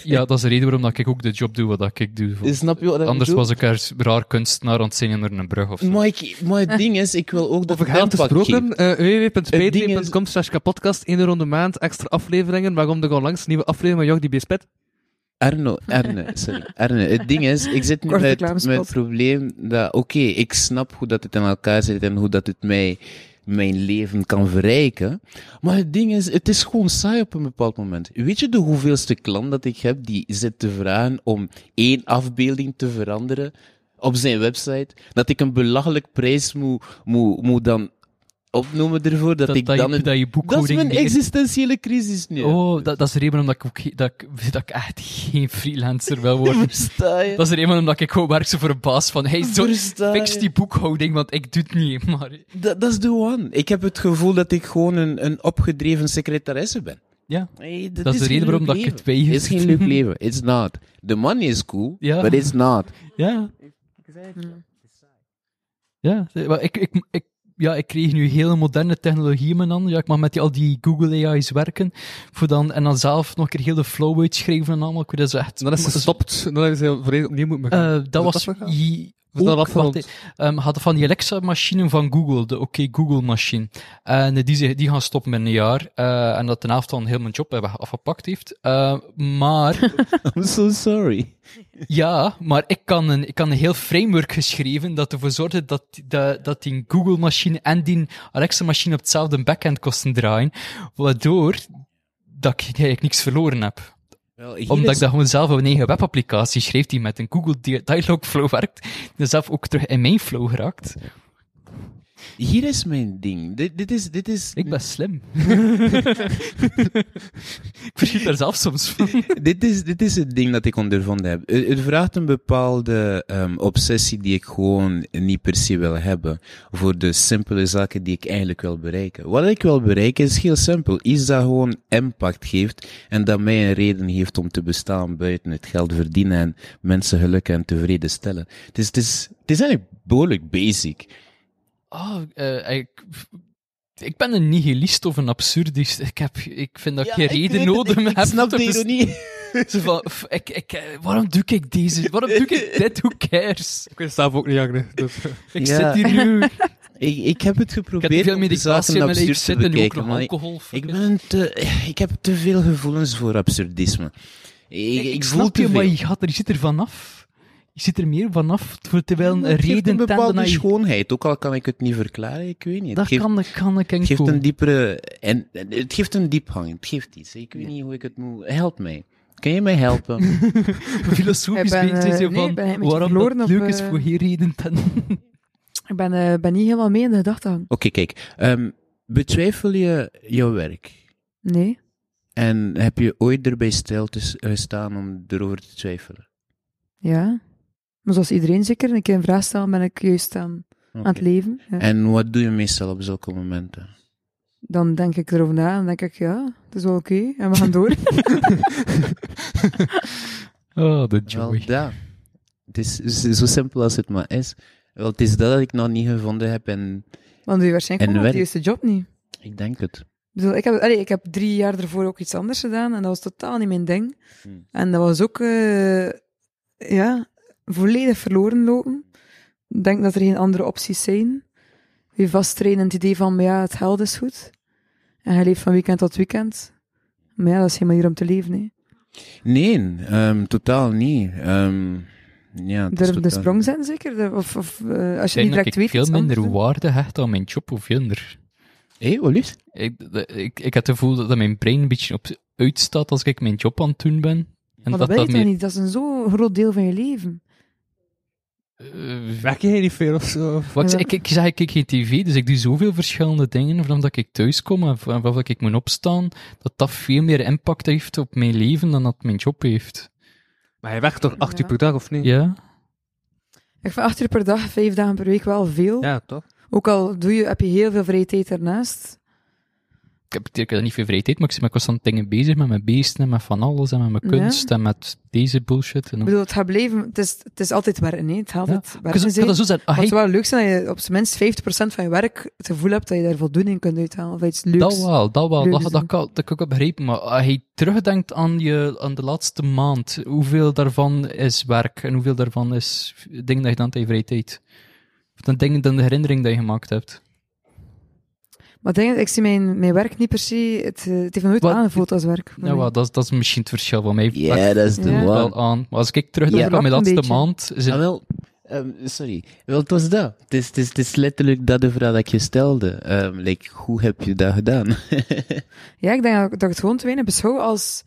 Speaker 4: ja, dat is de reden waarom dat ik ook de job doe wat dat ik doe.
Speaker 2: Snap je wat ik
Speaker 4: Anders
Speaker 2: bedoel?
Speaker 4: was ik er raar kunstenaar aan het zingen door een brug of zo.
Speaker 2: Maar, ik, maar het ding is, ik wil ook dat
Speaker 5: Over
Speaker 2: het
Speaker 5: geld
Speaker 2: impact
Speaker 5: gesproken,
Speaker 2: geeft.
Speaker 5: uh,
Speaker 2: Het ding is-
Speaker 5: www.patreon.com slash kapotkast, één ronde maand, extra afleveringen, waarom de langs nieuwe aflevering van Jordi Beespet.
Speaker 2: Arno, Arne, sorry. Arne, het ding is, ik zit nu
Speaker 3: Korte
Speaker 2: met, met
Speaker 3: reclamespot.
Speaker 2: het probleem dat, oké, ik snap hoe dat het in elkaar zit en hoe dat het mij, mijn leven kan verrijken. Maar het ding is, het is gewoon saai op een bepaald moment. Weet je de hoeveelste klant dat ik heb die zit te vragen om één afbeelding te veranderen op zijn website? Dat ik een belachelijk prijs moet, moet, moet dan opnoemen ervoor, dat,
Speaker 4: Dat-
Speaker 2: ik
Speaker 4: dat je-
Speaker 2: dan... een-
Speaker 4: dat je
Speaker 2: dat is
Speaker 4: boekhouding
Speaker 2: mijn
Speaker 4: niet-
Speaker 2: existentiële crisis nu.
Speaker 4: Oh, dat, dat is de reden waarom dat ik, ook, ge- dat, ik, <laughs> dat ik echt geen freelancer wil
Speaker 2: <laughs>
Speaker 4: worden.
Speaker 2: Versta je?
Speaker 4: Dat is de reden waarom dat ik gewoon werk zo voor een baas van hey, zo,
Speaker 2: Versta je?
Speaker 4: fix die boekhouding, want ik doe het niet. Maar
Speaker 2: Dat, dat is de one. Ik heb het gevoel dat ik gewoon een, een opgedreven secretaresse ben.
Speaker 4: ja,
Speaker 2: Nee,
Speaker 4: Dat is de
Speaker 2: geen
Speaker 4: reden waarom
Speaker 2: leuk
Speaker 4: dat ik het
Speaker 2: leven.
Speaker 4: weigert.
Speaker 2: is geen leuk leven. It's not. The money is cool,
Speaker 4: Ja.
Speaker 2: but it's not.
Speaker 4: ja. Ja, ze- maar ik, ik, ik, ja, ik kreeg nu hele moderne technologie in mijn handen. Ja, ik mag met die, al die Google AI's werken. Voor dan, en dan zelf nog een keer heel de flow uitschrijven en allemaal. Ik weet Dat is echt...
Speaker 5: Dan is ze gestopt, en dan hebben ze volledig opnieuw moeten
Speaker 4: Eh,
Speaker 5: beginnen.
Speaker 4: dat was...
Speaker 5: dat gegaan?
Speaker 4: i-
Speaker 5: Is dat
Speaker 4: ook-
Speaker 5: al afgerond?
Speaker 4: wacht, eh, ehm, hadden van die Alexa-machine van Google, de Oké Google-machine. En eh, die, ze- die gaan stoppen met een jaar. eh, en dat ten helft dan heel mijn job hebben afgepakt heeft. Eh, maar...
Speaker 2: I'm so sorry.
Speaker 4: Ja, maar ik kan een, ik kan een heel framework geschreven dat ervoor zorgde dat, dat, dat die Google-machine en die Alexa-machine op hetzelfde backend kosten draaien, waardoor dat ik eigenlijk niks verloren heb. Omdat ik dat gewoon zelf op een eigen webapplicatie schreef die met een Google Di- Dialogflow werkt, dus zelf ook terug in mijn flow geraakt.
Speaker 2: Hier is mijn ding. Dit, dit is... Dit is
Speaker 4: Ik ben slim. <laughs> ik verschiet daar zelf soms van.
Speaker 2: dit, is, dit is het ding dat ik ondervonden heb. Het, het vraagt een bepaalde ehm, obsessie die ik gewoon niet per se wil hebben. Voor de simpele zaken die ik eigenlijk wil bereiken. Wat ik wil bereiken is heel simpel. Iets dat gewoon impact geeft. En dat mij een reden heeft om te bestaan buiten het geld verdienen. En mensen gelukkig en tevreden stellen. Het is, het is, het is eigenlijk behoorlijk basic.
Speaker 4: Oh, eh, ik, ik ben een nihilist of een absurdist. Ik, heb, ik vind dat ik geen reden nodig heb.
Speaker 2: Ik snap
Speaker 4: te
Speaker 2: de
Speaker 4: bes-
Speaker 2: ironie.
Speaker 4: Zo van, f- ik, ik, eh, waarom doe ik deze? Waarom doe
Speaker 3: <laughs>
Speaker 4: ik dit? Who
Speaker 2: Eh.
Speaker 4: cares?
Speaker 5: Ik weet het zelf ook niet, Agne. Dus,
Speaker 4: Ik
Speaker 2: Ja.
Speaker 4: zit hier
Speaker 2: <laughs>
Speaker 4: nu. Ik
Speaker 2: Ik, ik heb het
Speaker 4: heb
Speaker 2: geprobeerd
Speaker 4: te veel
Speaker 2: om de
Speaker 4: medicatie
Speaker 2: zaken
Speaker 4: in mijn leven
Speaker 2: absurd te
Speaker 4: zitten. Nu ook
Speaker 2: bekijken.
Speaker 4: nog
Speaker 2: maar
Speaker 4: alcohol.
Speaker 2: Ik,
Speaker 4: fuck it.
Speaker 2: ben te, ik heb te veel gevoelens voor absurdisme. Ik, ik, voel
Speaker 4: snap
Speaker 2: te
Speaker 4: je,
Speaker 2: veel.
Speaker 4: maar je, gaat er, je zit er vanaf. Je zit er meer vanaf. voor- Terwijl een
Speaker 2: Het geeft
Speaker 4: reden
Speaker 2: een
Speaker 4: tende
Speaker 2: bepaalde
Speaker 4: naar je...
Speaker 2: schoonheid, ook al kan ik het niet verklaren, ik weet niet.
Speaker 4: Dat
Speaker 2: het geeft,
Speaker 4: kan, dat kan ik
Speaker 2: het
Speaker 4: en
Speaker 2: geeft
Speaker 4: cool.
Speaker 2: een diepere... En, en het geeft een diepgang, het geeft iets. Ik weet niet hoe ik het moet... Help mij. Kan je mij
Speaker 4: <laughs>
Speaker 2: helpen?
Speaker 4: filosofisch
Speaker 3: Ik ben,
Speaker 4: beetje
Speaker 3: eh,
Speaker 4: zo
Speaker 3: nee,
Speaker 4: van
Speaker 3: ik ben een beetje
Speaker 4: waarom
Speaker 3: verloren
Speaker 4: dat
Speaker 3: op,
Speaker 4: leuk is
Speaker 3: eh,
Speaker 4: voor geen reden tende.
Speaker 3: <laughs>
Speaker 4: <laughs>
Speaker 3: Ik ben, eh, ben niet helemaal mee in de gedachtegang.
Speaker 2: Oké, kijk. ehm, betwijfel je jouw werk?
Speaker 3: Nee.
Speaker 2: En heb je ooit erbij stil te s- gestaan om erover te twijfelen?
Speaker 3: Ja. Maar zoals iedereen zeker, een keer een vraag stellen, ben ik juist aan,
Speaker 2: Oké.
Speaker 3: aan het leven. Ja.
Speaker 2: En wat doe je meestal op zulke momenten?
Speaker 3: Dan denk ik erover na en denk ik, ja, het is wel oké. En we gaan
Speaker 2: <laughs>
Speaker 3: door.
Speaker 4: Oh, de joy.
Speaker 2: Wel, dat. Het is z- zo simpel als het maar is. Wel, het is dat dat ik nog niet gevonden heb en
Speaker 3: Dan doe je waarschijnlijk gewoon
Speaker 2: En
Speaker 3: de
Speaker 2: werk.
Speaker 3: juiste job niet.
Speaker 2: ik denk het.
Speaker 3: Ik bedoel, ik heb, allee, ik heb drie jaar ervoor ook iets anders gedaan en dat was totaal niet mijn ding.
Speaker 2: Hmm.
Speaker 3: En dat was ook, eh, ja, volledig verloren lopen. Ik denk dat er geen andere opties zijn. Je vasttrainen in het idee van, maar ja, het geld is goed. En je leeft van weekend tot weekend. Maar ja, dat is geen manier om te leven, hè.
Speaker 2: Nee, ehm, totaal niet. Ehm, ja, het is
Speaker 3: Durf de
Speaker 2: totaal-
Speaker 3: sprong zijn, zeker? De- Of, of eh, als
Speaker 4: Ik
Speaker 3: je niet
Speaker 4: denk dat
Speaker 3: direct
Speaker 4: ik
Speaker 3: weet...
Speaker 4: veel
Speaker 3: iets anders
Speaker 4: minder
Speaker 3: doen.
Speaker 4: waarde hecht aan mijn job of minder.
Speaker 2: Hé, hey, Olief?
Speaker 4: Ik, de- ik, ik heb het gevoel dat dat mijn brein een beetje op uitstaat als ik mijn job aan het doen ben. En
Speaker 3: Maar dat, ben je toch niet? Dat is een zo groot deel van je leven.
Speaker 4: Eh,
Speaker 5: werk je niet veel of zo?
Speaker 4: wat ik, zeg, ik, ik zeg, ik kijk geen tv, dus ik doe zoveel verschillende dingen vanaf dat ik thuis kom en vanaf dat ik moet opstaan, dat dat veel meer impact heeft op mijn leven dan dat mijn job heeft.
Speaker 5: Maar je werkt toch acht uur
Speaker 3: Ja.
Speaker 5: per dag, of niet?
Speaker 4: Ja?
Speaker 3: Ik vind acht uur per dag, vijf dagen per week wel veel.
Speaker 5: Ja, toch?
Speaker 3: Ook al doe je, heb je heel veel vrije tijd daarnaast.
Speaker 4: heb ik heb er niet veel vrije tijd, maar ik, maar ik was aan dingen bezig met mijn beesten en met van alles en met mijn
Speaker 3: Ja.
Speaker 4: kunst en met deze bullshit. En
Speaker 3: Ik bedoel, het gaat blijven, het is, het is altijd werken, hè. het gaat
Speaker 4: Ja.
Speaker 3: altijd
Speaker 4: Ik kan
Speaker 3: werken
Speaker 4: ik kan
Speaker 3: zijn.
Speaker 4: dat zo zeggen. Ah,
Speaker 3: Maar het
Speaker 4: hey,
Speaker 3: zou wel leuk zijn dat je op zijn minst 50% van je werk het gevoel hebt dat je daar voldoening kunt uithalen. Of iets leuks.
Speaker 4: dat wel, dat wel.
Speaker 3: Leuks
Speaker 4: Dat, dat,
Speaker 3: doen.
Speaker 4: kan, dat kan ik ook begrijpen. Maar als je terugdenkt aan, je, aan de laatste maand, hoeveel daarvan is werk en hoeveel daarvan is dingen dat je gedaan hebt in je vrije tijd? Of dan dingen dan de herinnering die je gemaakt hebt.
Speaker 3: Maar ik denk, ik zie mijn, mijn werk niet per se, het, eh, het heeft me nooit
Speaker 4: Wat-
Speaker 3: aangevoeld als werk. voor
Speaker 4: Nou,
Speaker 3: mij.
Speaker 4: wel, dat, is- dat is misschien het verschil van mij.
Speaker 2: Ja,
Speaker 4: Daar
Speaker 2: dat is de
Speaker 3: Ja.
Speaker 4: kom ik
Speaker 2: one.
Speaker 4: wel aan. Maar als ik terugdenk
Speaker 2: Ja.
Speaker 4: aan
Speaker 3: Een
Speaker 4: mijn laatste
Speaker 3: beetje.
Speaker 4: maand, is het
Speaker 2: Ah, wel, ehm, sorry. Wel, het was dat. Het is, het, is, het is letterlijk dat de vraag dat ik je stelde. Ehm, like, hoe heb je dat gedaan?
Speaker 3: Ja, ik denk dat, ik- dat ik het gewoon te weinig beschouw als,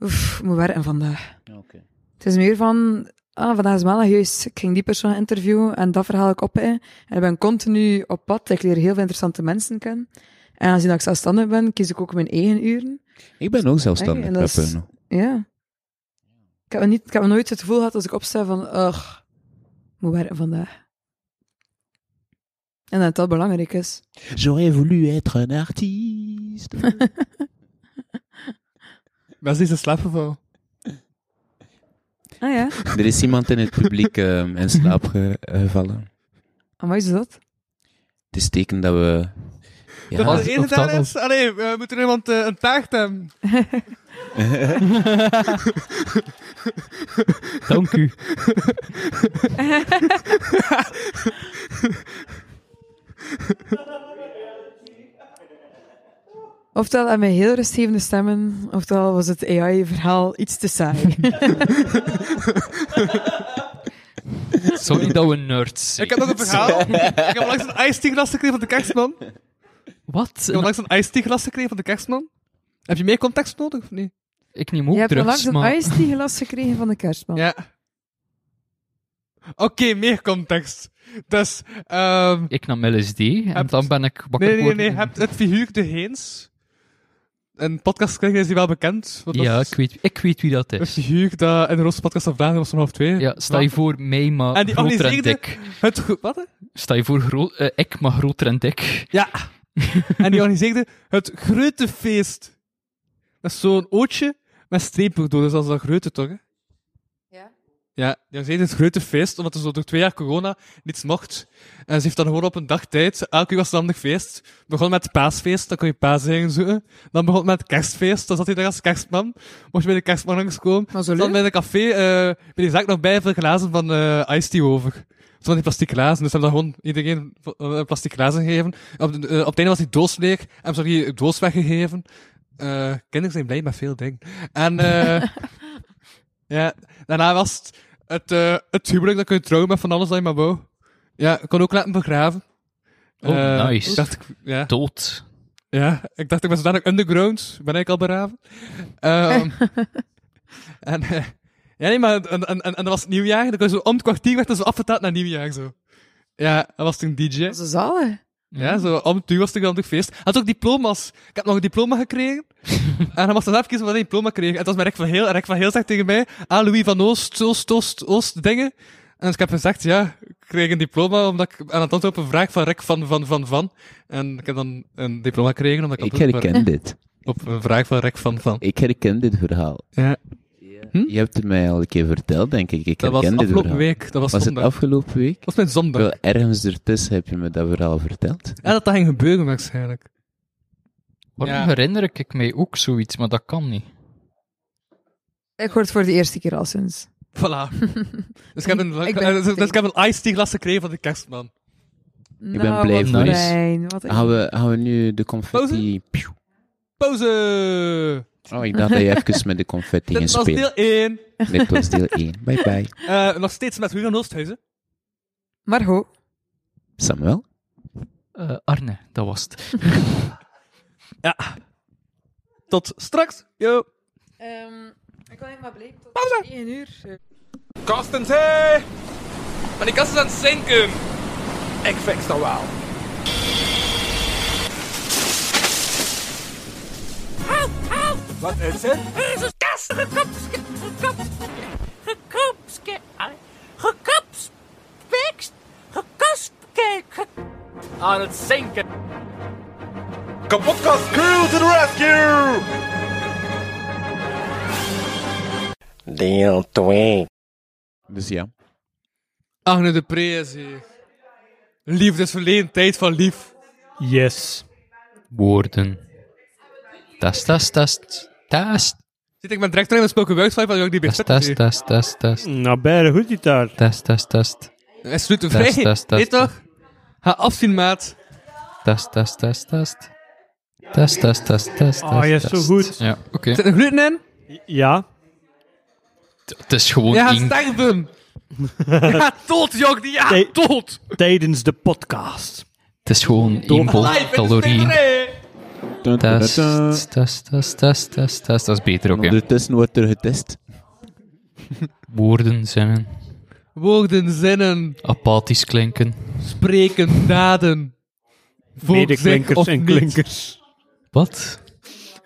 Speaker 3: oef, ik moet werken vandaag.
Speaker 2: Oké.
Speaker 3: Het is meer van, ah, vandaag is maandag, juist, ik ging die persoon interviewen en dat verhaal ik op in. En ik ben continu op pad, ik leer heel veel interessante mensen kennen. En aangezien dat ik zelfstandig ben, kies ik ook mijn eigen uren.
Speaker 2: Ik ben ook zelfstandig.
Speaker 3: en dat is-
Speaker 2: rapper nog.
Speaker 3: Ja. Ik heb, me niet, ik heb me nooit het gevoel gehad als ik opsta van, ugh, ik moet werken vandaag. En dat dat belangrijk is.
Speaker 2: J'aurais voulu être un <laughs> artiste.
Speaker 5: Maar ze is in slaap gevallen.
Speaker 3: Ah ja,
Speaker 2: er is iemand in het publiek ehm, in slaap ge- gevallen.
Speaker 3: maar is dat?
Speaker 2: Het is teken dat we...
Speaker 5: Dat
Speaker 2: Ja,
Speaker 5: was
Speaker 4: was-
Speaker 5: de ene
Speaker 4: of dat
Speaker 5: daar is. Allee, we moeten iemand eh, een taart hebben.
Speaker 4: dank
Speaker 5: <laughs>
Speaker 4: u.
Speaker 3: Oftewel aan mijn heel rustgevende stemmen, oftewel was het AI-verhaal iets te
Speaker 4: <laughs>
Speaker 3: saai.
Speaker 4: Sorry dat we nerds zijn.
Speaker 5: Ik heb nog een verhaal. <laughs> ik heb langs een iced tea glas gekregen van de kerstman. Ik
Speaker 4: Wat? Nou,
Speaker 5: heb langs een iced tea glas gekregen van de kerstman. Heb je meer context nodig of niet?
Speaker 4: Ik neem
Speaker 3: Je
Speaker 4: ook
Speaker 3: hebt
Speaker 4: drugs,
Speaker 3: onlangs een
Speaker 4: maar...
Speaker 3: iced tea glas gekregen van de kerstman.
Speaker 5: Ja. Oké, meer context. Dus, ehm
Speaker 4: Ik nam LSD en
Speaker 5: Hebt-
Speaker 4: dan ben ik wakker
Speaker 5: nee, nee, nee,
Speaker 4: geworden.
Speaker 5: nee. Hebt het figuur De Heens. Een podcast gekregen, is die wel bekend? Want dat
Speaker 4: Ja,
Speaker 5: is
Speaker 4: ik weet, ik weet wie dat
Speaker 5: Een
Speaker 4: is.
Speaker 5: figuur dat in de Rosse podcast van vandaag was van half twee.
Speaker 4: Ja, sta je voor mij, maar
Speaker 5: En die
Speaker 4: groter en
Speaker 5: organiseerde-
Speaker 4: dik.
Speaker 5: Het, gro- wat? hè?
Speaker 4: Sta je voor gro- eh, ik, maar groter en dik.
Speaker 5: Ja. en die organiseerde het grote feest. Dat is zo'n ootje met strepen door, dus dat is dat grote toch? Hè? Ja, die organiseerde het grote feest, omdat er zo door twee jaar corona niets mocht. En ze heeft dan gewoon op een dag tijd, elke keer was het een ander feest. Begon met het paasfeest, dan kon je paaseieren zoeken. Dan begon het met het kerstfeest, dan zat hij daar als kerstman. Mocht je bij de kerstman langskomen.
Speaker 3: Maar zo
Speaker 5: Dan
Speaker 3: leuk.
Speaker 5: bij de café, eh bij die zaak nog bij veel glazen van eh Ice Tea over. Van die plastic glazen. Dus ze hebben dan gewoon iedereen eh, plastic glazen gegeven. Op, de, eh, op het einde was die doos leeg. Hebben ze die doos weggegeven. Eh kinderen zijn blij met veel dingen. En eh <laughs> ja, daarna was het, het, eh, het huwelijk. Dan kun je trouwen met van alles dat je maar wou. Ja, ik kon ook laten begraven.
Speaker 4: Oh,
Speaker 5: Eh,
Speaker 4: nice.
Speaker 5: ik Dacht, ik- ja.
Speaker 4: Dood.
Speaker 5: Ja, ik dacht, ik was dadelijk underground. Ben ik al beraven? Ehm, en, eh, ja, nee, maar en, en, en, en dat was het nieuwjaar. Dan kon je zo om het kwartier werd er zo afgetaald naar nieuwjaar. Zo. Ja, dat was toen DJ.
Speaker 3: Dat is zalig.
Speaker 5: Ja, zo om het uur was het dan toch feest. Had ook diploma's. Ik heb nog een diploma gekregen. en dan mocht ik zelf kiezen wat ik diploma kreeg. En dat was met Rick van Heel. En Rick van Heel zegt tegen mij, ah, Louis van Oost, Oost, Oost, Oost, dingen. En dus ik heb gezegd, ja, ik kreeg een diploma omdat ik aan het antwoord op een vraag van Rick van, van, van, van. En ik heb dan een diploma gekregen omdat ik,
Speaker 2: ik
Speaker 5: antwoord op-
Speaker 2: herken dit.
Speaker 5: op een vraag van Rick van, van.
Speaker 2: Ik herken dit verhaal.
Speaker 5: Ja. Hm?
Speaker 2: Je hebt het mij al een keer verteld, denk ik. Ik
Speaker 5: Dat was
Speaker 2: herken dit
Speaker 5: afgelopen
Speaker 2: verhaal.
Speaker 5: week. Dat was,
Speaker 2: Was het
Speaker 5: zondag.
Speaker 2: afgelopen week?
Speaker 5: Dat was mijn zondag.
Speaker 2: Wel, ergens ertussen heb je me dat verhaal verteld.
Speaker 5: Ja, dat dat ging gebeuren waarschijnlijk.
Speaker 4: Waarom
Speaker 5: Ja.
Speaker 4: herinner ik mij ook zoiets, maar dat kan niet.
Speaker 3: Ik hoor het voor de eerste keer al sinds.
Speaker 5: Voilà. dus ik heb een,
Speaker 3: Ik ben-
Speaker 5: <laughs> dus, ik heb een iced tea glas gekregen van de kerstman.
Speaker 3: Ik
Speaker 2: ben
Speaker 3: Nou,
Speaker 2: blij
Speaker 3: wat
Speaker 2: voor
Speaker 4: je.
Speaker 3: fijn, wat
Speaker 2: Gaan we, gaan we nu de confetti... Pjoe.
Speaker 5: Pauze!
Speaker 2: Oh, ik dacht dat je even met de confetti ging
Speaker 5: <laughs> Dit was
Speaker 2: spelen.
Speaker 5: deel 1.
Speaker 2: Dit was deel 1. Bye bye.
Speaker 5: Eh, nog steeds met Hugo Oosthuizen.
Speaker 3: Margot,
Speaker 2: Samuel?
Speaker 4: Eh, Arne, dat was het. <laughs>
Speaker 5: Tot straks. Yo.
Speaker 3: Ehm, ik kan maar blij tot
Speaker 5: Pauze.
Speaker 3: 1 uur. eh,
Speaker 5: Kastens, hé! Maar die kast is aan het zinken. Ik fix dat wel. Wat is het?
Speaker 6: Er is een kast gekapske, gekapske, gekapske, gekapspekst, gekaspkeken. Aan het zinken.
Speaker 7: Kapotkast crew to the rescue!
Speaker 8: Deel 2.
Speaker 2: Dus ja.
Speaker 5: Agne de Pre is hier. Liefdesverleen, tijd van lief.
Speaker 9: Yes.
Speaker 4: Woorden. Test, test, test. Test,
Speaker 5: Zit ik met direct in een spoken word vibe, want ik die
Speaker 4: test,
Speaker 5: begint. <laughs>
Speaker 4: test, test, test, test.
Speaker 9: Nou, bijna goed die taart.
Speaker 4: Test, test, test.
Speaker 5: Is sluit de
Speaker 4: Test,
Speaker 5: vrij.
Speaker 4: test, test,
Speaker 5: Weet toch? Ga afzien, maat.
Speaker 4: Test, test, test, test. Test, test, test, test.
Speaker 5: Ah,
Speaker 9: Oh, je is zo
Speaker 4: test.
Speaker 9: goed.
Speaker 4: Ja, oké.
Speaker 5: Zit er gluten in?
Speaker 9: Ja.
Speaker 4: Het is gewoon
Speaker 5: Je gaat
Speaker 4: inkt.
Speaker 5: sterven. Je gaat dood, jong. Die
Speaker 9: Nee.
Speaker 5: gaat dood.
Speaker 9: Tijdens de podcast.
Speaker 4: Het is gewoon één bol
Speaker 5: Live in de
Speaker 4: calorieën.
Speaker 5: stinkerij.
Speaker 4: Test, test, test, test, test, test. Dat is beter ook, hè.
Speaker 2: Ondertussen wordt er getest.
Speaker 4: Woorden, zinnen.
Speaker 5: Woorden, zinnen,
Speaker 4: Apathisch klinken.
Speaker 5: spreken, daden. Volk zich
Speaker 9: Medeklinkers
Speaker 5: of
Speaker 9: en
Speaker 5: niet.
Speaker 9: klinkers.
Speaker 4: Wat?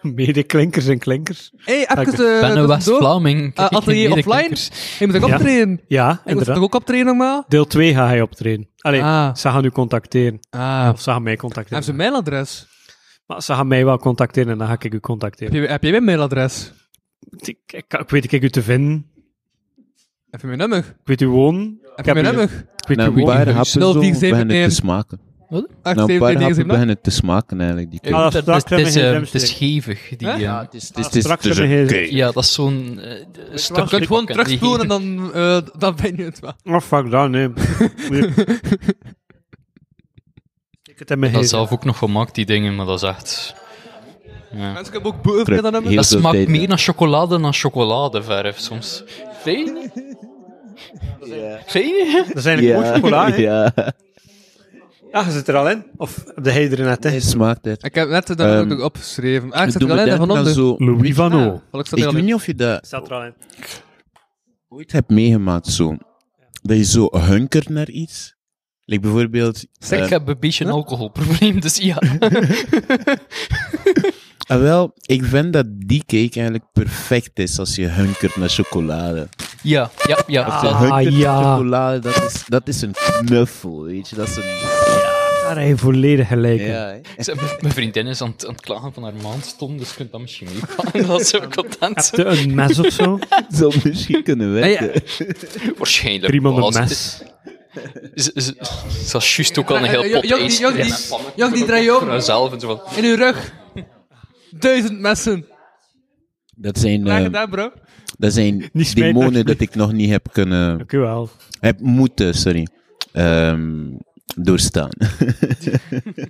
Speaker 9: Medeklinkers en klinkers.
Speaker 5: Hey, even
Speaker 9: Ik
Speaker 5: eh,
Speaker 4: ben een
Speaker 5: tussendoor.
Speaker 4: West-Vlaming.
Speaker 5: Eh,
Speaker 4: Kijk, ik
Speaker 5: atelier
Speaker 4: ken die
Speaker 5: offline?
Speaker 4: klinkers.
Speaker 5: Je moet ook
Speaker 9: Ja.
Speaker 5: optreden.
Speaker 9: Ja,
Speaker 5: Ik moet toch
Speaker 9: inderdaad.
Speaker 5: ook optreden normaal?
Speaker 9: Deel 2 ga hij optreden. Allee,
Speaker 5: Ah.
Speaker 9: ze gaan u contacteren.
Speaker 5: Ah.
Speaker 9: Of ze gaan mij
Speaker 5: Hebben
Speaker 9: contacteren.
Speaker 5: ze een mailadres?
Speaker 9: Maar ze gaan mij wel contacteren en dan ga ik u
Speaker 5: Heb
Speaker 9: contacteren.
Speaker 5: je, heb jij mijn mailadres?
Speaker 9: Ik, ik, ik weet ik u te vinden.
Speaker 5: Heb je mijn nummer?
Speaker 9: Ik weet u wonen.
Speaker 5: Heb
Speaker 9: heb
Speaker 5: je mijn
Speaker 9: u-
Speaker 5: nummer?
Speaker 9: Ik weet
Speaker 2: Na
Speaker 9: u
Speaker 2: een
Speaker 9: wonen.
Speaker 2: paar
Speaker 5: huis.
Speaker 2: happen
Speaker 5: Nul,
Speaker 2: zo
Speaker 5: vier, zeven,
Speaker 2: beginnen het
Speaker 5: negen.
Speaker 2: te smaken.
Speaker 5: Acht,
Speaker 2: Na
Speaker 9: Nou,
Speaker 2: een
Speaker 5: zeven,
Speaker 2: paar
Speaker 5: negen,
Speaker 2: happen
Speaker 5: zeven,
Speaker 2: beginnen het te smaken eigenlijk. Die koek.
Speaker 9: Ah,
Speaker 4: Dat-
Speaker 9: straks
Speaker 4: dat- Het
Speaker 9: hebben
Speaker 4: is,
Speaker 9: we geen
Speaker 4: eh, het
Speaker 9: remstreek.
Speaker 4: is gevig. Die,
Speaker 5: Huh?
Speaker 4: eh,
Speaker 2: Ja, het is, het is,
Speaker 9: Ah,
Speaker 2: het is,
Speaker 9: straks
Speaker 2: het is
Speaker 9: hebben we
Speaker 2: een
Speaker 9: geen-
Speaker 2: kei.
Speaker 4: Ja, dat is zo'n eh, stukje
Speaker 5: Je kunt gewoon
Speaker 4: pakken, die-
Speaker 5: terugspoelen en dan, eh, dan ben je het wel.
Speaker 9: Oh, fuck dat,
Speaker 5: <laughs>
Speaker 9: nee. Nee. Ik het in mijn
Speaker 4: Dat
Speaker 9: gsm.
Speaker 4: zelf ook nog gemaakt, die dingen, maar dat is echt... Ja.
Speaker 5: Mensen kunnen ook boven met dat nummer.
Speaker 2: Heel
Speaker 4: Dat
Speaker 2: veel
Speaker 4: smaakt
Speaker 2: tijd,
Speaker 4: meer
Speaker 2: ja.
Speaker 4: naar chocolade dan chocoladeverf soms. Vind je niet? Vind je niet?
Speaker 9: Dat is eigenlijk mooi chocola,
Speaker 2: <laughs>
Speaker 9: hè?
Speaker 2: ja.
Speaker 9: Ja, je zit er al in. Of de hij er net
Speaker 2: Hij
Speaker 9: in.
Speaker 2: smaakt het.
Speaker 5: Ik heb net eh, dat
Speaker 2: Ehm,
Speaker 5: ook opgeschreven. Ah, ik zit
Speaker 2: Doe
Speaker 5: er
Speaker 2: me
Speaker 5: alleen
Speaker 2: denken
Speaker 5: van
Speaker 2: aan
Speaker 5: onder.
Speaker 2: zo-
Speaker 9: Louis Van O.
Speaker 5: Want Ik zat
Speaker 2: Ik
Speaker 5: er al
Speaker 2: weet
Speaker 5: in.
Speaker 2: niet of je dat
Speaker 9: Staat er al in.
Speaker 2: ooit hebt meegemaakt, zo. Dat je zo hunkert naar iets. Like bijvoorbeeld... eh,
Speaker 4: Ik heb een beetje een alcoholprobleem, dus ja. <laughs>
Speaker 2: ah, wel, ik vind dat die cake eigenlijk perfect is als je hunkert naar chocolade.
Speaker 4: Ja, ja, Ah, ja.
Speaker 2: Als je
Speaker 4: dat-
Speaker 2: hunkert
Speaker 9: ja.
Speaker 2: naar chocolade, dat is, dat is een knuffel, weet je. Dat is een...
Speaker 9: Daar heb je volledig gelijk in.
Speaker 2: Ja, hè. <laughs>
Speaker 4: Ze- m- Mijn vriendin is aan het, aan het klagen van haar maandstom, dus je kunt dat misschien <laughs> meepakken. Dat is zo content.
Speaker 9: Heb je een mes of
Speaker 4: <laughs>
Speaker 9: zo?
Speaker 2: zou misschien kunnen werken.
Speaker 4: Waarschijnlijk.
Speaker 9: Driemaal
Speaker 4: wel,
Speaker 9: een
Speaker 4: ze-
Speaker 9: mes.
Speaker 4: Ze ze- ze was juist ook al een
Speaker 5: Eh,
Speaker 9: nou
Speaker 5: eh,
Speaker 4: heel pot
Speaker 5: Jok-
Speaker 4: ijs
Speaker 5: Jok-
Speaker 4: gekregen
Speaker 5: Jok-
Speaker 4: en pannen.
Speaker 5: Jok, die draai je om.
Speaker 4: Zelf en zo van,
Speaker 5: In uw rug. Duizend messen.
Speaker 2: Dat zijn,
Speaker 9: Ehm.
Speaker 5: Graag
Speaker 2: eh,
Speaker 5: gedaan, bro.
Speaker 2: dat zijn
Speaker 9: Niet smijten,
Speaker 2: demonen dat
Speaker 9: alsjeblieft.
Speaker 2: ik nog niet heb kunnen...
Speaker 9: Dank u wel.
Speaker 2: Heb moeten, sorry. Ehm, doorstaan. <laughs>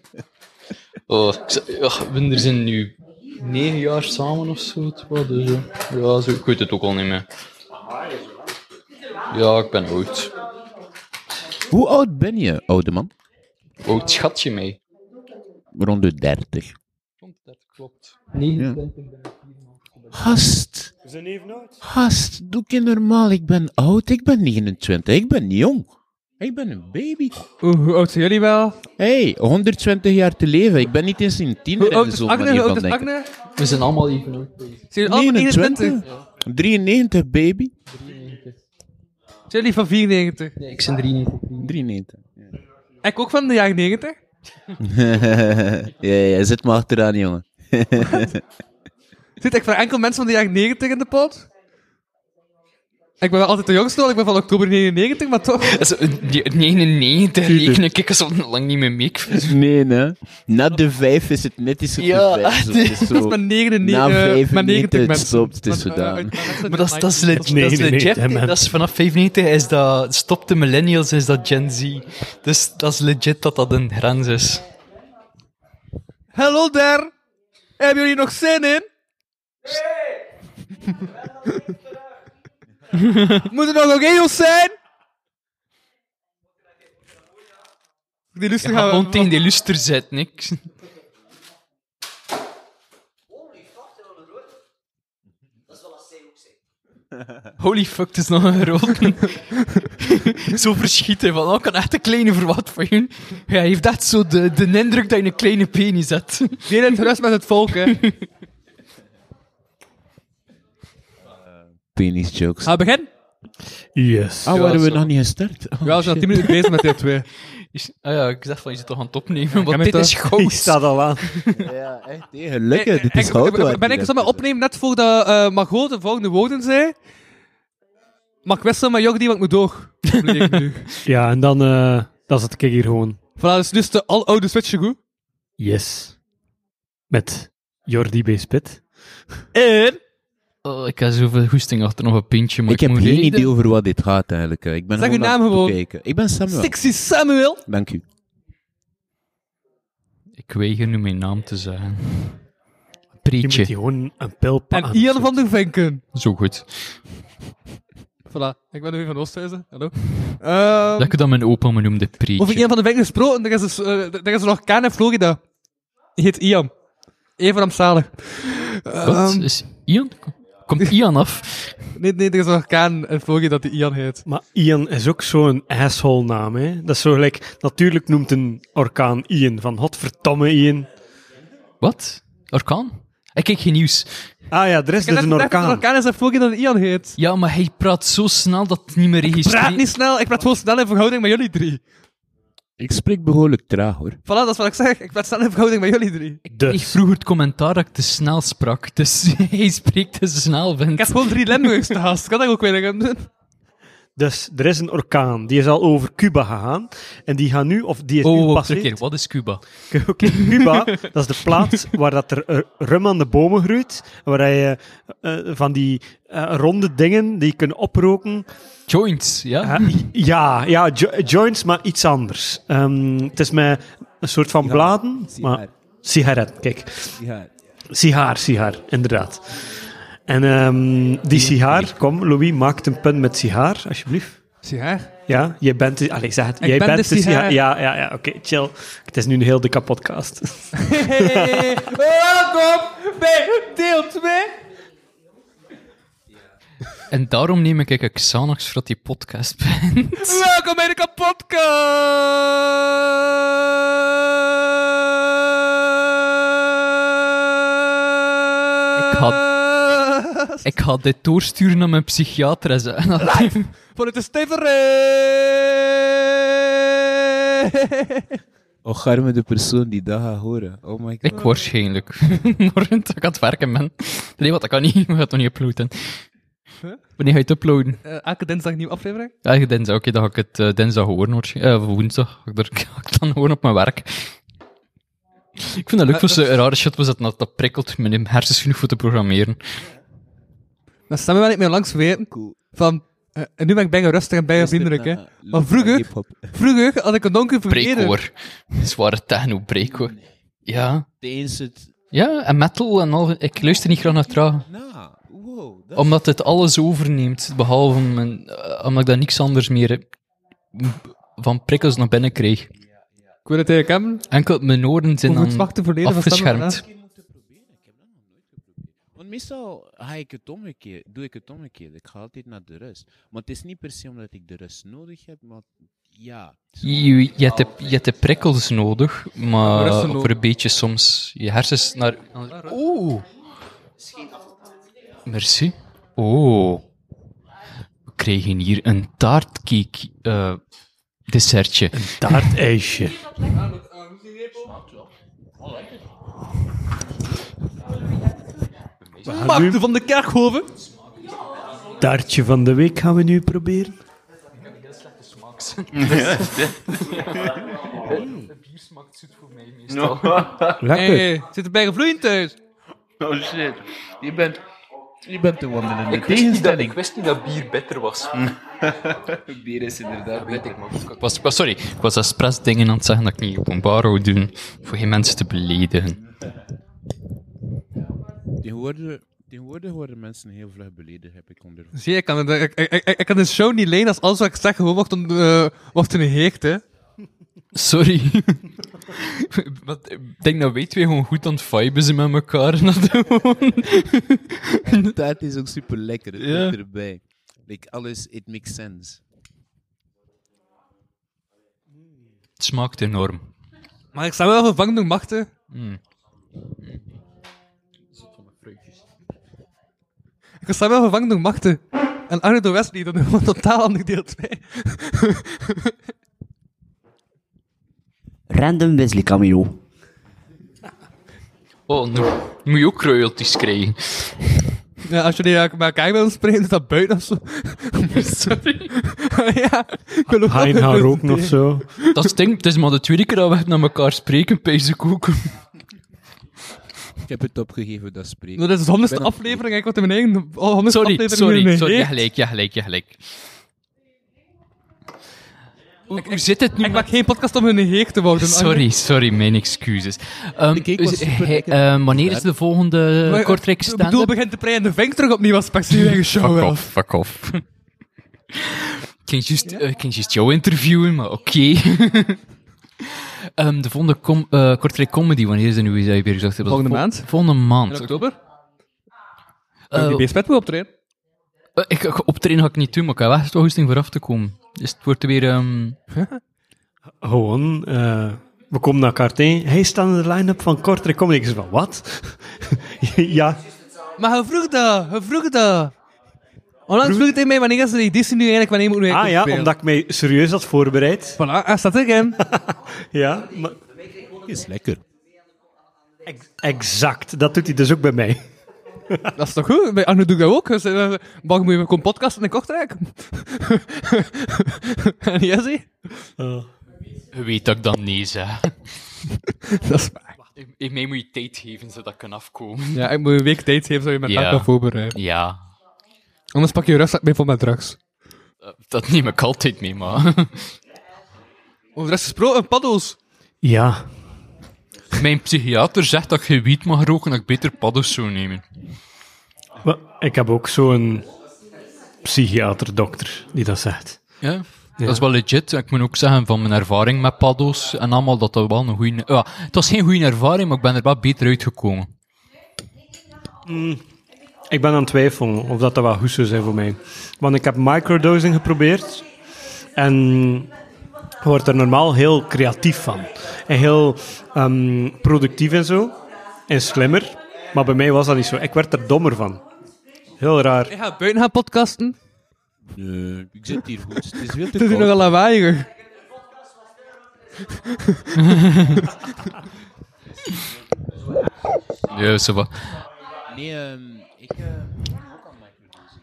Speaker 4: Oh, ik z- ach, we er zijn nu negen jaar samen of zo. het was, Dus, eh, ja, zo, ik weet het ook al niet meer. Ja, ik ben oud.
Speaker 2: Hoe oud ben je, oude man?
Speaker 4: Oud schatje mee.
Speaker 2: Rond de 30.
Speaker 4: Dat klopt. Nee,
Speaker 2: Ja. Hast,
Speaker 9: We zijn even oud.
Speaker 2: hast, doe je normaal. Ik ben oud, ik ben 29, ik ben niet jong. Ik ben een baby.
Speaker 5: Oeh, hoe oud zijn jullie wel?
Speaker 2: hey, 120 jaar te leven. Ik ben niet eens een tiener
Speaker 5: Hoe
Speaker 2: in
Speaker 5: oud is
Speaker 2: zo'n
Speaker 5: Agne?
Speaker 2: manier
Speaker 5: Hoe
Speaker 2: van
Speaker 5: oud is
Speaker 2: denken.
Speaker 5: Agne?
Speaker 4: we zijn allemaal even oud.
Speaker 5: Zijn jullie allemaal
Speaker 2: 29?
Speaker 5: 21?
Speaker 2: 93, baby.
Speaker 5: Zijn jullie van 94?
Speaker 4: Nee, ik ben 93.
Speaker 5: <laughs>
Speaker 2: 93.
Speaker 5: Ik ook van de jaren 90.
Speaker 2: ja, ja, zit maar achteraan, jongen.
Speaker 5: Zit ik voor enkel mensen van de jaren 90 in de pot? Ik ben wel altijd de jongste, want ik ben van oktober 99, maar toch.
Speaker 4: Dat is, eh, die- 99 reken ik zo lang niet meer mee. Ik vind-
Speaker 2: Nee, nee. Na de 5 is het net iets goed.
Speaker 4: Ja,
Speaker 5: <laughs> Dat is mijn 99
Speaker 2: Na
Speaker 5: eh,
Speaker 2: vijf
Speaker 5: mijn 90
Speaker 2: minuten
Speaker 5: mensen.
Speaker 2: stopt, het is
Speaker 5: Maar, eh,
Speaker 2: gedaan.
Speaker 5: uit-
Speaker 4: Maar dat is, dat is, le- dat is
Speaker 9: 99,
Speaker 4: legit.
Speaker 9: hè, man.
Speaker 4: Dat is vanaf 95 is dat, stopt de millennials, is dat Gen Z. Dus dat is legit dat dat een grens is.
Speaker 5: Hallo daar! Hebben jullie nog zin in? Moet er nog ook eos zijn? Die lusten
Speaker 4: Ik ga
Speaker 5: gaan
Speaker 4: gewoon tegen die luster zetten, niks. Holy fuck, het is nog een grote. <laughs> zo verschieten van, oh, ik kan echt een kleine verwacht van jullie. Ja, heeft dat zo de, de indruk dat je een kleine penis hebt. <laughs>
Speaker 5: Deel het gerust met het volk, <laughs> hè.
Speaker 2: Penis jokes.
Speaker 5: Gaan we beginnen?
Speaker 9: Yes.
Speaker 2: Ah, waren we
Speaker 4: zo.
Speaker 2: nog niet gestart?
Speaker 5: Ja, we zijn al 10 minuten bezig met deel 2.
Speaker 4: Is, ah ja, ik dacht van, je zit toch aan het opnemen, want
Speaker 5: heb
Speaker 4: dit
Speaker 5: het
Speaker 4: is <laughs>
Speaker 9: Die
Speaker 4: goud.
Speaker 9: staat al aan.
Speaker 2: <laughs> Ja, echt. Nee, gelukkig. Dit is
Speaker 5: Ik-
Speaker 2: goud.
Speaker 5: ben- Ben ik eens aan mijn opnemen net voordat eh Margot de volgende woorden zei? Mag ik wisselen met Jordi, want ik moet door. Bleek nu.
Speaker 9: Ja, en dan, eh dan zat ik hier gewoon.
Speaker 5: Voilà, dus, dus de aloude switchen goed.
Speaker 9: Yes. Met Jordi B. Spit.
Speaker 5: En...
Speaker 4: <laughs> Oh, ik heb zoveel goesting achter nog een pintje, maar
Speaker 2: Ik
Speaker 4: ik,
Speaker 2: heb
Speaker 4: moet
Speaker 2: geen
Speaker 4: reden.
Speaker 2: idee over wat dit gaat eigenlijk. eh. Ik ben
Speaker 5: Zeg uw
Speaker 2: aan
Speaker 5: naam
Speaker 2: het
Speaker 5: gewoon.
Speaker 2: bekijken. Ik ben Samuel.
Speaker 5: Sexy Samuel.
Speaker 2: Dank u.
Speaker 4: Ik weiger nu mijn naam te zeggen.
Speaker 9: Je moet
Speaker 4: Prietje.
Speaker 9: die gewoon een pil pakken.
Speaker 2: Ah,
Speaker 5: En Ian van der Venken.
Speaker 4: Zo goed.
Speaker 5: Voilà, ik ben nu van Oosthuizen. Hallo. Ehm,
Speaker 4: Lekker dat mijn opa me noemde Prietje.
Speaker 5: over Ian van der Venken gesproken, er is, dus, eh, er is een orkaan in Florida. Die heet Ian. Even rampzalig.
Speaker 4: Wat?
Speaker 5: Ehm,
Speaker 4: Is Ian? Komt Ian af?
Speaker 5: nee, nee, er is een orkaan in Florida die Ian heet.
Speaker 9: Maar Ian is ook zo'n asshole naam, hè. Dat is zo gelijk... Natuurlijk noemt een orkaan Ian. Van godverdamme Ian.
Speaker 4: Wat? Orkaan? Ik kijk geen nieuws.
Speaker 9: Ah ja, er is
Speaker 5: Ik heb
Speaker 9: dus een
Speaker 5: net gezegd dat
Speaker 9: orkaan.
Speaker 5: Een orkaan is in Florida die Ian heet.
Speaker 4: Ja, maar hij praat zo snel dat het niet meer registreert.
Speaker 5: Praat niet snel, ik praat gewoon snel in verhouding met jullie drie.
Speaker 2: Ik spreek behoorlijk traag hoor.
Speaker 5: Voilà, dat is wat ik zeg. Ik praat snel in verhouding met jullie drie.
Speaker 4: Ik
Speaker 9: Dus.
Speaker 4: vroeg het commentaar dat ik te snel sprak, dus <laughs> hij spreekt te snel,
Speaker 5: Ik heb
Speaker 4: vindt.
Speaker 5: gewoon drie Limburgs te gast. Kan dat ook weer aan doen?
Speaker 9: Dus, er is een orkaan. Die is al over Cuba gegaan. En die gaan nu... Of die is
Speaker 4: Oh,
Speaker 9: nu
Speaker 4: wacht,
Speaker 9: pas
Speaker 4: terug keer. Wat is Cuba?
Speaker 9: Oké,
Speaker 5: <laughs>
Speaker 9: Cuba, dat is de plaats waar dat er eh, rum aan de bomen groeit. Waar je eh, van die eh, ronde dingen die je kunt oproken.
Speaker 4: Joints, ja?
Speaker 9: Eh,
Speaker 5: Ah.
Speaker 9: ja, ja jo- joints, maar iets anders. Ehm, het is met een soort van bladen. Maar, sigaret, kijk. Sigaar, sigaar, inderdaad. En ehm, die sigaar, kom Louis, maak een punt met sigaar, alsjeblieft.
Speaker 5: Zie haar.
Speaker 9: Ja, jij bent de... Allee, zeg het.
Speaker 5: Ik
Speaker 9: jij
Speaker 5: ben
Speaker 9: bent
Speaker 5: de sigaar.
Speaker 9: Ja, ja, ja, oké, chill. Het is nu een heel dikke
Speaker 5: <laughs>
Speaker 9: podcast.
Speaker 5: Hey, welkom bij deel 2.
Speaker 4: En daarom neem ik een Xanax voor die podcast <laughs> ben.
Speaker 5: Welkom bij de kapotkast.
Speaker 4: Ik Ik ga dit doorsturen naar mijn psychiater en zeggen <laughs> dat-
Speaker 5: Vanuit de steverij.
Speaker 2: Och, arme de persoon die dat gaat horen. Oh my god.
Speaker 4: Ik <laughs> waarschijnlijk. Morgen dat ik aan het werken ben. Nee, wat, dat kan niet. We gaan het nog niet uploaden. Wanneer ga je het uploaden?
Speaker 5: Eh, elke dinsdag een nieuwe aflevering.
Speaker 4: Ja, dinsdag. Oké, dan ga ik het eh, dinsdag horen. waarschijnlijk. Eh, woensdag. Ga ik, er, <laughs> ga ik dan horen op mijn werk. Ik vind dat leuk,
Speaker 5: Eh,
Speaker 4: voor ze rare shit was dat, dat dat prikkelt mijn hersens genoeg voor te programmeren.
Speaker 5: Dan staan we wel niet meer langs weten.
Speaker 2: Cool.
Speaker 5: Van, eh, en nu ben ik bijna rustig eh, en bijna vriendelijk. Hè. Maar vroeger- Vroeger had ik een donker verkeerde.
Speaker 4: Breekhoor. Zware techno-breekhoor. Ja.
Speaker 2: Eens het...
Speaker 4: Ja, en metal en al. Ik luister niet graag naar traag.
Speaker 2: Nou, wow. Dat...
Speaker 4: Omdat het alles overneemt, behalve mijn, eh, omdat ik daar niks anders meer eh, van prikkels naar binnen kreeg.
Speaker 5: Ik wil het tegen hem.
Speaker 4: Enkel mijn oren zijn
Speaker 5: Om het
Speaker 4: dan
Speaker 5: wachten verleden van
Speaker 4: afgeschermd.
Speaker 2: Want meestal ga ik het omgekeerd, doe ik het omgekeerd. Ik ga altijd naar de rust. Maar het is niet per se omdat ik de rust nodig heb, maar ja. het is gewoon-
Speaker 4: Je, je, hebt de, je hebt de prikkels nodig, maar
Speaker 5: Rusten nodig.
Speaker 4: voor een beetje soms je hersens naar... Oeh. Merci. Oh. We kregen hier een taartcake eh, dessertje.
Speaker 9: Taartijsje. We gaan nu
Speaker 5: Maarten van de Kerkhoven.
Speaker 9: het taartje van de week gaan we nu proberen.
Speaker 5: Hey, Eh, zit er bijna vloeiend thuis.
Speaker 1: Oh shit. Je bent, je bent de wandelende tegenstelling.
Speaker 4: wist niet dat bier bitter was.
Speaker 1: Bier is inderdaad beter.
Speaker 4: Ik was, ik was- sorry, ik was expres dingen aan het zeggen dat ik niet openbaar wou doen. Voor geen mensen te beledigen.
Speaker 2: Tegenwoordig, tegenwoordig worden mensen heel vlug beleden, heb ik ondervonden.
Speaker 5: Zie je, ik kan, het- ik, ik, ik, ik kan de show niet leen als alles wat ik zeg gewoon wordt, een, eh, wordt een heekt, hè.
Speaker 4: Sorry. <laughs> Wat, ik denk dat wij twee gewoon goed aan het viben zijn met elkaar. <laughs> en Dat we gewoon-
Speaker 2: Taart is ook super lekker, het
Speaker 4: Ja.
Speaker 2: hoort erbij. Like, alles, it makes sense.
Speaker 4: het smaakt enorm.
Speaker 5: Maar ik sta wel vervangen door machten.
Speaker 4: Hmm.
Speaker 5: Ik sta wel vervangen door machten. En Arno door Wesley, dat is een totaal ander deel 2.
Speaker 8: Random Wesley cameo.
Speaker 4: Oh, nu moet je ook royalties krijgen.
Speaker 5: <laughs> Ja, als jullie eh, met elkaar willen spreken, is dat buiten of zo. <laughs>
Speaker 4: Sorry.
Speaker 5: ja, ik wil ook
Speaker 9: Ga je
Speaker 5: wel
Speaker 9: gaan
Speaker 5: even-
Speaker 9: roken of zo?
Speaker 4: Dat stinkt. Het is maar de tweede keer dat we naar elkaar spreken, Pijzenkoek.
Speaker 2: Ik heb het opgegeven, dat spreekt.
Speaker 5: Dat is dus de honderdste
Speaker 2: Ik ben-
Speaker 5: aflevering, ik wat in mijn eigen oh, honderdste
Speaker 4: Sorry,
Speaker 5: aflevering in
Speaker 4: sorry,
Speaker 5: mijn
Speaker 4: sorry. Ja,
Speaker 5: eigen.
Speaker 4: gelijk, ja, gelijk, ja, gelijk. Hoe, hoe zit het nu?
Speaker 5: Ik maak geen podcast om hun heek te worden.
Speaker 4: Sorry, sorry, mijn excuses. Ehm,
Speaker 2: De cake was
Speaker 4: is-
Speaker 2: super
Speaker 4: eh,
Speaker 2: lekker.
Speaker 4: ehm, wanneer is de volgende
Speaker 5: Maar, eh,
Speaker 4: Kortrijk
Speaker 5: Ik bedoel,
Speaker 4: stand-up?
Speaker 5: begint de prei en de vink terug opnieuw als Paxi in show
Speaker 4: Fuck
Speaker 5: wel.
Speaker 4: off, fuck <laughs> off. Ik ging juist- eh, ik ging juist jou interviewen, maar oké. Ehm, de volgende com eh, Kortrijk Comedy, wanneer is dat nu? Is dat je weer gezegd hebt?
Speaker 5: Volgende
Speaker 4: Vol-
Speaker 5: maand.
Speaker 4: Volgende
Speaker 5: In
Speaker 4: maand.
Speaker 5: oktober? Oh.
Speaker 4: Eh,
Speaker 5: Die beest met me optreden.
Speaker 4: eh, ik, ik, optreden ga ik niet doen, maar ik heb wel echt goesting vooraf te komen. Dus het wordt weer... ehm,
Speaker 9: Gewoon, eh, we komen naar elkaar tegen. Hij staat in de line-up van Kortrijk Comedy. Ik zeg van, wat? <laughs> ja,
Speaker 5: Maar hij vroeg dat, hij vroeg dat. Onlangs vroeg hij mij wanneer is de editie nu eigenlijk, wanneer moet ik nu
Speaker 9: ah
Speaker 5: eigenlijk
Speaker 9: ja,
Speaker 5: spelen?
Speaker 9: omdat ik mij serieus had voorbereid.
Speaker 5: Voilà, hij staat erin.
Speaker 9: Ja, maar
Speaker 2: is lekker.
Speaker 9: ex- exact. Dat doet hij dus ook bij mij.
Speaker 5: <laughs> dat is toch goed? Bij Arno doe ik dat ook. Dus, eh, Mag moet je komen podcasten in Kortrijk? <laughs> en Jesse?
Speaker 4: Je weet dat ik dan nee zeg.
Speaker 5: Dat is waar.
Speaker 4: In- In mij moet je tijd geven zodat ik kan afkomen.
Speaker 5: Ja, ik moet een week tijd geven, zodat je mijn
Speaker 4: Ja.
Speaker 5: dag kan voorbereiden.
Speaker 4: Ja,
Speaker 5: Anders pak je je rugzak mee voor mijn drugs.
Speaker 4: dat neem ik altijd mee, maar...
Speaker 5: Over de rest gesproken, paddels.
Speaker 9: Ja,
Speaker 4: Mijn psychiater zegt dat ik geen wiet mag roken, dat ik beter paddo's zou nemen.
Speaker 9: Wel, ik heb ook zo'n psychiater-dokter die dat zegt.
Speaker 4: Ja. Dat is wel legit. Ik moet ook zeggen van mijn ervaring met paddo's en allemaal dat dat wel een goede. Ja, het was geen goede ervaring, maar ik ben er wel beter uitgekomen.
Speaker 9: Ik ben aan het twijfelen of dat, dat wel goed zou zijn voor mij. Want ik heb microdosing geprobeerd. En je wordt er normaal heel creatief van. En heel ehm, productief en zo. En slimmer. Maar bij mij was dat niet zo. Ik werd er dommer van. Heel raar.
Speaker 5: Ik ga buiten gaan podcasten.
Speaker 2: Nee, ik zit hier goed. Het is veel te
Speaker 5: Het is hier
Speaker 2: koud.
Speaker 5: nogal lawaaiig.
Speaker 4: Ja, zo wat.
Speaker 2: Nee, ehm, ik... eh,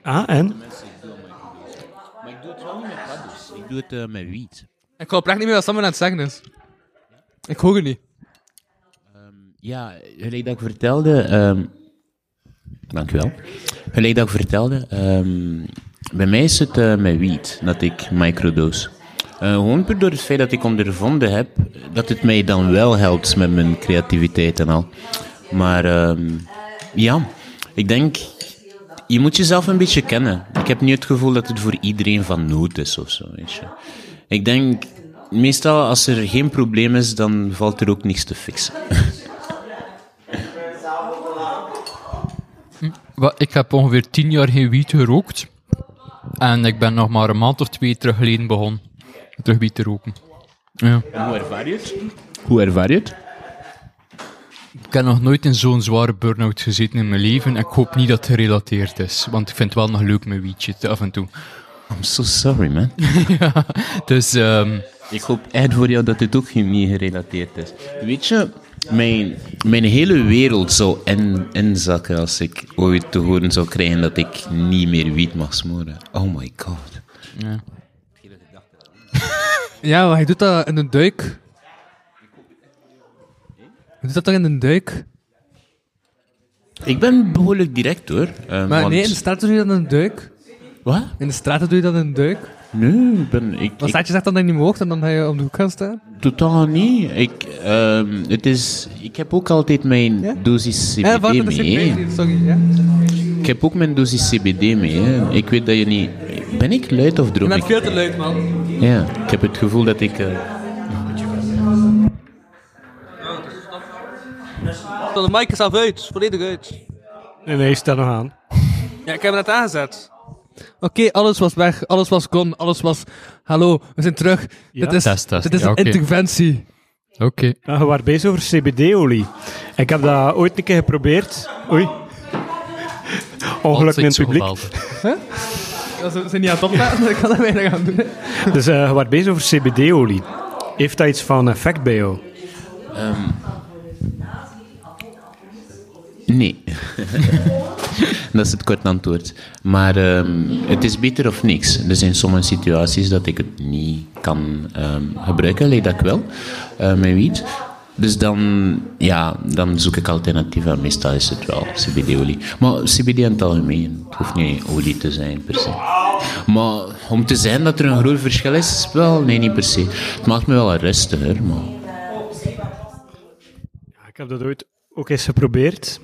Speaker 9: Ah, en?
Speaker 2: maar ik doe het wel niet met paddo's. Ik doe het eh, met wiet.
Speaker 5: Ik ga oprecht niet meer wat Sam aan het zeggen is. Ik hoor het niet.
Speaker 2: Ja, gelijk dat ik vertelde. ehm Dank u wel. Gelijk dat ik vertelde. ehm, bij mij is het eh, met wiet dat ik microdose. Eh, gewoon puur door het feit dat ik ondervonden heb dat het mij dan wel helpt met mijn creativiteit en al. Maar ehm, ja, ik denk. Je moet jezelf een beetje kennen. Ik heb niet het gevoel dat het voor iedereen van nood is of zo. Weet je. Ik denk, meestal als er geen probleem is, dan valt er ook niks te fixen.
Speaker 4: Wel, Ik heb ongeveer tien jaar geen wiet gerookt. En ik ben nog maar een maand of twee terug geleden begonnen. Terug wiet te roken. Ja.
Speaker 2: Hoe ervaar je het? Hoe ervaar je het?
Speaker 4: Ik heb nog nooit in zo'n zware burn-out gezeten in mijn leven. En ik hoop niet dat het gerelateerd is. Want ik vind het wel nog leuk mijn wietje te- af en toe.
Speaker 2: I'm so sorry, man.
Speaker 4: Dus ehm,
Speaker 2: <laughs> Ik hoop echt voor jou dat dit ook geen- niet gerelateerd is. Weet je, mijn, mijn hele wereld zou in, inzakken als ik ooit te horen zou krijgen dat ik niet meer wiet mag smoren. Oh my god.
Speaker 5: Ja, maar hij doet dat in een duik. Hij doet dat toch in een duik?
Speaker 2: Ik ben behoorlijk direct hoor. eh,
Speaker 5: Maar
Speaker 2: want-
Speaker 5: nee, in de straat doe je dat in een duik.
Speaker 2: Wat?
Speaker 5: In de straat doe je dat in een duik.
Speaker 2: Nee, ik ben. Ik,
Speaker 5: Want
Speaker 2: ik-
Speaker 5: staat je zegt dan dat je niet mocht en dan ga je om de hoek gaan staan.
Speaker 2: totaal niet. Ik, ehm, het is, ik heb ook altijd mijn
Speaker 5: Ja?
Speaker 2: dosis CBD
Speaker 5: Ja, wat
Speaker 2: mee.
Speaker 5: Eh, dat is een sorry. Ja.
Speaker 2: Ik heb ook mijn dosis CBD mee. Hè. Ik weet dat je niet. Ben ik luid of droom ik?
Speaker 5: veel te leuk, man.
Speaker 2: Ja, ik heb het gevoel dat ik. eh,
Speaker 5: De mic is af uit, volledig uit.
Speaker 9: En hij staat nog aan.
Speaker 5: Ja, ik heb dat aangezet. Oké, alles was weg, alles was gone, alles was... Hallo, we zijn terug.
Speaker 9: Ja.
Speaker 5: dit is,
Speaker 4: Test, test.
Speaker 5: Dit is
Speaker 4: Ja,
Speaker 5: een
Speaker 4: oké.
Speaker 5: interventie.
Speaker 4: oké.
Speaker 9: Ja, je waren bezig over CBD-olie. Ik heb dat ooit een keer geprobeerd. Oei. Ongeluk in
Speaker 4: Altijd
Speaker 9: het
Speaker 4: zo
Speaker 9: publiek.
Speaker 4: geweldig.
Speaker 5: <laughs> Ja, ze ze zijn niet aan het opletten, ik kan er weinig aan doen. hè.
Speaker 9: Dus eh, je was bezig over CBD-olie. Heeft dat iets van effect bij jou?
Speaker 2: Nee. <laughs> dat is het korte antwoord. Maar ehm, het is beter of niks. Dus in sommige situaties dat ik het niet kan ehm, gebruiken, leek dat ik wel, eh mijn wiet. Dus dan, ja, dan zoek ik alternatieven. Meestal is het wel CBD-olie. Maar CBD in het algemeen. Het hoeft niet olie te zijn, per se. Maar om te zijn dat er een groot verschil is, wel, nee, niet per se. Het maakt me wel rustiger, maar...
Speaker 9: Ja, ik heb dat ooit ook eens geprobeerd.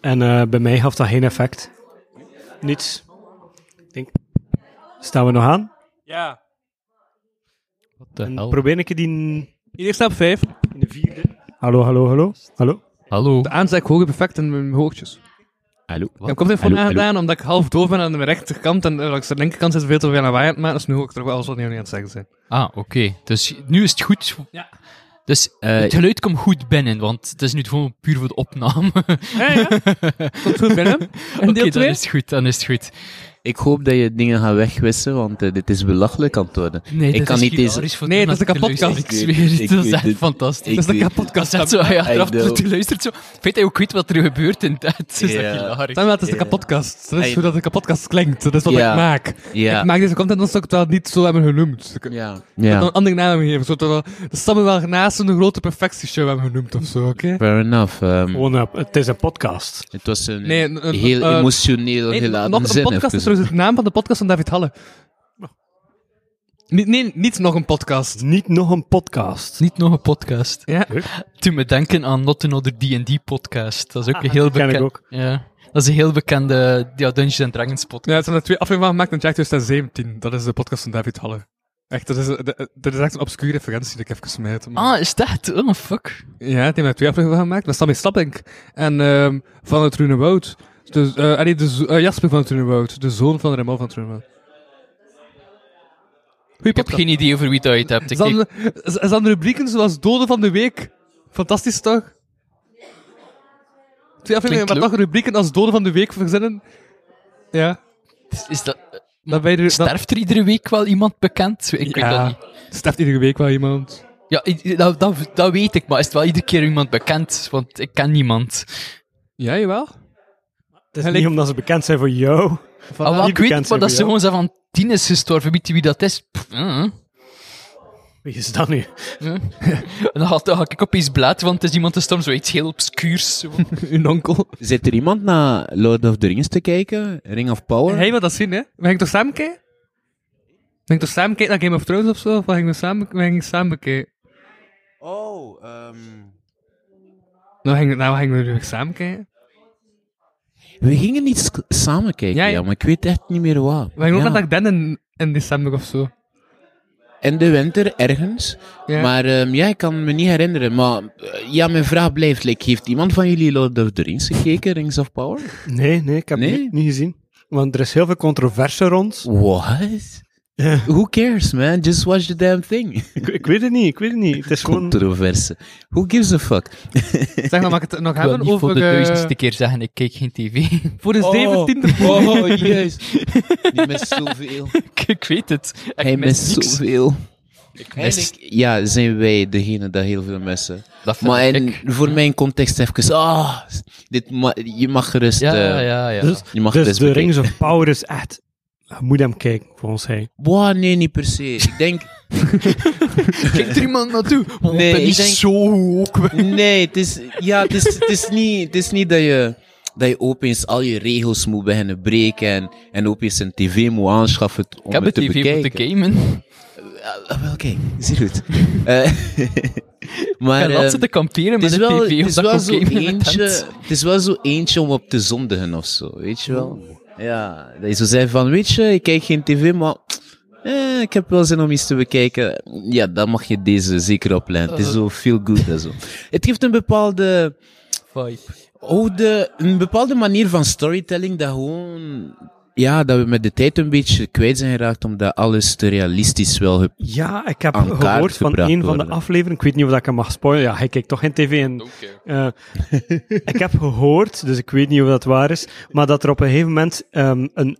Speaker 9: En eh, bij mij gaf dat geen effect. Niets. Ik denk... Staan we nog aan?
Speaker 5: Ja.
Speaker 4: Wat de
Speaker 9: En
Speaker 4: hel?
Speaker 9: probeer ik het in,
Speaker 5: Hier stap 5.
Speaker 9: in de vierde. Hallo, hallo, hallo. Hallo?
Speaker 4: Hallo?
Speaker 5: De aanzet hoger perfect in mijn hoogtjes.
Speaker 2: Hallo?
Speaker 5: Ik heb het even
Speaker 2: Oh, Hallo,
Speaker 5: gedaan omdat ik half doof ben aan mijn rechterkant en eh, langs de linkerkant zit veel te veel lawaai aan het maken. Dus nu hoor ik toch wel alles wat jullie aan het zeggen zijn.
Speaker 4: Ah, oké. Dus nu is het goed. Dus
Speaker 2: Eh,
Speaker 4: het geluid komt goed binnen, want het is nu gewoon puur voor de opname. <laughs> Oké,
Speaker 5: Komt goed binnen. En deel
Speaker 4: dan
Speaker 5: 2?
Speaker 4: is het goed, dan is het goed.
Speaker 2: Ik hoop dat je dingen gaat wegwissen, want eh, dit is belachelijk aan het worden.
Speaker 4: Nee,
Speaker 2: ik
Speaker 4: dat
Speaker 2: kan
Speaker 4: is
Speaker 2: niet
Speaker 4: hilarisch
Speaker 2: deze.
Speaker 4: voor
Speaker 5: Nee,
Speaker 4: iemand
Speaker 5: dat is een
Speaker 4: die luistert.
Speaker 5: kapotkast.
Speaker 4: Ik zweer
Speaker 2: Ik
Speaker 4: het, <laughs> dat
Speaker 2: weet
Speaker 4: is echt
Speaker 2: het.
Speaker 4: fantastisch.
Speaker 2: Ik
Speaker 4: Dat is
Speaker 2: weet-
Speaker 4: een kapotkast. Dat zo, ja,
Speaker 2: I
Speaker 4: eraf
Speaker 2: know.
Speaker 4: dat je luistert zo. Het feit dat je ook weet wat er gebeurt in tijd, <laughs> is
Speaker 2: Ja.
Speaker 4: dat hilarisch.
Speaker 5: Samuel, het is de kapotkast. Dat is
Speaker 2: Hey.
Speaker 5: hoe dat de kapotkast klinkt. Dat is wat
Speaker 2: Ja.
Speaker 5: ik maak.
Speaker 2: Ja.
Speaker 5: Ik maak deze content omdat ze het wel niet zo hebben genoemd. Ik
Speaker 2: Ja.
Speaker 5: heb dan
Speaker 2: ja.
Speaker 5: een andere naam gegeven. Zodat we wel- de Samuel naast een grote perfectieshow hebben genoemd of zo, oké?
Speaker 2: Fair enough. ehm,
Speaker 9: Gewoon, eh, het is een podcast.
Speaker 2: Het was een
Speaker 5: Oh. Nee, een- een-
Speaker 2: heel
Speaker 5: eh,
Speaker 2: emotioneel
Speaker 5: Nee,
Speaker 2: geladen
Speaker 5: nog een
Speaker 2: zin.
Speaker 5: podcast is
Speaker 2: even.
Speaker 5: trouwens de naam van de podcast van David Halle. Niet, nee, niet nog een podcast.
Speaker 9: Niet nog een podcast.
Speaker 4: Niet nog een podcast.
Speaker 5: Ja.
Speaker 4: Toen me denken aan Not Another D&D podcast. Dat
Speaker 5: Ah,
Speaker 4: is ook een heel
Speaker 9: ken ik
Speaker 4: bekend...
Speaker 9: ook.
Speaker 4: Ja. Dat is een heel bekende ja, Dungeons and Dragons podcast.
Speaker 5: Ja, het zijn er twee afleveringen van gemaakt in het jaar 2017. Dat is de podcast van David Halle. Echt, dat is, dat- dat is echt een obscure referentie die ik even smijt. maar-
Speaker 4: Ah, is dat? Oh, fuck.
Speaker 5: Ja, die hebben daar twee afleveringen van gemaakt. Met Sammy Stappink en ehm, van het Rune Woud. Dus, eh, ah nee, de, zo- eh, Jasper van het Rune Woud. De zoon van Raymond van het Rune Woud. Goeie
Speaker 4: Ik heb
Speaker 5: podcast.
Speaker 4: geen idee over wie dat je het hebt. Ik, ik-
Speaker 5: Zan, z- zan rubrieken zoals Doden van de Week. Fantastisch toch? Twee afleveringen met
Speaker 4: leuk.
Speaker 5: toch rubrieken als Doden van de Week verzinnen. Ja.
Speaker 4: is dat,
Speaker 5: Dan ben je, dan
Speaker 4: sterft er iedere week wel iemand bekend? Ik weet dat
Speaker 5: Ja.
Speaker 4: niet.
Speaker 5: sterft iedere week wel iemand.
Speaker 4: Ja, i- dat, dat, dat weet ik, maar is het wel iedere keer iemand bekend? Want ik ken niemand.
Speaker 5: Ja, jawel.
Speaker 9: Het is
Speaker 5: Hij
Speaker 9: niet
Speaker 5: lijkt-
Speaker 9: omdat ze bekend zijn voor jou.
Speaker 4: Ah, wel,
Speaker 9: niet
Speaker 4: ik weet
Speaker 9: bekend
Speaker 4: het, maar dat
Speaker 9: zijn
Speaker 4: ze
Speaker 9: voor
Speaker 4: gewoon zijn van tien is gestorven. Weet je wie dat is? Pff, eh.
Speaker 9: Wie is dat nu?
Speaker 4: En dan ga, dan ga ik opeens blaad, want het is iemand gestorven, zoiets heel obscuurs. Zo.
Speaker 5: Uw onkel.
Speaker 2: Zit er iemand naar Lord of the Rings te kijken? Ring of Power?
Speaker 5: Hij wil dat zien, hè? We gingen toch samen kijken? We gingen toch samen kijken naar Game of Thrones of zo? Of we gingen samen, we gingen samen kijken?
Speaker 2: Oh, ehm,
Speaker 5: Nou, we gingen, nou, we gingen nu samen kijken.
Speaker 2: we gingen niet sk- samen kijken,
Speaker 5: Ja,
Speaker 2: ja,
Speaker 5: ja.
Speaker 2: maar ik weet echt niet meer waar.
Speaker 5: We gingen ook
Speaker 2: Ja.
Speaker 5: naar Den in, in december of zo.
Speaker 2: In de winter ergens.
Speaker 5: Ja.
Speaker 2: Maar ehm, ja, ik kan me niet herinneren. Maar eh, ja, mijn vraag blijft: like, heeft iemand van jullie Lord of the Rings gekeken, Rings of Power?
Speaker 9: Nee, nee, ik heb
Speaker 2: Nee?
Speaker 9: het niet gezien. Want er is heel veel controverse rond.
Speaker 2: What?
Speaker 9: Ja.
Speaker 2: Who cares, man? Just watch the damn thing.
Speaker 9: Ik, ik weet het niet, ik weet het niet. Het is gewoon...
Speaker 2: Controverse. Who gives a fuck?
Speaker 5: Zeg, dan mag ik het nog
Speaker 4: Ik wil
Speaker 5: hebben
Speaker 4: niet
Speaker 5: over...
Speaker 4: voor de
Speaker 5: eh,
Speaker 4: duizendste keer zeggen, ik kijk geen
Speaker 2: <laughs>
Speaker 4: tv.
Speaker 5: voor
Speaker 4: Oh.
Speaker 5: de zeventiende...
Speaker 2: Oh,
Speaker 9: <laughs>
Speaker 2: jezus. Die mist zoveel.
Speaker 4: ik, ik weet <laughs> het. Ik
Speaker 2: Hij
Speaker 4: mis
Speaker 2: mist
Speaker 4: niks.
Speaker 2: zoveel.
Speaker 4: Ik mis...
Speaker 2: Eigenlijk, ja, zijn wij degene dat heel veel missen.
Speaker 4: Dat vind
Speaker 2: Maar en,
Speaker 4: ik.
Speaker 2: voor mijn context even, ah, dit ma- je mag gerust...
Speaker 4: Ja, ja,
Speaker 2: eh,
Speaker 4: ja.
Speaker 9: Dus,
Speaker 2: Je mag
Speaker 9: dus
Speaker 2: gerust
Speaker 9: de
Speaker 2: bekijken.
Speaker 9: Rings of Power is echt... Je moet hem kijken, volgens hij.
Speaker 2: Wow, nee, niet per se. Ik denk...
Speaker 4: <laughs> Kijkt er iemand naartoe? Oh,
Speaker 2: Nee,
Speaker 4: ben
Speaker 2: ik
Speaker 4: niet
Speaker 2: denk-
Speaker 4: zo ook.
Speaker 2: Nee, het is, ja, het is, het is, niet, het is niet dat je, dat je opeens al je regels moet beginnen breken en, en opeens een tv moet aanschaffen om
Speaker 4: Ik heb
Speaker 2: het
Speaker 4: het
Speaker 2: te
Speaker 4: tv
Speaker 2: bekijken.
Speaker 4: moeten gamen.
Speaker 2: Ah, wel, Oké, zeer goed. Eh, <laughs> maar
Speaker 4: En laat ze
Speaker 2: ehm,
Speaker 4: te kamperen
Speaker 2: het
Speaker 4: met
Speaker 2: is
Speaker 4: de
Speaker 2: wel,
Speaker 4: tv,
Speaker 2: het is
Speaker 4: omdat
Speaker 2: wel
Speaker 4: ik
Speaker 2: zo
Speaker 4: ook game in de
Speaker 2: eentje,
Speaker 4: tent.
Speaker 2: het is wel zo eentje om op te zondigen of zo, weet je wel? Ja, dat je zo zei van, weet je, ik kijk geen tv, maar eh, ik heb wel zin om iets te bekijken. Ja, dan mag je deze zeker opleiden. Het is zo feel
Speaker 4: <laughs>
Speaker 2: good en zo. Het geeft een bepaalde
Speaker 4: Vibe.
Speaker 2: oude, een bepaalde manier van storytelling dat gewoon, ja, dat we met de tijd een beetje kwijt zijn geraakt, omdat alles te realistisch wel ge-
Speaker 9: Ja, ik heb
Speaker 2: Aan kaart
Speaker 9: gehoord van
Speaker 2: gebracht
Speaker 9: een van de
Speaker 2: worden.
Speaker 9: afleveringen. Ik weet niet of dat ik hem mag spoilen. Ja, hij kijkt toch geen tv. En, eh, ik heb gehoord, dus ik weet niet of dat waar is, maar dat er op een gegeven moment ehm, een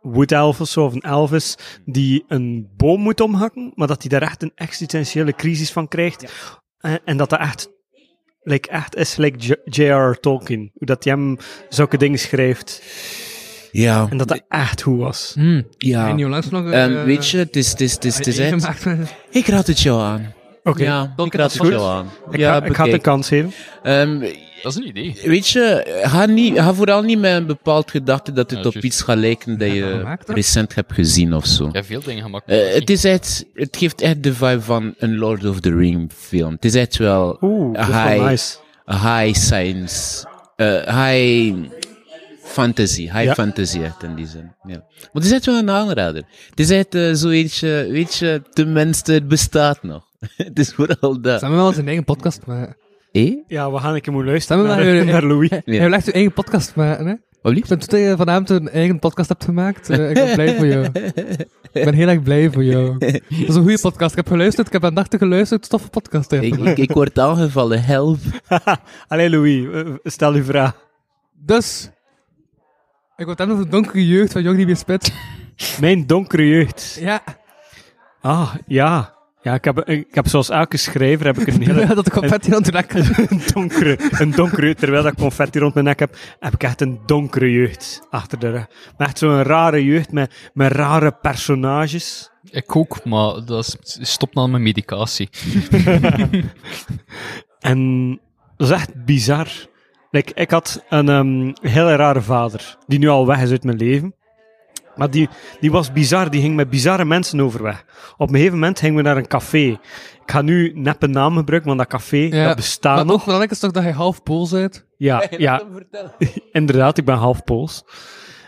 Speaker 9: Wood Elf of zo, of een Elvis, die een boom moet omhakken, maar dat hij daar echt een existentiële crisis van krijgt. En, en dat dat echt, like, echt is, like J- J.R.R. Tolkien. Hoe dat hij hem zulke dingen schrijft.
Speaker 2: Ja.
Speaker 9: En dat dat echt goed was.
Speaker 5: Hmm.
Speaker 2: ja.
Speaker 5: En nu langs nog... eh,
Speaker 2: Ehm, weet je, het is, het is, het is, het is echt- Ik raad het jou aan.
Speaker 9: Oké,
Speaker 2: Ja, ik
Speaker 4: dat
Speaker 2: raad
Speaker 4: is
Speaker 2: het
Speaker 4: goed.
Speaker 2: jou aan.
Speaker 9: ik,
Speaker 2: ja,
Speaker 9: ga, ik ga het een
Speaker 2: bekijk.
Speaker 9: kans geven.
Speaker 2: Ehm,
Speaker 4: Dat is een idee.
Speaker 2: Weet je, ga, niet, ga vooral niet met een bepaald gedachte dat het
Speaker 4: Ja,
Speaker 2: op
Speaker 4: juist.
Speaker 2: iets gaat lijken dat je
Speaker 5: gemaakt dat?
Speaker 2: recent hebt gezien of zo.
Speaker 4: Je hebt veel dingen gemaakt.
Speaker 2: Eh, het, is echt, het geeft echt de vibe van een Lord of the Ring film. Het is echt wel
Speaker 9: Oeh, dat is wel
Speaker 2: high,
Speaker 9: nice.
Speaker 2: high science, eh, high fantasy, high
Speaker 9: Ja.
Speaker 2: fantasy echt in die zin. Ja. Maar het is echt wel een aanrader. Het is echt eh, zo eentje, weet je, tenminste het bestaat nog. <laughs> het is vooral dat.
Speaker 5: Samen wel zijn eigen podcast maken.
Speaker 2: Eh?
Speaker 9: Ja, we gaan een keer moeten luisteren
Speaker 5: Samen
Speaker 9: naar,
Speaker 5: naar-
Speaker 9: <laughs> naar Louis.
Speaker 5: Hij wil echt uw eigen podcast maken, hè? Ik
Speaker 2: Wat lief?
Speaker 5: ben tot dat je vanavond een eigen podcast hebt gemaakt. eh, ik ben blij voor jou. Ik ben heel erg blij voor jou. Dat is een goede podcast. Ik heb geluisterd, ik heb aandachtig geluisterd. Toffe podcast, hè.
Speaker 2: Ik, ik, ik word aangevallen, <laughs> help.
Speaker 9: Allee Louis, eh, stel uw vraag.
Speaker 5: Dus, ik word hem nog de donkere jeugd van Jong die weer spit.
Speaker 9: Mijn donkere jeugd.
Speaker 5: Ja,
Speaker 9: Ah, ja. Ja, ik heb, ik heb zoals elke schrijver heb ik een
Speaker 5: <laughs>
Speaker 9: hele
Speaker 5: dat ik confetti aan het lekker.
Speaker 9: <laughs> een donkere, een donkere jeugd. Terwijl ik confetti rond mijn nek heb, heb ik echt een donkere jeugd achter de rug. Maar echt zo'n rare jeugd met, met rare personages.
Speaker 4: Ik ook, maar dat is, stop na mijn medicatie.
Speaker 9: En dat is echt bizar. Like, ik had een ehm, hele rare vader, die nu al weg is uit mijn leven. Maar die, die was bizar, die ging met bizarre mensen overweg. Op een gegeven moment gingen we naar een café. Ik ga nu nep een naam gebruiken, want dat café
Speaker 5: Ja,
Speaker 9: dat
Speaker 2: Ah,
Speaker 9: bestaat
Speaker 5: Maar
Speaker 9: nog.
Speaker 5: nog belangrijk is toch dat hij half pool bent?
Speaker 9: Ja, ja inderdaad, ik ben half Pools.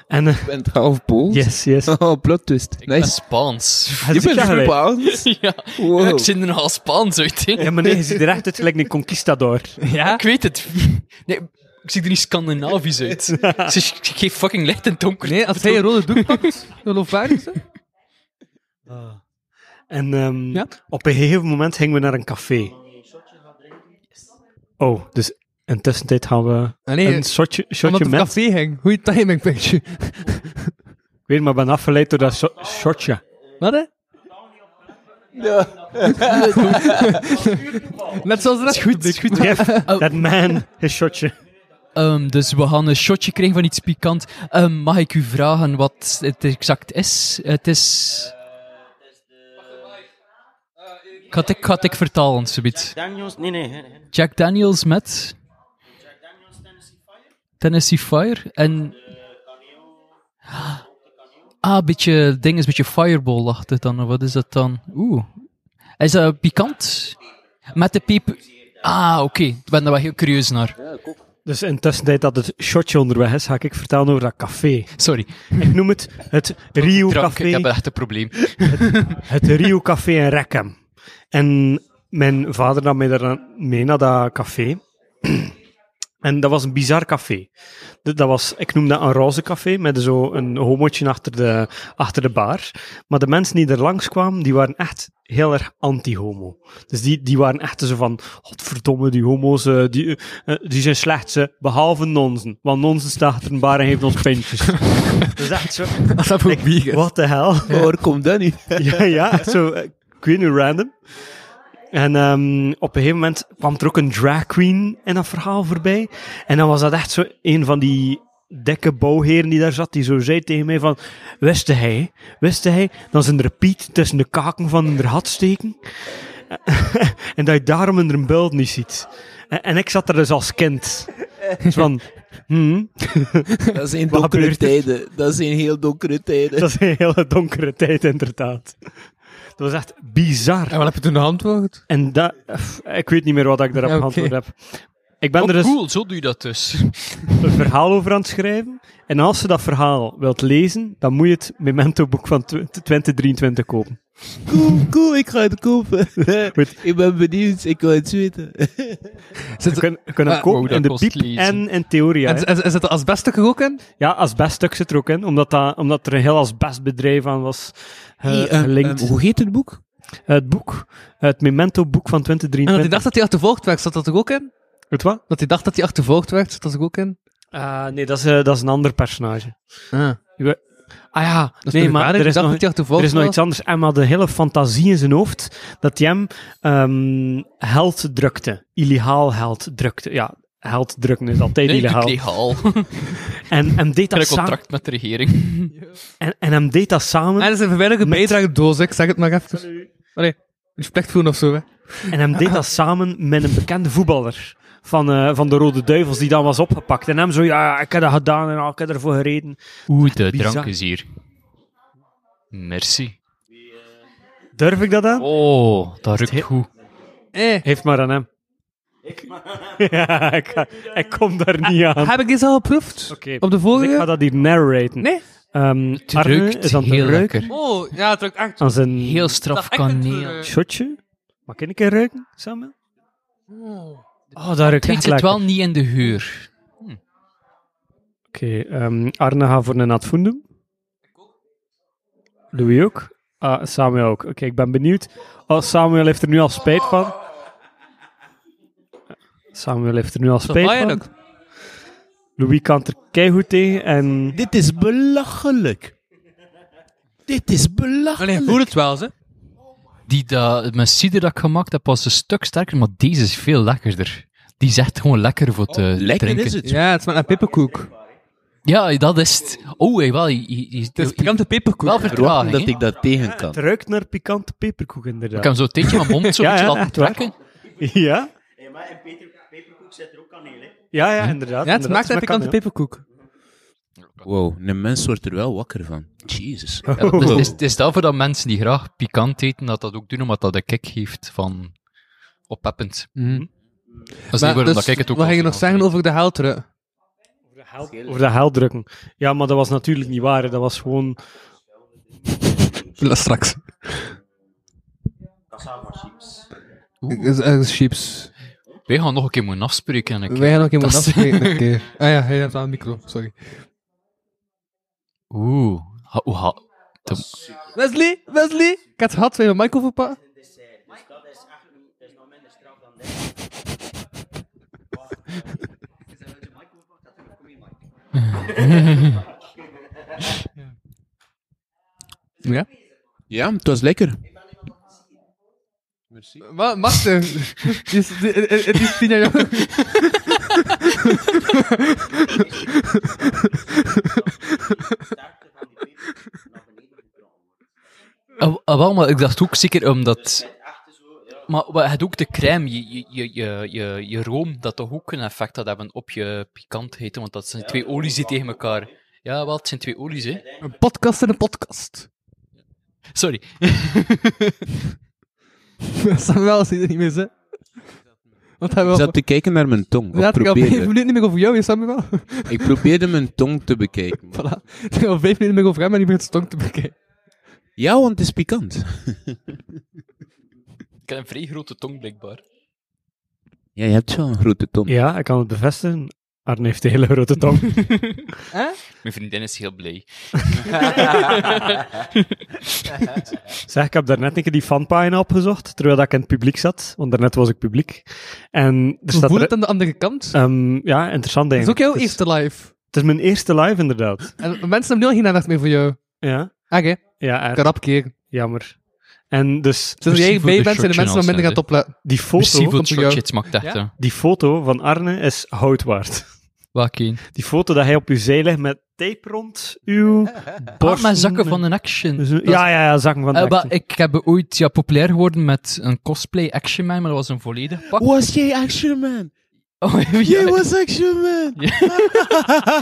Speaker 9: En, eh,
Speaker 2: Je bent half Pools?
Speaker 9: yes, yes.
Speaker 2: Oh, plot twist.
Speaker 4: Ik ben
Speaker 2: nice. Oh.
Speaker 4: Spaans.
Speaker 2: Je bent
Speaker 9: Ja, gelijk.
Speaker 2: Spaans?
Speaker 4: <laughs> ja,
Speaker 2: Wow.
Speaker 4: ik zit er nogal Spaans uit. hè.
Speaker 9: Ja, maar nee, je ziet er echt uit gelijk een conquistador.
Speaker 4: Ik weet het. Nee, ik zie er niet Scandinavisch
Speaker 2: <laughs>
Speaker 4: uit. Ze sch- ik geef fucking licht en donker.
Speaker 5: Nee, als hij een rode doek
Speaker 2: <laughs>
Speaker 5: pakt, geloofwaardig hè?
Speaker 9: En ehm,
Speaker 5: Ja.
Speaker 9: op een gegeven moment gingen we naar een café. Oh, dus in tussentijd gaan we
Speaker 5: Ah, nee,
Speaker 9: een shotje,
Speaker 5: omdat
Speaker 9: shotje
Speaker 5: het
Speaker 9: met...
Speaker 5: café hing. Goeie timing, pintje.
Speaker 9: Ik weet maar, ik ben afgeleid door dat so- shotje.
Speaker 5: Wat hè? Net zoals de rest. Goed, goed.
Speaker 9: Give that man his shotje.
Speaker 4: Ehm, dus we gaan een shotje krijgen van iets pikant. Ehm, mag ik u vragen wat het exact is? Het is... Ga het ik, ga het ik vertalen, subiet.
Speaker 8: Daniels, nee, nee. hè, hè.
Speaker 4: Jack Daniels met Tennessee Fire en ah, een beetje ding is een beetje Fireball lacht het dan. of Wat is dat dan? Oeh, is dat pikant? Met de piep. Ah, oké. Ik ben daar wel heel curieus naar.
Speaker 9: Dus in tussentijd dat het shotje onderweg is, ga ik vertellen over dat café.
Speaker 4: Sorry.
Speaker 9: Ik noem het het Rio
Speaker 4: Drank, ik
Speaker 9: Café.
Speaker 4: heb echt een probleem.
Speaker 9: het Rio Café in Rekkem. En mijn vader nam mij daar mee naar dat café. En dat was een bizar café. D- Dat was, ik noem dat een roze café, met zo een homotje achter de, achter de bar. Maar de mensen die er langskwamen, die waren echt heel erg anti-homo. Dus die, die waren echt zo van, godverdomme, die homo's, eh, die, eh, die zijn slecht, ze, behalve nonsen. Want nonsen staat achter een bar en heeft ons pintjes. dus echt zo, like, what the hell?
Speaker 2: Oh, Waar komt dat nu?
Speaker 9: ja, ja, echt zo, eh, ik weet niet, random. En ehm, op een gegeven moment kwam er ook een drag queen in dat verhaal voorbij. En dan was dat echt zo een van die dikke bouwheren die daar zat, die zo zei tegen mij van, wist hij, wist hij, dat ze een repeat tussen de kaken van hun had steken? <laughs> en dat je daarom hun beeld niet ziet. En, en ik zat er dus als kind. Dus van, hmm,
Speaker 2: Dat zijn donkere
Speaker 9: gebeurt er?
Speaker 2: tijden. Dat zijn heel donkere tijden.
Speaker 9: dat is een hele donkere tijd inderdaad. Dat was echt bizar.
Speaker 5: En wat heb je toen de antwoord?
Speaker 9: En dat, pff, ik weet niet meer wat ik daarop
Speaker 5: Ja, oké. Oh,
Speaker 9: geantwoord heb. Ik ben er dus
Speaker 4: cool, zo doe je dat dus.
Speaker 9: een verhaal over aan het schrijven. En als je dat verhaal wilt lezen, dan moet je het Memento-boek van tw- 2023 kopen.
Speaker 2: Cool, cool, ik ga het kopen.
Speaker 9: Goed.
Speaker 2: ik ben benieuwd, ik wil het weten.
Speaker 9: Je kunt je kunt hem
Speaker 5: Ah,
Speaker 9: kopen
Speaker 4: wow, dat
Speaker 9: in de
Speaker 4: kost
Speaker 9: piep
Speaker 4: lezen.
Speaker 9: en in theorie.
Speaker 5: En,
Speaker 9: hè.
Speaker 5: en, en zit er asbest ook in?
Speaker 9: Ja, asbeststuk zit er ook in, omdat, dat, omdat er een heel asbestbedrijf aan was eh,
Speaker 2: Hey, ehm,
Speaker 9: gelinkt.
Speaker 2: ehm, hoe heet het boek?
Speaker 9: het boek, het Memento-boek van
Speaker 5: En dat hij
Speaker 9: 2023.
Speaker 5: dacht dat hij achtervolgd werd, zat dat er ook in?
Speaker 9: Het wat?
Speaker 5: Dat hij dacht dat hij achtervolgd werd, zat dat er ook in?
Speaker 9: Ah, nee, dat is, eh, dat is een ander personage.
Speaker 5: Ah.
Speaker 9: Je- Ah ja,
Speaker 8: Dat is
Speaker 9: nee, maar er is,
Speaker 8: dat
Speaker 9: nog,
Speaker 8: hij
Speaker 9: er
Speaker 8: toevallig
Speaker 9: is nog
Speaker 8: was.
Speaker 9: iets anders. Hij had een hele fantasie in zijn hoofd dat hij hem ehm held drukte. Illegaal held drukte. Ja, held drukken is altijd
Speaker 8: Nee,
Speaker 9: illegaal. <laughs>
Speaker 8: illegaal.
Speaker 9: En hem deed dat
Speaker 4: een
Speaker 9: samen.
Speaker 4: contract met de regering.
Speaker 9: En, en hem deed dat samen.
Speaker 5: En dat is een verwijderde
Speaker 9: Met-
Speaker 5: bijdrage doos, hè. ik zeg het maar even. Allee, respect voelen of zo, hè.
Speaker 9: En hem deed dat samen met een bekende voetballer van, eh, van de Rode Duivels, die dan was opgepakt. En hem zo, ja, ik heb dat gedaan en ah, ik heb ervoor gereden.
Speaker 4: Oeh, de
Speaker 9: Bizar.
Speaker 4: drank is hier. Merci.
Speaker 9: Durf ik dat aan?
Speaker 4: Oh, dat ruikt
Speaker 9: heel-
Speaker 4: goed.
Speaker 5: Eh,
Speaker 9: Heeft maar aan hem. <laughs> ja, ik, ga- ik kom daar niet aan.
Speaker 5: heb ik dit al geproefd?
Speaker 9: Oké,
Speaker 5: Op de
Speaker 9: dus ik ga
Speaker 5: vorige?
Speaker 9: dat hier narraten.
Speaker 5: Nee.
Speaker 9: Ehm,
Speaker 4: Het
Speaker 9: Arne
Speaker 4: ruikt
Speaker 9: is aan het
Speaker 4: heel
Speaker 9: ruiken
Speaker 4: lekker.
Speaker 5: Oh, ja, het ruikt echt.
Speaker 9: aan zijn
Speaker 8: Heel
Speaker 5: Dat
Speaker 8: straf
Speaker 5: ik het,
Speaker 8: kaneel.
Speaker 5: eh,
Speaker 9: shotje. Mag ik een keer ruiken, Samuel? Oh, daar ruikt
Speaker 4: Het
Speaker 9: echt
Speaker 4: zit
Speaker 9: lekker.
Speaker 4: wel niet in de huur.
Speaker 9: Oké, ehm, Arne gaat voor een advoendum. Louis ook. Ah, Samuel ook. Oké, ik ben benieuwd. Oh, Samuel heeft er nu al spijt van. Samuel heeft er nu al spijt van.
Speaker 5: Pijnlijk.
Speaker 9: Louis kan er keigoed tegen. En
Speaker 2: Dit is belachelijk. Dit is belachelijk.
Speaker 5: Allee, voel het wel, hè.
Speaker 4: Die dat, met cider dat ik gemaakt heb was een stuk sterker, maar deze is veel lekkerder. Die is echt gewoon lekker voor te
Speaker 9: Oh,
Speaker 2: Lekker
Speaker 4: drinken.
Speaker 2: is het.
Speaker 5: Ja, het smaakt naar peperkoek.
Speaker 4: Ja, dat is het. Oh, hey, wel. je- je- je-
Speaker 5: Het is
Speaker 4: je-
Speaker 5: pikante peperkoek.
Speaker 4: wel
Speaker 2: Waarom
Speaker 4: vertraging.
Speaker 2: dat
Speaker 4: hè? Ik
Speaker 2: ik dat tegen kan.
Speaker 9: het ruikt naar pikante peperkoek, inderdaad.
Speaker 4: kan zo een tijdje mijn mond zo
Speaker 9: <laughs> Ja,
Speaker 4: ja,
Speaker 9: ja,
Speaker 4: laten
Speaker 9: echt waar.
Speaker 4: trekken.
Speaker 9: Ja? Ja,
Speaker 5: Ja,
Speaker 9: ja, inderdaad.
Speaker 5: het
Speaker 9: inderdaad,
Speaker 5: smaakt naar
Speaker 9: smaakt
Speaker 5: pikante
Speaker 9: aan,
Speaker 5: peperkoek.
Speaker 2: Wow, een mens wordt er wel wakker van. Jezus.
Speaker 9: ja.
Speaker 4: Ja, dat is- Het is, het is daarvoor dat mensen die graag pikant eten, dat dat ook doen, omdat dat een kick geeft van opheppend. Dat is niet
Speaker 5: Mhm. Maar
Speaker 4: waarom
Speaker 5: dus,
Speaker 4: dat ik het ook
Speaker 5: Wat
Speaker 4: al
Speaker 5: ging je nog
Speaker 4: zo
Speaker 5: zeggen
Speaker 4: vind.
Speaker 5: over de heldere?
Speaker 9: Over de hel drukken. Ja, maar dat was natuurlijk niet waar. hè. Dat was gewoon...
Speaker 5: Straks. Is ergens chips.
Speaker 4: Wij gaan nog een keer moeten afspreken. En ik...
Speaker 5: Wij gaan ook iemand
Speaker 4: Dat is-
Speaker 5: afspreken een keer.
Speaker 4: <laughs>
Speaker 5: Ah ja, hij heeft wel een micro, sorry.
Speaker 4: Oeh. Ha, oeh, ha.
Speaker 5: Wesley, Wesley! Ik had het gehad, wil je mijn Michael verpakken? Ja?
Speaker 2: Ja, het was lekker.
Speaker 5: Wat? Maarten! <laughs> Het is- Het is tien jaar jonger.
Speaker 4: Ah, ah, wel, maar ik dacht ook zeker omdat... Maar wat- het ook de crème, je, je, je, je, je, je room, dat toch ook een effect had hebben op je pikantheid, hè, want dat zijn twee olies die tegen elkaar... Ja, wel, het zijn twee olies, hè.
Speaker 5: Een podcast en een <laughs> podcast.
Speaker 4: Sorry.
Speaker 5: Samuel ziet er niet meer, hè? Want hij
Speaker 2: Ik
Speaker 5: wil...
Speaker 2: zat te kijken naar mijn tong.
Speaker 5: Ja,
Speaker 2: Ik
Speaker 5: ik al vijf
Speaker 2: probeerde,
Speaker 5: minuten niet meer over jou, hè, Samuel. <laughs>
Speaker 2: ik probeerde mijn tong te bekijken.
Speaker 5: Voilà. Ik heb al vijf minuten meer over hem en die begint stonk te bekijken.
Speaker 2: Ja, want het is pikant.
Speaker 4: Ik heb een vrij grote tong, blijkbaar.
Speaker 2: Ja, je hebt wel een grote tong.
Speaker 9: Ja, ik kan het bevestigen. Arne heeft een hele grote tong.
Speaker 5: <laughs>
Speaker 4: Mijn vriendin is heel blij.
Speaker 9: Zeg, ik heb daarnet een keer die fanpagina opgezocht, terwijl dat ik in het publiek zat, want daarnet was ik publiek. En er staat
Speaker 5: Voel het
Speaker 9: er-
Speaker 5: aan de andere kant.
Speaker 9: Ehm, ja, interessant
Speaker 5: Dat is ook
Speaker 9: eigenlijk.
Speaker 5: jouw
Speaker 9: het, is,
Speaker 5: eerste live.
Speaker 9: het is mijn eerste live, inderdaad.
Speaker 5: En mensen hebben nu al geen aandacht meer voor jou. Ah,
Speaker 9: Ja,
Speaker 5: Oké, okay,
Speaker 9: ja er-
Speaker 5: rap keer.
Speaker 9: jammer. En dus
Speaker 5: Sinds
Speaker 4: Merci
Speaker 5: jij
Speaker 4: voor
Speaker 5: bij
Speaker 4: de
Speaker 5: bent, zijn de mensen nog
Speaker 4: shotjournals,
Speaker 5: minder gaan
Speaker 4: hè.
Speaker 5: opletten.
Speaker 9: die
Speaker 4: Merci
Speaker 9: foto,
Speaker 4: voor het
Speaker 5: komt jou.
Speaker 4: shotje, het smaakt echt,
Speaker 5: Ja?
Speaker 4: hè.
Speaker 9: die foto van Arne is goud waard. <laughs>
Speaker 4: Welke een?
Speaker 9: Die foto dat hij op uw zij legt met tape rond uw borst.
Speaker 4: Ah, maar zakken van een action.
Speaker 9: Dus een- ja, ja, ja, zakken van de
Speaker 4: Eh, wel,
Speaker 9: action.
Speaker 4: ik heb ooit ja, populair geworden met een cosplay Action Man, maar dat was een volledig pak.
Speaker 2: Was jij Action Man?
Speaker 4: Oh, ja,
Speaker 2: Jij was Action Man!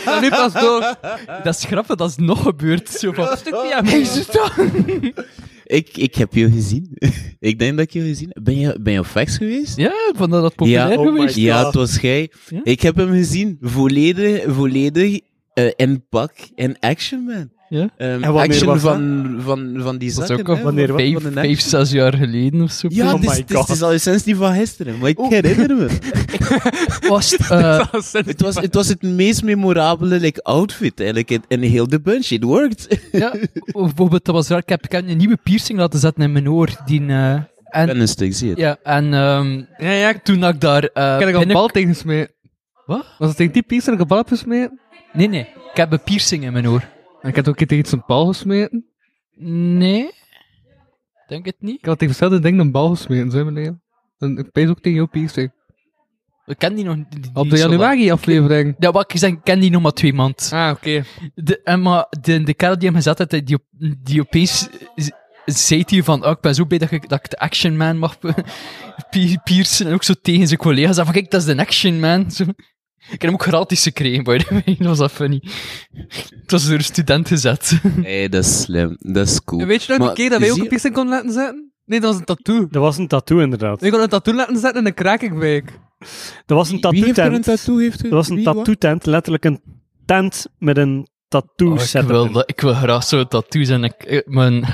Speaker 5: Ja, nu pas door.
Speaker 4: Dat is grappig, dat is nog gebeurd. Zo van,
Speaker 5: Hey, zus, dat-
Speaker 2: Ik, ik heb jou gezien. <laughs> ik denk dat ik jou gezien heb. Ben je, ben je op Vex geweest?
Speaker 4: ja, van dat dat populair
Speaker 2: Ja, oh
Speaker 9: my
Speaker 4: geweest.
Speaker 9: God.
Speaker 2: Ja, het was jij.
Speaker 4: Ja?
Speaker 2: Ik heb hem gezien. Volledig, volledig eh, in pak en Action Man.
Speaker 4: Ja?
Speaker 2: Ehm,
Speaker 9: En wanneer
Speaker 2: action
Speaker 9: was dat?
Speaker 2: van, van, van die
Speaker 4: Dat is
Speaker 2: zakken.
Speaker 4: ook
Speaker 2: hè,
Speaker 9: wanneer
Speaker 2: van- van
Speaker 9: was-
Speaker 4: Vijf,
Speaker 2: een
Speaker 4: vijf,
Speaker 2: action.
Speaker 4: zes jaar geleden of zo.
Speaker 2: Ja,
Speaker 9: Oh
Speaker 2: het is-
Speaker 9: my
Speaker 2: het is-
Speaker 9: God. Oh.
Speaker 2: het is al sinds niet van gisteren, maar ik herinner
Speaker 9: <laughs>
Speaker 2: me.
Speaker 4: Was het, eh,
Speaker 2: Het was, het was het meest memorabele like, outfit eigenlijk in, in heel de bunch. It worked.
Speaker 4: ja, bijvoorbeeld, dat was raar. Ik heb, ik heb een nieuwe piercing laten zetten in mijn oor. Die, eh, en,
Speaker 2: En een stuk zie je het.
Speaker 4: ja, en ehm,
Speaker 5: Ja, ja, ik
Speaker 4: toen dat ik daar... eh,
Speaker 5: heb ik al een
Speaker 4: binnen-
Speaker 5: bal tegen gesmeed.
Speaker 4: Wat?
Speaker 5: Was het tegen die piece dat ik een bal heb gesmeed?
Speaker 4: Nee, nee. Ik heb een piercing in mijn oor.
Speaker 5: En ik heb het ook een keer tegen iets een bal gesmeten.
Speaker 4: Nee. Denk het niet.
Speaker 5: Ik had tegen verschillende dingen een bal gesmeten, zo in mijn leven. En ik pees ook tegen jouw piercing.
Speaker 4: Ik ken die nog niet- die
Speaker 5: Op
Speaker 4: niet
Speaker 5: de
Speaker 4: zo lang.
Speaker 5: januari-aflevering.
Speaker 4: Ja, wat ik zeg, ik ken die nog maar twee maanden.
Speaker 5: Ah, oké.
Speaker 4: De, en maar de, de kerel die hem gezet had, die, op- die opeens z- zei hij van, oh, ik ben zo blij dat ik, dat ik de Action Man mag pi- piercen. En ook zo tegen zijn collega's. En van, kijk, dat is de Action Man. Zo. Ik heb hem ook gratis gekregen, by the way. <laughs> Dat was dat funny. Het was door een student gezet.
Speaker 2: Nee, dat is slim. Dat is cool.
Speaker 5: En weet je nog
Speaker 2: Maar
Speaker 5: een keer dat wij ook
Speaker 2: zie-
Speaker 5: een piercing konden laten zetten? Nee, dat was een tattoo.
Speaker 9: Dat was een tattoo, inderdaad.
Speaker 5: Ik kon een tattoo laten zetten in de kraakingwijk.
Speaker 9: Dat was een
Speaker 2: Wie
Speaker 9: tattoo
Speaker 2: heeft er een
Speaker 9: tent. Dat
Speaker 2: tattoo? Heeft er-
Speaker 9: was een
Speaker 2: wie, wat?
Speaker 9: tattoo tent, letterlijk een tent met een tattoo
Speaker 4: Oh, ik,
Speaker 9: setup.
Speaker 4: wil,
Speaker 9: in.
Speaker 4: dat- ik wil graag zo'n tattoo zijn. Ik, eh, mijn, <laughs>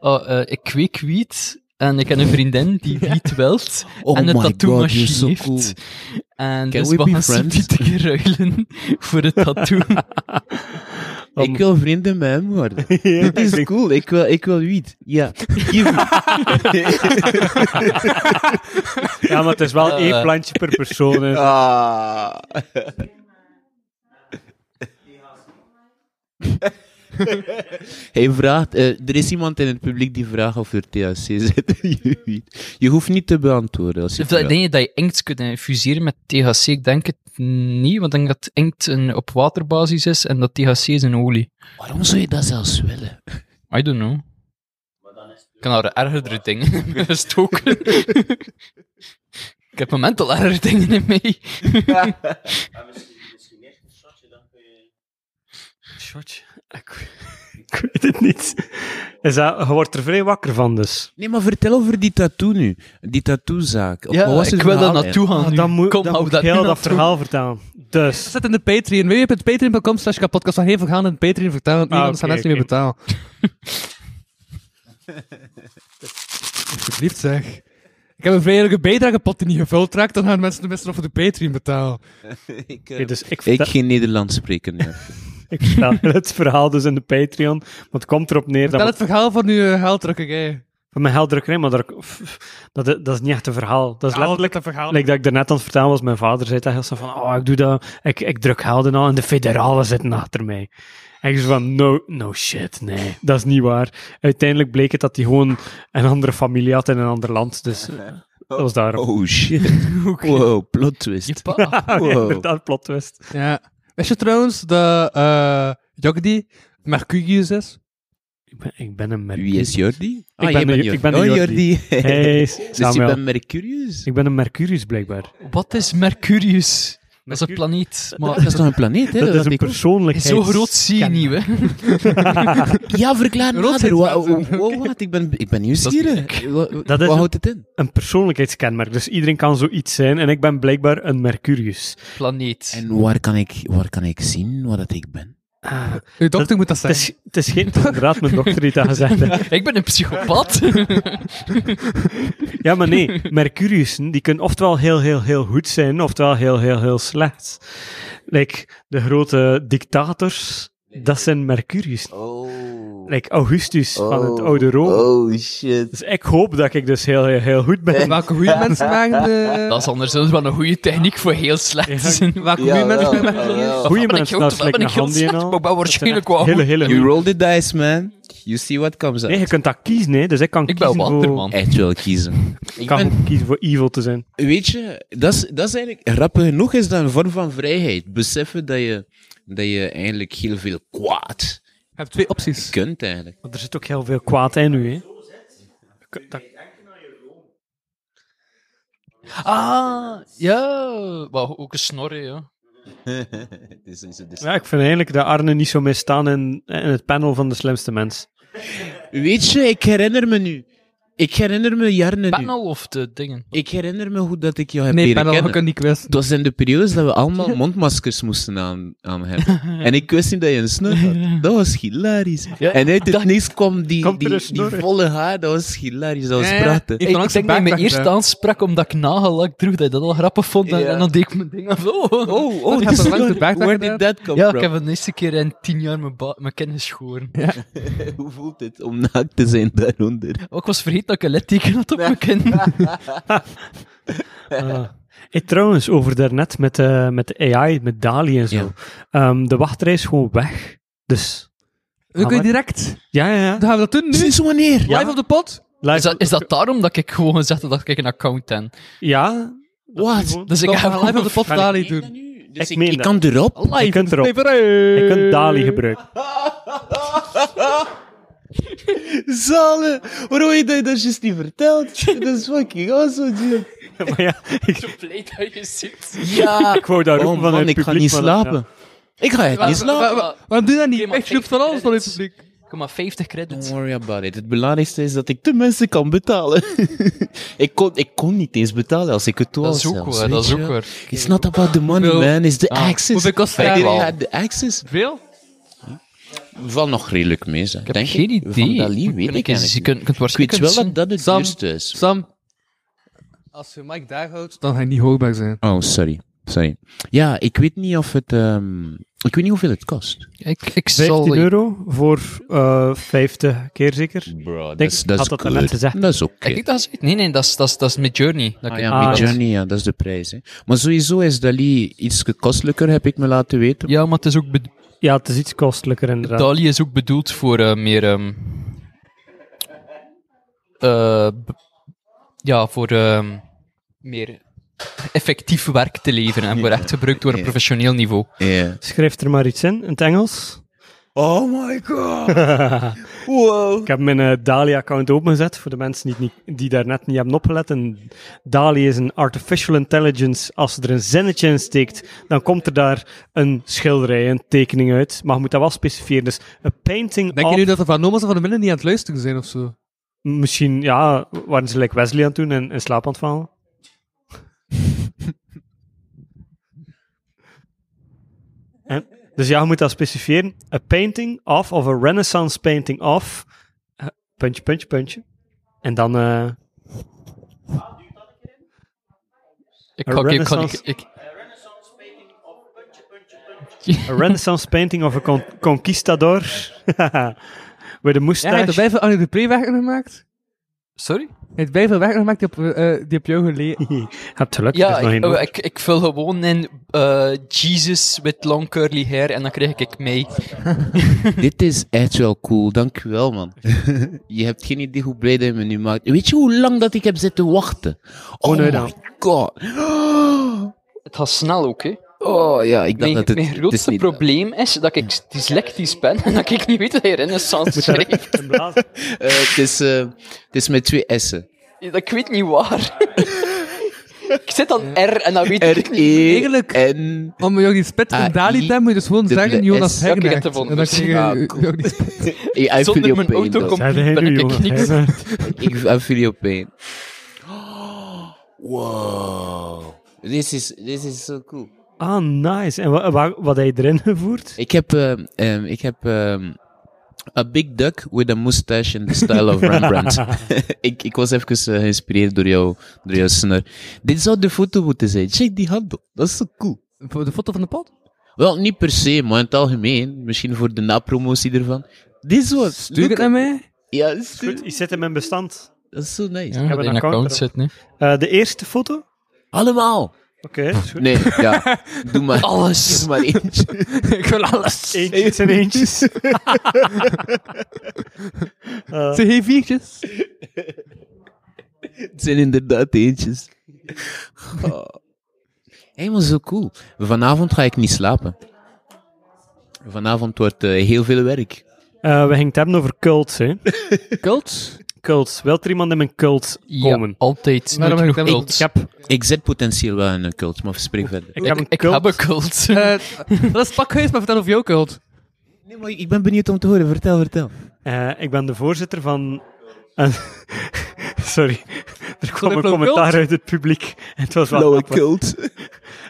Speaker 4: oh, eh, ik kweek wiet en ik heb een vriendin
Speaker 2: <laughs>
Speaker 4: die wiet wilt
Speaker 2: Oh
Speaker 4: en een
Speaker 2: my
Speaker 4: tattoo
Speaker 2: God, you're
Speaker 4: machine
Speaker 2: so
Speaker 4: heeft.
Speaker 2: cool.
Speaker 4: En
Speaker 2: Can
Speaker 4: dus
Speaker 2: we
Speaker 4: we
Speaker 2: be
Speaker 4: gaan <laughs>
Speaker 2: friends?
Speaker 4: zo'n keer ruilen voor het
Speaker 2: <laughs>
Speaker 4: tattoo.
Speaker 9: Om-
Speaker 2: Ik wil vrienden met hem <laughs> worden.
Speaker 9: Ja,
Speaker 2: Dit
Speaker 9: ik
Speaker 2: is
Speaker 9: denk-
Speaker 2: cool. Ik wil, ik wil wiet. Ja. Give me.
Speaker 9: Ja, maar het is
Speaker 4: <laughs>
Speaker 9: wel
Speaker 4: Eh.
Speaker 9: één plantje per persoon.
Speaker 4: <laughs>
Speaker 9: hè.
Speaker 2: <laughs> ah. Hij vraagt, eh, er is iemand in het publiek die vraagt of er THC <laughs> zit in je wiet. Je hoeft niet te beantwoorden. Als je
Speaker 4: Of dat-
Speaker 2: vraagt.
Speaker 4: Denk je dat je inkt kunt infuseren met THC? Ik denk het niet, want ik denk dat inkt een, op waterbasis is en dat THC is een olie.
Speaker 2: Waarom zou je dat zelfs willen?
Speaker 4: I don't know. Ik kan er ergerdere dingen <laughs> in me stoken.
Speaker 2: <laughs>
Speaker 4: ik heb een mental ergere dingen in mee.
Speaker 9: Ik, ik weet het niet. Is dat, je wordt er vrij wakker van, dus.
Speaker 2: Nee, maar vertel over die tattoo nu. Die tattoozaak. Of wat was
Speaker 4: ik
Speaker 2: het
Speaker 4: wil daar
Speaker 2: verhaal
Speaker 4: naartoe gaan. nu.
Speaker 9: Ah, dan moet,
Speaker 4: Kom,
Speaker 9: dan
Speaker 4: hou
Speaker 9: moet
Speaker 4: dat
Speaker 9: ik heel
Speaker 4: in
Speaker 9: dat
Speaker 4: af.
Speaker 9: verhaal vertellen. Dus,
Speaker 5: Zet in de Patreon. www.patreon.com slash kapotkast. Van even gaan in Patreon vertellen. want
Speaker 9: Ah,
Speaker 5: Niemand gaat
Speaker 9: oké,
Speaker 5: mensen niet meer
Speaker 9: oké.
Speaker 5: betalen. <laughs> Alsjeblieft zeg. Ik heb een vrijwillige bijdragepot die niet gevuld raakt. Dan gaan mensen tenminste nog voor de Patreon betalen.
Speaker 2: Ik,
Speaker 9: oké, dus ik,
Speaker 2: ik
Speaker 9: vertel, <laughs> ik,
Speaker 2: geen Nederlands spreken. Ja.
Speaker 9: vertel het verhaal dus in de Patreon. Want het komt erop neer dat
Speaker 5: Vertel het verhaal van uw eh, gelddrukkerij.
Speaker 9: Van mijn helddrukkerij, maar daar- f- f- dat, dat is niet echt een verhaal. Dat is letterlijk...
Speaker 5: dat verhaal.
Speaker 9: Like dat ik daarnet aan het vertellen was, mijn vader zei dat heel snel van, oh, ik doe dat, ik, ik druk helden aan en de federalen zitten achter mij. En ik zei van, no, no shit, nee, dat is niet waar. Uiteindelijk bleek het dat hij gewoon een andere familie had in een ander land, dus eh, dat was daarom.
Speaker 2: Oh shit. <laughs> Wow, plot twist.
Speaker 4: Pa,
Speaker 9: <laughs> Oh, Ja,
Speaker 2: wow.
Speaker 9: inderdaad, plot twist.
Speaker 5: Ja. Wist je trouwens dat eh Jogdi Mercurius is?
Speaker 9: Ik ben, ik ben een
Speaker 2: Wie
Speaker 9: Mercurius.
Speaker 2: is Jordi? Ah,
Speaker 9: ben
Speaker 2: jij
Speaker 9: een-
Speaker 2: bent
Speaker 9: ik ben een
Speaker 2: Oh,
Speaker 9: Jordi.
Speaker 2: <laughs>
Speaker 9: Hey,
Speaker 2: Dus je
Speaker 9: Samuel.
Speaker 2: bent Mercurius?
Speaker 9: Ik ben een Mercurius, blijkbaar.
Speaker 4: Wat is Mercurius? Dat is een planeet. Maar
Speaker 2: <laughs> dat is toch een planeet, hè?
Speaker 9: <laughs> dat is een
Speaker 2: ik-
Speaker 9: persoonlijkheid.
Speaker 4: zo groot zie je niet, hè?
Speaker 2: Ja, verklaar nader. Wa- wa- wa- Wat? Ik ben, ik ben nieuwsgierig. Wa- wa-
Speaker 9: Dat is
Speaker 2: Wat
Speaker 9: een-
Speaker 2: houdt het in?
Speaker 9: Een persoonlijkheidskenmerk, dus iedereen kan zoiets zijn en ik ben blijkbaar een Mercurius.
Speaker 4: Planeet.
Speaker 2: En waar kan ik, waar kan ik zien wat dat ik ben?
Speaker 9: Ah,
Speaker 5: Uw dokter moet dat
Speaker 9: het,
Speaker 5: zijn.
Speaker 9: is, het is geen... het is inderdaad mijn dokter die dat gezegd
Speaker 4: <laughs>
Speaker 9: heeft.
Speaker 4: Ik ben een psychopaat.
Speaker 9: Ja, maar nee, Mercuriussen, die kunnen oftewel heel, heel, heel goed zijn, oftewel heel, heel, heel slecht. Like, de grote dictators, dat zijn Mercuriussen.
Speaker 2: Oh.
Speaker 9: Like Augustus van het oude Rome.
Speaker 2: Oh shit.
Speaker 9: Dus ik hoop dat ik dus heel, heel, heel goed
Speaker 5: <laughs>
Speaker 9: ben.
Speaker 5: Welke goede <laughs> mensen maken de...
Speaker 4: Dat is anderszins wel een goede techniek voor heel slecht.
Speaker 5: Welke goede mensen maken Mercurius?
Speaker 9: Goeie
Speaker 4: ben ik heel-
Speaker 9: mensen, nou, is
Speaker 4: ben
Speaker 9: like
Speaker 4: ik
Speaker 9: een
Speaker 4: heel
Speaker 9: handy en
Speaker 4: slecht,
Speaker 9: al.
Speaker 4: maar ik ben waarschijnlijk wel
Speaker 9: Hele,
Speaker 4: goed.
Speaker 9: hele
Speaker 2: You
Speaker 9: goeie-
Speaker 2: roll the dice, man. You see what comes out.
Speaker 9: Nee, je kunt dat kiezen, hè. dus ik kan
Speaker 4: Ik ben
Speaker 9: kiezen voor...
Speaker 4: Waterman.
Speaker 2: Echt wel kiezen.
Speaker 9: Ik
Speaker 2: Ik
Speaker 9: kan
Speaker 2: ben
Speaker 9: ook kiezen voor evil te zijn.
Speaker 2: Weet je, dat is, dat is eigenlijk grappig genoeg is dat een vorm van vrijheid. Beseffen dat je, dat je eigenlijk heel veel kwaad
Speaker 5: Je hebt twee opties.
Speaker 2: kunt eigenlijk.
Speaker 9: Want er zit ook heel veel kwaad in nu, hè. Ik- dat-
Speaker 4: Ah, ja. Wel, ook een snorren, ja.
Speaker 2: Dus is het dus-
Speaker 9: Ja, ik vind eigenlijk dat Arne niet zo mee staan in, in het panel van de slimste
Speaker 2: <laughs>
Speaker 9: mens.
Speaker 2: Weet je, ik herinner me nu. Ik herinner me jaren nu.
Speaker 4: Panel of de dingen.
Speaker 2: Ik herinner me hoe dat ik jou heb
Speaker 5: Nee,
Speaker 2: leren
Speaker 5: panel, je
Speaker 2: kennen.
Speaker 5: kunt niet kwisten.
Speaker 2: Het was in de periodes dat we allemaal mondmaskers moesten aan, aan hebben. En ik wist niet dat je een snor had. Dat was hilarisch.
Speaker 4: Ja,
Speaker 2: en uit het
Speaker 4: dat-
Speaker 2: niks kwam die,
Speaker 9: Komt er
Speaker 2: die,
Speaker 9: een
Speaker 2: die
Speaker 9: snor uit?
Speaker 2: volle haar. Dat was hilarisch. Dat was
Speaker 5: Ja, ja.
Speaker 2: prachtig.
Speaker 5: Ik
Speaker 4: Ik,
Speaker 5: kon
Speaker 4: ik
Speaker 5: ook zijn
Speaker 4: denk dat je
Speaker 5: backpack
Speaker 4: mijn eerste
Speaker 5: dragen.
Speaker 4: aansprak omdat ik nagelak droeg, dat je dat al grappig vond. En,
Speaker 2: Ja.
Speaker 4: en dan deed ik mijn ding af. Oh,
Speaker 2: Oh,
Speaker 5: Dat
Speaker 2: oh,
Speaker 5: heb
Speaker 2: die
Speaker 5: ik langs
Speaker 2: snor.
Speaker 5: de back
Speaker 2: Where
Speaker 5: gedaan.
Speaker 2: did that come
Speaker 4: Ja,
Speaker 2: from?
Speaker 4: ik heb de eerste keer in tien jaar mijn, ba- mijn kin geschoren.
Speaker 2: <laughs> Hoe voelt het om naakt te zijn daaronder?
Speaker 4: Oh, ik was vergeten dat ik een litteken had op mijn kin.
Speaker 9: Ah. Hey, trouwens, over daarnet met, eh met de AI, met Dali en zo. Ehm, de wachtrij is gewoon weg. Dus
Speaker 5: We kunnen
Speaker 9: maar-
Speaker 5: direct.
Speaker 9: Ja, ja, ja.
Speaker 5: Dan gaan we dat doen nu.
Speaker 2: Sinds wanneer?
Speaker 9: Ja.
Speaker 5: Live op de pot.
Speaker 9: Live-
Speaker 4: Is dat, is dat daarom dat ik gewoon gezegd heb dat ik een account heb?
Speaker 9: Ja.
Speaker 2: Wat?
Speaker 4: Dus ik
Speaker 5: Dan
Speaker 4: heb
Speaker 5: gaan we live op de pot
Speaker 9: Kan ik-
Speaker 5: Dali doen.
Speaker 2: Dus
Speaker 9: Ik
Speaker 2: ik,
Speaker 9: meen
Speaker 2: ik
Speaker 9: dat.
Speaker 2: kan erop.
Speaker 9: Je kunt erop. Je kunt Dali
Speaker 2: <laughs>
Speaker 9: gebruiken.
Speaker 2: Zalen, waarom heb je dat dat juist niet verteld? Dat is fucking awesome, dude.
Speaker 9: maar ja, ik,
Speaker 2: Ja.
Speaker 9: ik wou daar
Speaker 2: Oh
Speaker 9: roepen van
Speaker 2: man,
Speaker 9: het
Speaker 2: ik ga
Speaker 9: publiek,
Speaker 2: niet
Speaker 9: maar dat-
Speaker 2: slapen. Ik ga echt niet slapen.
Speaker 5: Wa- wa- Waarom Ah, doe je dat niet?
Speaker 4: Oké, maar
Speaker 5: Echt, je roept van alles van het publiek.
Speaker 4: Kom maar 50
Speaker 2: Don't
Speaker 4: credits.
Speaker 2: worry about it. Het belangrijkste is dat ik de mensen kan betalen. <laughs> ik, kon, ik kon niet eens betalen als ik het was.
Speaker 4: Dat is ook
Speaker 2: zelfs,
Speaker 4: waar,
Speaker 2: weet
Speaker 4: dat is
Speaker 2: je
Speaker 4: ook
Speaker 2: wel.
Speaker 4: waar. ah,
Speaker 2: It's not about the money,
Speaker 5: Hoeveel-
Speaker 2: man. It's the access.
Speaker 5: Hoeveel kost
Speaker 2: I
Speaker 5: dat?
Speaker 2: didn't
Speaker 4: wel?
Speaker 2: have the access.
Speaker 5: Veel?
Speaker 2: Valt nog redelijk mee, zeg.
Speaker 4: Ik heb
Speaker 2: denk
Speaker 4: geen
Speaker 2: ik.
Speaker 4: idee.
Speaker 2: Van Dali
Speaker 4: Moet-
Speaker 2: weet
Speaker 4: kan
Speaker 2: ik
Speaker 4: eens- Je
Speaker 2: eigenlijk
Speaker 4: kunt, kunt
Speaker 2: niet. Ik weet
Speaker 4: waarschijnlijk
Speaker 2: wel dat dat het
Speaker 5: Sam.
Speaker 2: duurste is.
Speaker 5: Sam. Als je Mike daar houdt, dan ga je niet hoogbaar zijn.
Speaker 2: Oh, sorry. Sorry. Ja, ik weet niet of het... ehm, ik weet niet hoeveel het kost.
Speaker 4: Ik, ik
Speaker 9: 15
Speaker 4: zal...
Speaker 9: euro voor eh 50 keer zeker.
Speaker 2: Bro,
Speaker 9: Denk
Speaker 2: dat is
Speaker 9: ik
Speaker 2: dat is
Speaker 9: had dat daarnet
Speaker 2: good.
Speaker 9: gezegd.
Speaker 2: Dat is oké.
Speaker 4: Kijk, ik dat is- nee, nee, dat is, dat is, dat is met Journey. Dat
Speaker 2: Ah,
Speaker 4: ik-
Speaker 2: ja,
Speaker 9: Ah,
Speaker 2: met
Speaker 9: dat-
Speaker 2: Journey, ja, dat is de prijs. Hè. Maar sowieso is Dali iets kostelijker, heb ik me laten weten.
Speaker 4: ja, maar het is ook bedo-
Speaker 9: Ja, het is iets kostelijker inderdaad.
Speaker 4: Dali is ook bedoeld voor eh, meer... ehm, eh, b- ja, voor ehm, meer effectief werk te leveren en voor echt gebruikt door een
Speaker 2: Ja.
Speaker 4: professioneel niveau.
Speaker 2: Ja.
Speaker 9: Schrijf er maar iets in, in het Engels.
Speaker 2: Oh my god. wow.
Speaker 9: Ik heb mijn eh, DALI-account opengezet voor de mensen die, het niet, die daarnet niet hebben opgelet. En DALI is een artificial intelligence. Als ze er een zinnetje in steekt, dan komt er daar een schilderij, een tekening uit. Maar je moet dat wel specifieren. Dus een painting
Speaker 5: Denk
Speaker 9: of...
Speaker 5: je nu dat de Van Nomas en Van de Minnen niet aan het luisteren zijn of zo?
Speaker 9: Misschien, ja, waren ze like Wesley aan het doen en in slaap aan het vallen. <laughs> en, dus ja, je moet dat specifieren. A painting of, of a renaissance painting of, eh, puntje, puntje, puntje. En dan, eh,
Speaker 4: Ik
Speaker 9: Een
Speaker 4: ga, ik, ga, ik,
Speaker 9: renaissance-
Speaker 4: ik- <laughs>
Speaker 9: a renaissance painting of a con- conquistador. <laughs> With a
Speaker 5: Ja, hij heeft
Speaker 9: moustache.
Speaker 5: bij veel Annie de Pre werken gemaakt.
Speaker 4: sorry?
Speaker 5: Hij heeft bij veel werken gemaakt die op, eh, eh, die op jou geleden.
Speaker 9: <laughs> Je hebt geluk, er
Speaker 4: Ja,
Speaker 9: is nog
Speaker 4: ik,
Speaker 9: één
Speaker 4: oh,
Speaker 9: over.
Speaker 4: ik, ik vul gewoon in eh, Jesus with long curly hair en dan krijg ik mee.
Speaker 2: Dit is echt wel cool, dankjewel man. je hebt geen idee hoe blij dat je me nu maakt. Weet je hoe lang dat ik heb zitten wachten? Oh,
Speaker 9: nee,
Speaker 2: my
Speaker 9: dan.
Speaker 2: god. <gasps>
Speaker 4: Het gaat snel ook, hè.
Speaker 2: Oh ja, ik dacht
Speaker 4: Mijn,
Speaker 2: dat het...
Speaker 4: mijn
Speaker 2: het is
Speaker 4: grootste
Speaker 2: niet-
Speaker 4: probleem is dat ik dyslectisch ben en dat ik niet weet dat hij renaissance
Speaker 9: <laughs>
Speaker 4: schrijft.
Speaker 9: Een blaas.
Speaker 2: Eh, het, is, eh, het is met twee S'en.
Speaker 4: Ik weet niet
Speaker 2: <laughs>
Speaker 4: waar. ik zit aan R en dan weet ik
Speaker 2: E
Speaker 4: niet.
Speaker 2: R-E-N...
Speaker 5: Eigenlijk- Om jou die spit
Speaker 2: Ah,
Speaker 5: en Dali te
Speaker 2: i-
Speaker 5: hebben, moet je dus gewoon
Speaker 2: dubbele
Speaker 5: zeggen
Speaker 2: S.
Speaker 5: Jonas
Speaker 4: Ja, ik heb
Speaker 5: Hegnaert.
Speaker 4: het gevonden.
Speaker 5: En dan krijg je
Speaker 2: Ah,
Speaker 5: je-
Speaker 2: cool.
Speaker 5: jou die spit.
Speaker 2: Hey, I feel
Speaker 4: Zonder
Speaker 2: your
Speaker 4: mijn
Speaker 2: pain,
Speaker 4: auto
Speaker 2: dog.
Speaker 9: Zijn
Speaker 4: <laughs>
Speaker 9: we
Speaker 4: ben
Speaker 9: heen,
Speaker 4: ik
Speaker 9: jongen?
Speaker 4: niks.
Speaker 9: Heen, hè?
Speaker 2: Ik I feel your pain. Wow. This is, this is so cool.
Speaker 9: <laughs> Ah, nice. En wa- wa- wat heb je erin gevoerd?
Speaker 2: Ik heb, ehm, ehm, ik heb ehm, A Big Duck with a Mustache in the Style of Rembrandt. <laughs> ik, ik was even eh, geïnspireerd door, jou, door jouw snor. Dit zou de foto moeten zijn. Check die handel. Dat is zo cool.
Speaker 5: Voor de foto van de pot?
Speaker 2: Wel, niet per se, maar in het algemeen. Misschien voor de napromotie ervan. Dit soort.
Speaker 5: Doe ik het naar mij?
Speaker 2: Ja,
Speaker 9: Goed,
Speaker 2: stuur.
Speaker 9: je zit in mijn bestand.
Speaker 2: Dat is zo nice.
Speaker 4: Ja,
Speaker 9: heb
Speaker 4: dat
Speaker 9: een
Speaker 4: in
Speaker 9: account
Speaker 4: account
Speaker 9: erop.
Speaker 4: zit, nee.
Speaker 9: Eh, de eerste foto?
Speaker 2: Allemaal.
Speaker 9: Oké, is goed.
Speaker 2: Nee, ja. Doe maar. Alles. Doe maar eentje.
Speaker 5: Ik wil alles.
Speaker 9: Eentjes en
Speaker 5: <laughs>
Speaker 9: eentjes. Eh,
Speaker 5: Ze heeft viertjes.
Speaker 2: Het zijn inderdaad eentjes. <laughs> Oh. Helemaal zo cool. Vanavond ga ik niet slapen. Vanavond wordt eh, heel veel werk.
Speaker 9: eh, we gingen het hebben over cults, hè.
Speaker 5: Kult.
Speaker 9: Cults. Wil er iemand in mijn cult komen?
Speaker 4: Ja, altijd.
Speaker 5: Waarom
Speaker 4: Nooit
Speaker 5: heb ik
Speaker 4: genoeg
Speaker 5: dat
Speaker 9: Ik
Speaker 4: cult.
Speaker 9: heb,
Speaker 2: Ik zit potentieel wel in een cult, maar spreek verder.
Speaker 9: ik heb een
Speaker 4: <laughs> Ik
Speaker 9: cult.
Speaker 4: heb een cult.
Speaker 5: Eh, dat is het pakhuis, maar vertel over jouw kult.
Speaker 2: Nee, maar ik ben benieuwd om te horen. Vertel, vertel.
Speaker 9: Eh, ik ben de voorzitter van... een- <laughs> sorry. Er kwam
Speaker 5: flauwe
Speaker 9: een commentaar uit het publiek. Het was wel grappig.
Speaker 2: cult.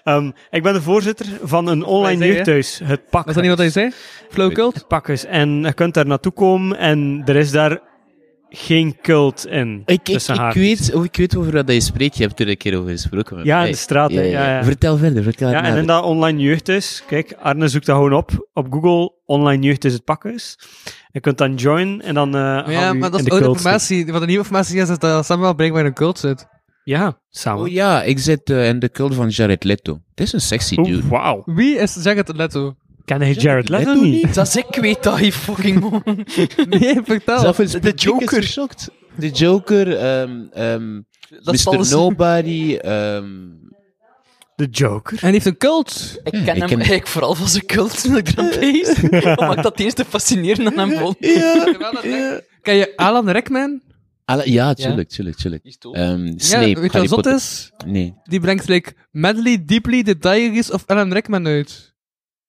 Speaker 9: Ehm, ik ben de voorzitter van een online
Speaker 5: zeggen, hè?
Speaker 9: jeugdhuis, het pak.
Speaker 5: Was dat niet wat hij zei? Flow cult?
Speaker 9: Het Pakhuis. En je kunt daar naartoe komen en er is daar geen cult in.
Speaker 2: Ik, ik,
Speaker 9: tussen
Speaker 2: ik,
Speaker 9: haakjes.
Speaker 2: weet, oh, ik weet over wat je spreekt. Je hebt er een keer over gesproken. met
Speaker 9: Ja, in
Speaker 2: mij.
Speaker 9: de straat, hè. Ja, ja.
Speaker 2: Vertel verder, vertel
Speaker 9: Ja, en
Speaker 2: verder.
Speaker 9: in dat online jeugdhuis, kijk, Arne zoekt dat gewoon op op Google, online jeugdhuis het pakhuis. Je kunt dan joinen en dan eh
Speaker 5: Oh ja,
Speaker 9: gaan we
Speaker 5: maar dat is
Speaker 9: in de
Speaker 5: oude
Speaker 9: cult zitten.
Speaker 5: informatie. Wat de nieuwe informatie is, is dat Sam wel blijkbaar in een cult zit.
Speaker 9: Ja, samen.
Speaker 2: Oh ja, ik zit eh, in de cult van Jared Leto. Het is een sexy
Speaker 9: Oeh,
Speaker 2: dude.
Speaker 9: wauw.
Speaker 5: Wie is Jagged Leto? <laughs>
Speaker 9: Ken hij Jared Leto,
Speaker 2: Leto
Speaker 9: niet?
Speaker 2: niet?
Speaker 4: Dat ik weet dat hij fucking man.
Speaker 5: Nee, vertel.
Speaker 2: Zelf is
Speaker 4: de
Speaker 2: publiek is
Speaker 4: Joker.
Speaker 2: geschokt. De Joker, ehm ehm
Speaker 4: Dat is
Speaker 2: Mr.
Speaker 4: alles-
Speaker 2: Nobody, ehm
Speaker 9: De Joker.
Speaker 5: En die heeft een cult.
Speaker 4: Ik ken
Speaker 2: ik
Speaker 4: hem
Speaker 2: ken-
Speaker 4: eigenlijk vooral van zijn cult toen ik eraan
Speaker 2: <laughs>
Speaker 4: bezig ben. Wat maakt dat het eens te fascinerend aan hem vond.
Speaker 5: Ken je Alan Rickman?
Speaker 2: alle- ja, tuurlijk, tuurlijk, tuurlijk. Ehm Snape,
Speaker 5: ja, weet je wat zot
Speaker 2: Harry Potter.
Speaker 5: is?
Speaker 2: Nee.
Speaker 5: Die brengt like, Medley Deeply The Diaries of Alan Rickman uit.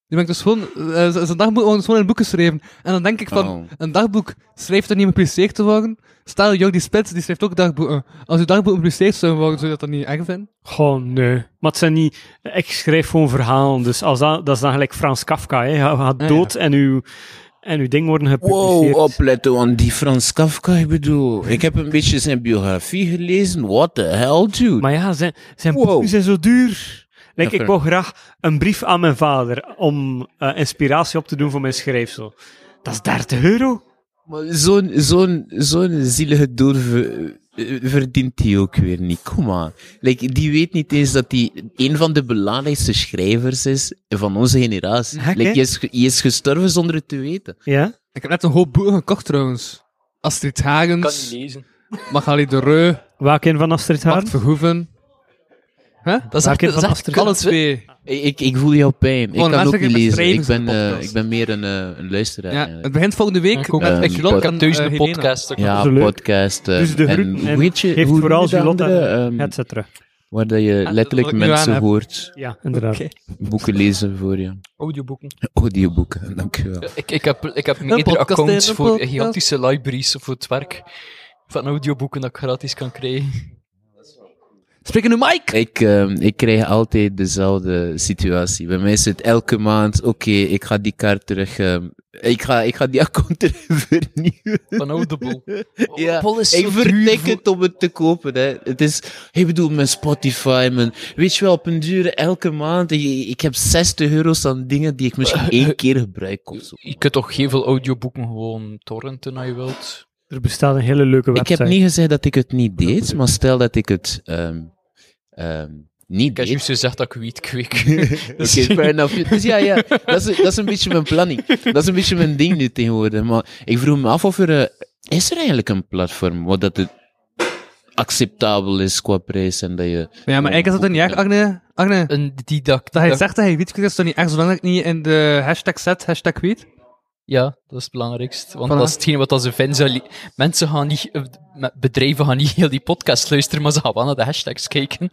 Speaker 5: Die brengt dus gewoon... eh, z- zijn dagboek wordt gewoon in een boek geschreven. En dan denk ik van...
Speaker 2: Oh.
Speaker 5: Een dagboek schrijft er niet gepubliceerd te worden. Stel, Jordi Spits, die schrijft ook dagboeken. Als uw dagboek gepubliceerd zou worden, zou je dat dan niet eng vinden?
Speaker 9: Goh, nee. Maar het zijn niet... Ik schrijf gewoon verhalen, dus als dat, dat is dan gelijk Frans Kafka. Hè. Je gaat
Speaker 5: ja.
Speaker 9: dood en, uw, en uw ding worden gepubliceerd.
Speaker 2: Wow, opletten, want die Frans Kafka, ik bedoel. Ik heb een beetje zijn biografie gelezen. What the hell, dude?
Speaker 9: Maar ja, zijn, zijn
Speaker 2: Wow.
Speaker 9: boeken zijn zo duur. Like,
Speaker 2: Ja,
Speaker 9: ik wou graag een brief aan mijn vader om eh, inspiratie op te doen voor mijn schrijfsel. Dat is 30 euro.
Speaker 2: Maar Zo'n zo'n zo'n zielige doel ver- eh, verdient hij ook weer niet. Kom aan. Like, die weet niet eens dat hij een van de belangrijkste schrijvers is van onze generatie.
Speaker 9: Hek, hè?
Speaker 2: like, je, is, ge- je is gestorven zonder het te weten.
Speaker 9: Ja?
Speaker 5: Ik heb net een hoop boeken gekocht, trouwens. Astrid Hagens,
Speaker 4: lezen.
Speaker 5: Magali de Reu,
Speaker 9: Welke een van Astrid Haarn?
Speaker 5: Bart Verhoeven. Huh?
Speaker 4: Dat is
Speaker 9: Maak
Speaker 4: echt, dat is
Speaker 9: je van
Speaker 4: echt
Speaker 9: Astrid?
Speaker 5: Alle
Speaker 4: kunst, hè.
Speaker 5: twee.
Speaker 2: Ik, ik voel jouw pijn. Ik
Speaker 5: Gewoon
Speaker 2: kan ook
Speaker 5: letterlijk
Speaker 2: niet
Speaker 5: een
Speaker 2: lezen. Ik ben,
Speaker 5: beschrijving van de
Speaker 2: eh,
Speaker 5: podcast.
Speaker 2: ik ben meer een, eh, een luisteraar.
Speaker 5: Ja,
Speaker 2: eigenlijk.
Speaker 5: het begint volgende week.
Speaker 4: Ik ook.
Speaker 5: met
Speaker 2: Eh,
Speaker 5: Ekkelon
Speaker 2: pod-
Speaker 4: Ik heb
Speaker 5: en,
Speaker 4: duizenden
Speaker 5: eh, Helena.
Speaker 4: podcasts. ook.
Speaker 2: ja,
Speaker 9: zo leuk.
Speaker 2: podcast. eh,
Speaker 9: Dus de groeten en
Speaker 2: weet je,
Speaker 9: geeft
Speaker 2: hoe
Speaker 9: vooral
Speaker 2: noem je de
Speaker 9: Julotte
Speaker 2: andere, ehm,
Speaker 9: Het zit terug.
Speaker 2: waar dat je
Speaker 5: dat
Speaker 2: letterlijk
Speaker 5: wil ik nu aan
Speaker 2: mensen
Speaker 5: hebben.
Speaker 2: hoort
Speaker 9: Ja, inderdaad.
Speaker 4: Oké.
Speaker 2: boeken lezen voor je.
Speaker 4: Audioboeken.
Speaker 2: Audioboeken, dankjewel.
Speaker 4: Ik, ik heb, ik heb meerdere
Speaker 5: podcast,
Speaker 4: accounts
Speaker 5: een
Speaker 4: voor
Speaker 5: podcast.
Speaker 4: gigantische libraries voor het werk. Van audioboeken dat ik gratis kan krijgen.
Speaker 5: Spreken nu Mike!
Speaker 2: Ik, ehm, ik krijg altijd dezelfde situatie. Bij mij is het elke maand, oké, ik ga die kaart terug, ehm, ik, ga, ik ga die account <laughs> terug vernieuwen.
Speaker 4: Van <laughs> Audible. Oh,
Speaker 2: Ja,
Speaker 4: Paul is
Speaker 2: ik
Speaker 4: zo duur
Speaker 2: vertik
Speaker 4: voor-
Speaker 2: het om het te kopen. Hè. Het is, ik bedoel, mijn Spotify, mijn, weet je wel, op een duur elke maand, ik, ik heb 60 euro's aan dingen die ik misschien één keer gebruik of zo.
Speaker 4: Je kunt toch heel veel audioboeken gewoon torrenten als je wilt.
Speaker 9: Er bestaat een hele leuke
Speaker 2: Ik
Speaker 9: website.
Speaker 2: heb niet gezegd dat ik het niet deed, maar stel dat ik het ehm, ehm, niet
Speaker 4: Ik heb
Speaker 2: deed.
Speaker 4: juist gezegd dat ik wiet kweek. <laughs>
Speaker 2: Oké, fair enough. Dus ja, ja dat, is, dat is een beetje mijn planning. Dat is een beetje mijn ding nu tegenwoordig. Maar ik vroeg me af of er... eh, is er eigenlijk een platform waar dat het acceptabel is qua prijs en dat je...
Speaker 5: Ja, maar eigenlijk is dat niet erg, Agne. Agne,
Speaker 4: Een die dat,
Speaker 5: dat hij
Speaker 4: dat-
Speaker 5: zegt dat hij wiet kweekt, is toch niet erg, zolang ik niet in de hashtag zet, hashtag wiet?
Speaker 4: Ja, dat is het belangrijkste. Want
Speaker 5: Voilà.
Speaker 4: dat is hetgeen wat als fans... al- Mensen gaan niet... eh, me- Bedrijven gaan niet heel die podcast luisteren, maar ze gaan wel naar de hashtags kijken.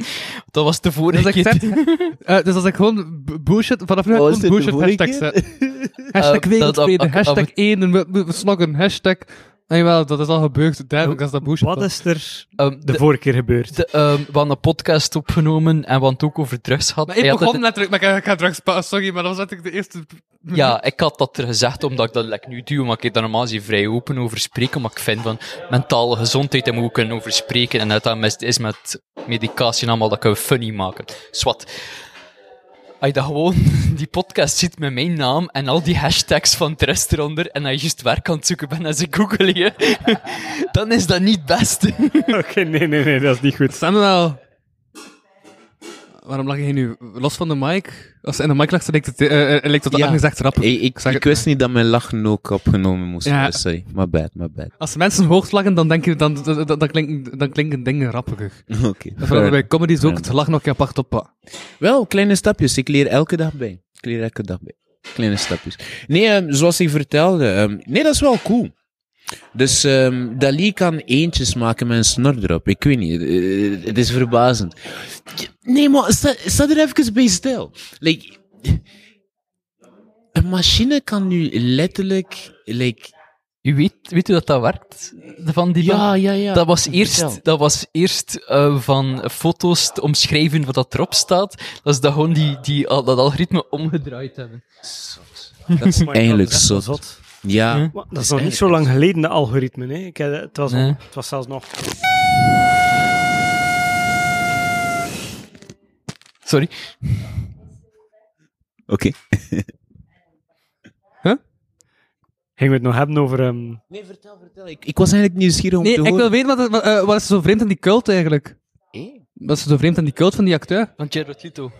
Speaker 4: Dat was de
Speaker 5: Dus
Speaker 4: vorige
Speaker 5: als ik
Speaker 4: keer.
Speaker 5: zet... eh, dus als ik gewoon b- bullshit, vanaf nu
Speaker 2: Oh,
Speaker 5: ga ik
Speaker 2: is dit
Speaker 5: gewoon
Speaker 2: de
Speaker 5: bullshit
Speaker 2: vorige
Speaker 5: hashtag
Speaker 2: keer? <laughs>
Speaker 5: zet. <laughs> Hashtag
Speaker 4: Eh, dat- dat-
Speaker 5: 2,
Speaker 4: dat-
Speaker 5: hashtag
Speaker 4: dat-
Speaker 5: 1, en we, we, we sloggen, hashtag... En jawel, dat is al gebeurd, duidelijk, dat is dat bullshit.
Speaker 9: Wat
Speaker 5: dan.
Speaker 9: is er
Speaker 4: Ehm,
Speaker 9: de,
Speaker 4: de-
Speaker 9: vorige keer gebeurd? <laughs>
Speaker 4: de, ehm, we hadden een podcast opgenomen en we hadden het ook over drugs gehad.
Speaker 5: Maar ik
Speaker 4: Hij had
Speaker 5: begon
Speaker 4: het-
Speaker 5: letterlijk, maar ik ga drugs pa- sorry, maar dat was letterlijk de eerste...
Speaker 4: ja, ik had dat er gezegd omdat ik dat like, nu doe, maar ik daar normaal zie vrij open over spreken. Maar ik vind van mentale gezondheid daar moet ik kunnen over spreken. En dat dat met- is met medicatie en allemaal dat kunnen we funny maken. Swat. Als je dat gewoon <laughs> die podcast ziet met mijn naam en al die hashtags van de rest eronder en dat je juist werk aan het zoeken bent en ze googelen je, <laughs> dan is dat niet best. <laughs>
Speaker 9: Oké, nee, nee, nee, dat is niet goed.
Speaker 5: Samuel! Waarom lag je nu los van de mic? Als ze in de mic lag, dan lijkt het, eh, eh, lijkt het
Speaker 2: Ja.
Speaker 5: Agne zegt rappen.
Speaker 2: Ik, ik,
Speaker 5: Zeg
Speaker 2: ik
Speaker 5: het
Speaker 2: wist niet dat mijn lachen ook opgenomen moest
Speaker 5: Ja.
Speaker 2: worden. Sorry, my bad, my bad. <laughs>
Speaker 5: Als mensen hoog lachen, dan, denk je, dan, dan, dan, klinken, dan klinken dingen rapperig.
Speaker 2: Oké.
Speaker 5: Vooral
Speaker 2: fair.
Speaker 5: bij comedies ook,
Speaker 2: Ja.
Speaker 5: het lachen nog apart op. eh.
Speaker 2: Wel, kleine stapjes. Ik leer elke dag bij. Ik leer elke dag bij. Kleine stapjes. Nee, ehm, zoals ik vertelde. ehm, nee, dat is wel cool. Dus ehm Dali kan eentjes maken met een snor erop. Ik weet niet. eh, het is verbazend. Nee, maar sta, sta er even bij stil. Like, een machine kan nu letterlijk... Like,
Speaker 4: U weet, weet u dat dat werkt? Van die
Speaker 2: ja, ja, ja.
Speaker 4: Dat was
Speaker 2: Vertel.
Speaker 4: eerst, dat was eerst eh, van foto's te omschrijven wat dat erop staat. Dat is dat gewoon die, die, al- dat algoritme omgedraaid hebben.
Speaker 2: Dat is eigenlijk
Speaker 9: dat is wel
Speaker 2: zot. Ja.
Speaker 4: Hm?
Speaker 9: Maar Dat is nog niet zo lang geleden, de algoritme. Hè. Ik, heb- het, was
Speaker 4: Nee.
Speaker 9: nog- het was zelfs nog...
Speaker 4: Sorry.
Speaker 2: Oké.
Speaker 9: Gingen we het nog hebben over... ehm,
Speaker 2: Nee, vertel, vertel. Ik, ik was eigenlijk nieuwsgierig om
Speaker 5: Nee,
Speaker 2: te
Speaker 5: ik wil
Speaker 2: horen.
Speaker 5: weten, wat, wat, eh, wat is zo vreemd aan die cult eigenlijk?
Speaker 2: Eh?
Speaker 5: Dat is zo vreemd aan die cult van die acteur.
Speaker 4: Van Jared Leto.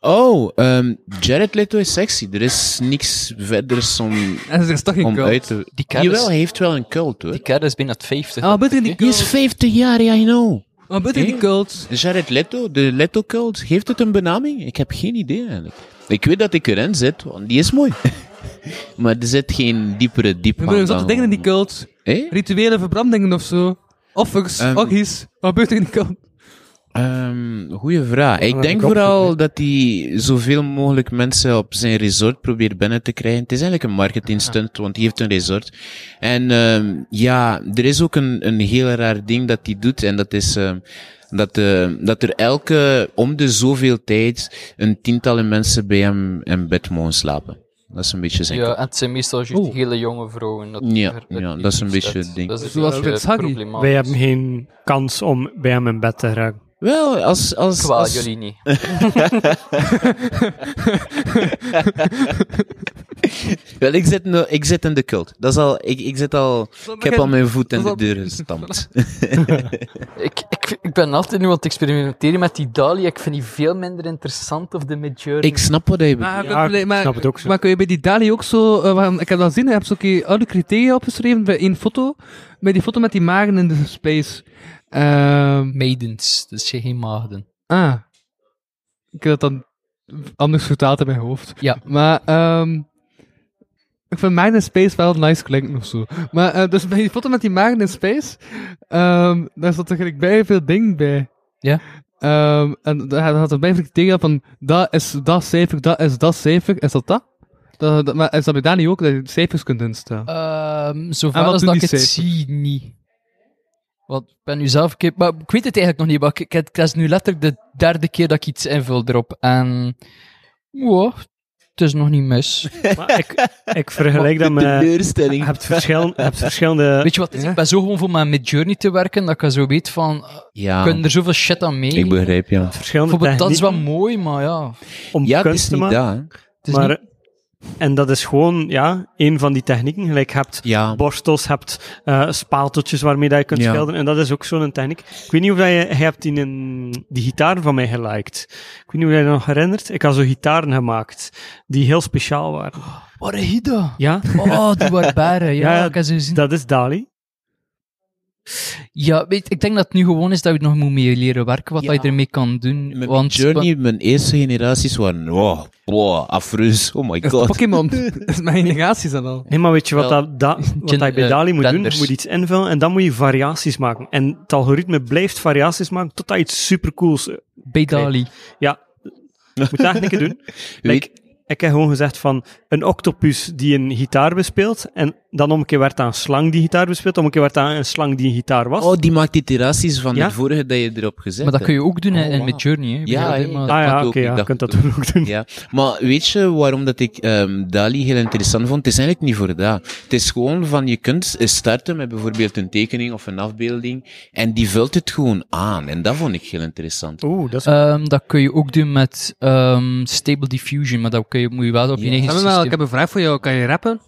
Speaker 2: Oh, ehm, Jared Leto is sexy. Er is niks verder om,
Speaker 5: En er is toch geen
Speaker 2: om
Speaker 5: cult.
Speaker 2: uit te...
Speaker 4: Die kerel is-
Speaker 2: Jawel, hij heeft wel een cult, hoor.
Speaker 4: Die kerel is bijna 50.
Speaker 5: Ah, wat bedoelt die
Speaker 2: Die is
Speaker 5: cult?
Speaker 2: 50 jaar, ja, I know.
Speaker 5: Wat bedoelt die
Speaker 2: Hè?
Speaker 5: cult?
Speaker 2: Jared Leto, de Leto-cult, heeft het een benaming? Ik heb geen idee eigenlijk. Ik weet dat ik erin zit, want die is
Speaker 5: <laughs>
Speaker 2: mooi. maar er zit geen diepere diep.
Speaker 5: Er gebeuren zotte dingen in die cult.
Speaker 2: Eh?
Speaker 5: Rituele verbrandingen of zo. Offers,
Speaker 2: Ehm.
Speaker 5: orgies. Wat gebeurt er in die cult?
Speaker 2: Ehm, goeie vraag. Ik
Speaker 9: heb
Speaker 2: denk
Speaker 9: ik
Speaker 2: vooral
Speaker 9: opgezocht,
Speaker 2: dat hij zoveel mogelijk mensen op zijn resort probeert binnen te krijgen. Het is eigenlijk een marketing
Speaker 8: Ah.
Speaker 2: stunt, want hij heeft een resort. En ehm, ja, er is ook een, een heel raar ding dat hij doet. En dat is ehm, dat, eh, dat er elke, om de zoveel tijd, een tientallen mensen bij hem in bed mogen slapen. Dat is een beetje zijn
Speaker 8: Ja,
Speaker 2: kop.
Speaker 8: en het zijn meestal juist
Speaker 5: Oeh.
Speaker 8: hele jonge vrouwen. Dat
Speaker 2: Ja,
Speaker 8: er-
Speaker 2: ja,
Speaker 8: die
Speaker 2: dat is een
Speaker 8: iets
Speaker 2: beetje
Speaker 8: uit.
Speaker 2: het ding.
Speaker 8: Dat is
Speaker 5: Zoals
Speaker 8: het,
Speaker 5: Fritz
Speaker 8: eh,
Speaker 5: Haggy.
Speaker 8: problematisch.
Speaker 9: Wij hebben geen kans om bij hem in bed te raken.
Speaker 2: Wel, als... als,
Speaker 8: Terwijl
Speaker 2: als
Speaker 8: jullie niet.
Speaker 2: Wel, ik zit, nu- ik zit in de cult. Dat is al, ik, ik zit al... Ik heb al mijn voet in de
Speaker 5: dat is al-
Speaker 2: deur gestampt.
Speaker 8: Ik, ik, ik ben altijd nu aan het experimenteren met die Dali. Ik vind die veel minder interessant of de Midjourney.
Speaker 2: <laughs> Ik snap wat hij bedoelt.
Speaker 5: Maar,
Speaker 9: Ja,
Speaker 5: maar-
Speaker 9: ik
Speaker 5: maar-
Speaker 9: snap het ook zo.
Speaker 5: maar kun je bij die Dali ook zo... eh, waarom- ik heb dat gezien, je hebt zo'n keer oude criteria opgeschreven bij één foto. Bij die foto met die magen in de space. Ehm,
Speaker 4: Maidens, dat zijn geen maagden.
Speaker 5: ah. Ik heb dat dan anders vertaald in mijn hoofd.
Speaker 4: Ja.
Speaker 5: Maar ehm ik vind magen in space wel nice klinken of zo. Maar eh, dus bij die foto met die magen in space, ehm, daar zat er gelijk bij veel dingen bij.
Speaker 4: Ja.
Speaker 5: Ehm, en daar had er bij veel criteria van, dat is dat cijfer, dat is dat cijfer, is dat dat? dat, dat- maar is dat bij daar niet ook, dat je cijfers kunt instellen?
Speaker 4: Ehm
Speaker 5: En
Speaker 4: zover
Speaker 5: wat
Speaker 4: als
Speaker 5: doen
Speaker 4: dat ik
Speaker 5: die
Speaker 4: het
Speaker 5: cijfers?
Speaker 4: zie, niet. Want ik ben nu zelf... een keer- maar ik weet het eigenlijk nog niet, maar ik, ik, het is nu letterlijk de derde keer dat ik iets invul erop. En... Ja, het is nog niet mis.
Speaker 9: Maar ik, ik vergelijk dat met... Je
Speaker 2: teleurstelling.
Speaker 9: hebt, verschil, je hebt verschillende...
Speaker 4: Weet je wat het is? Ik ben zo gewoon voor mijn Midjourney te werken, dat ik zo weet van... eh,
Speaker 2: Ja,
Speaker 4: Kunnen er zoveel shit aan mee?
Speaker 2: Ah. ik begrijp ja.
Speaker 9: Verschillende
Speaker 4: Bijvoorbeeld, dat is wel
Speaker 9: technieken
Speaker 4: mooi, maar ja...
Speaker 9: om
Speaker 2: Ja, het
Speaker 9: kunst
Speaker 2: is
Speaker 9: te
Speaker 2: niet
Speaker 9: maken.
Speaker 2: dat. hè.
Speaker 4: Het is
Speaker 9: maar,
Speaker 4: niet-
Speaker 9: En dat is gewoon, ja, een van die technieken. Gelijk, je hebt
Speaker 2: Ja,
Speaker 9: borstels, je hebt eh, spateltjes waarmee dat je kunt
Speaker 2: Ja.
Speaker 9: schilderen. En dat is ook zo'n techniek. Ik weet niet of dat je, je hebt die, een, die gitaar van mij geliked. Ik weet niet of jij je dat nog herinnert. Ik had zo gitaren gemaakt, die heel speciaal waren.
Speaker 4: Wat een hida.
Speaker 9: Ja,
Speaker 4: Oh,
Speaker 2: <laughs>
Speaker 4: die barbaren. Ja,
Speaker 9: Ja, ja,
Speaker 4: ik heb ze gezien.
Speaker 9: dat is Dali.
Speaker 4: Ja, weet, ik denk dat het nu gewoon is dat je nog moet mee leren werken, wat je ermee kan doen.
Speaker 2: mijn
Speaker 4: want,
Speaker 2: Journey, mijn eerste generaties waren, wow, wow, afreus, oh my
Speaker 5: Dat is
Speaker 2: god.
Speaker 4: <laughs>
Speaker 5: Pokémon. dat is mijn generatie dan al.
Speaker 9: Nee, maar weet je wat,
Speaker 4: Wel,
Speaker 9: dat, da- wat
Speaker 4: gen-
Speaker 9: dat je bij
Speaker 4: eh,
Speaker 9: Dali moet doen?
Speaker 4: blenders.
Speaker 9: Je moet iets invullen en dan moet je variaties maken. En het algoritme blijft variaties maken tot dat iets supercools... eh,
Speaker 4: Bij Dali.
Speaker 2: <laughs>
Speaker 9: Ja, je moet technieken doen. Like, ik heb gewoon gezegd van een octopus die een gitaar bespeelt. En dan om een keer werd aan een slang die gitaar bespeelt. Om een keer werd aan een slang die een gitaar
Speaker 2: <laughs>
Speaker 9: was.
Speaker 2: Oh, die maakt iteraties van
Speaker 9: Ja?
Speaker 2: het vorige dat je erop gezet
Speaker 4: Maar dat kun je ook doen
Speaker 2: Oh,
Speaker 4: in, in
Speaker 2: wauw.
Speaker 4: Midjourney. hè.
Speaker 2: Ja,
Speaker 4: Weet je,
Speaker 2: hè.
Speaker 4: maar-
Speaker 9: ah ja,
Speaker 2: dat
Speaker 9: oké,
Speaker 2: ook, ik
Speaker 9: ja, je
Speaker 2: dacht
Speaker 9: kunt dat
Speaker 2: het
Speaker 9: toen ook doen.
Speaker 2: Ja, maar weet je waarom dat ik ehm Dali heel interessant vond? Het is eigenlijk niet voor dat. Het is gewoon van, je kunt starten met bijvoorbeeld een tekening of een afbeelding en die vult het gewoon aan. En dat vond ik heel interessant.
Speaker 9: Oeh, dat is...
Speaker 4: Ehm, dat kun je ook doen met ehm, Stable Diffusion, maar dat kun je, moet je wel op je
Speaker 2: Ja.
Speaker 4: eigen
Speaker 5: Ah, maar
Speaker 4: systeem.
Speaker 5: wel, ik heb een vraag voor jou. Kan je rappen?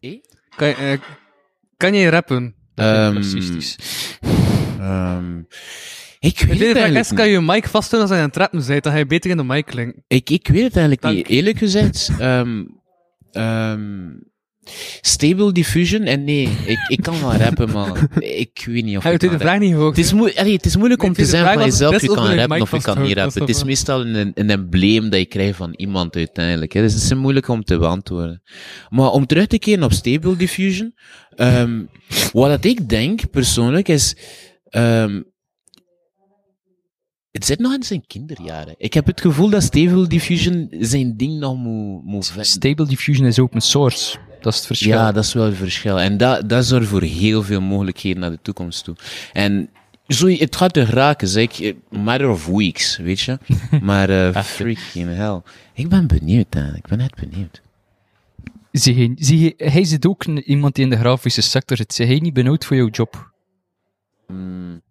Speaker 2: Eh?
Speaker 5: Kan, je, eh, kan je rappen?
Speaker 4: Dat
Speaker 2: Ehm,
Speaker 4: is racistisch.
Speaker 2: ehm, ik weet
Speaker 5: Dit
Speaker 2: het eigenlijk
Speaker 5: is
Speaker 2: niet.
Speaker 5: kan je je mic vastdoen als hij aan het rappen bent, dan ga je beter in de mic klinken.
Speaker 2: Ik, ik weet het eigenlijk
Speaker 5: Dank.
Speaker 2: niet. Eerlijk gezegd, ehm ehm Stable Diffusion, en nee, ik, ik kan wel rappen, maar ik weet niet of
Speaker 5: Heb
Speaker 2: ik
Speaker 5: je de
Speaker 2: kan rappen.
Speaker 5: vraag niet gehoord?
Speaker 2: Het is, moe- allee, het is moeilijk
Speaker 5: Nee,
Speaker 2: om
Speaker 5: het
Speaker 2: te
Speaker 5: is de
Speaker 2: zeggen
Speaker 5: vraag
Speaker 2: van
Speaker 5: was
Speaker 2: jezelf,
Speaker 5: best
Speaker 2: je
Speaker 5: of
Speaker 2: kan
Speaker 5: je de
Speaker 2: rappen
Speaker 5: mic
Speaker 2: of je kan niet
Speaker 5: vasthoudt,
Speaker 2: rappen.
Speaker 5: dat
Speaker 2: Het
Speaker 5: is
Speaker 2: is
Speaker 5: wel-
Speaker 2: meestal een, een embleem dat je krijgt van iemand uiteindelijk. Hè. Dus het is moeilijk om te beantwoorden. Maar om terug te keren op Stable Diffusion, ehm, wat dat ik denk persoonlijk is... ehm, het zit nog in zijn kinderjaren. Ik heb het gevoel dat Stable Diffusion zijn ding nog moet, moet vinden.
Speaker 4: Stable Diffusion is open source. Dat is het verschil.
Speaker 2: Ja, dat is wel het verschil. En dat, dat zorgt voor heel veel mogelijkheden naar de toekomst toe. En zo, het gaat er raken, zeg ik. eh, Matter of weeks,
Speaker 4: <laughs>
Speaker 2: weet je. Maar eh freaking hell. Ik ben benieuwd, hè. Ik ben net benieuwd.
Speaker 4: Zie je, zie je, hij zit ook in- iemand die in de grafische sector zit. Zie hij niet benauwd voor jouw job?
Speaker 2: Hmm.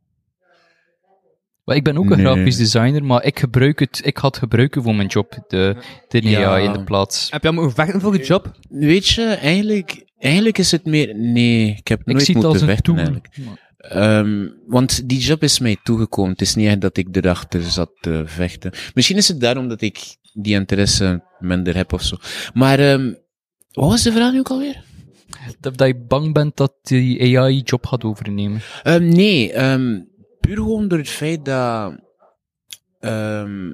Speaker 4: Maar ik ben ook een
Speaker 2: Nee.
Speaker 4: grafisch designer, maar ik gebruik het, ik had gebruiken voor mijn job, de, de
Speaker 2: Ja.
Speaker 4: AI in de plaats.
Speaker 5: Heb je allemaal moeten vechten voor
Speaker 2: Eh,
Speaker 5: je job?
Speaker 2: Weet je, eigenlijk, eigenlijk is het meer... Nee, ik heb
Speaker 4: Ik
Speaker 2: nooit
Speaker 4: zie het
Speaker 2: moeten
Speaker 4: als een
Speaker 2: vechten,
Speaker 4: tool.
Speaker 2: eigenlijk.
Speaker 4: Maar-
Speaker 2: Ehm, want die job is mij toegekomen. Het is niet echt dat ik erachter zat te vechten. Misschien is het daarom dat ik die interesse minder heb of zo. Maar ehm, wat was de vraag nu ook alweer?
Speaker 4: Dat, dat je bang bent dat die AI je job gaat overnemen.
Speaker 2: Ehm, nee, ehm, puur gewoon door het feit dat. ehm,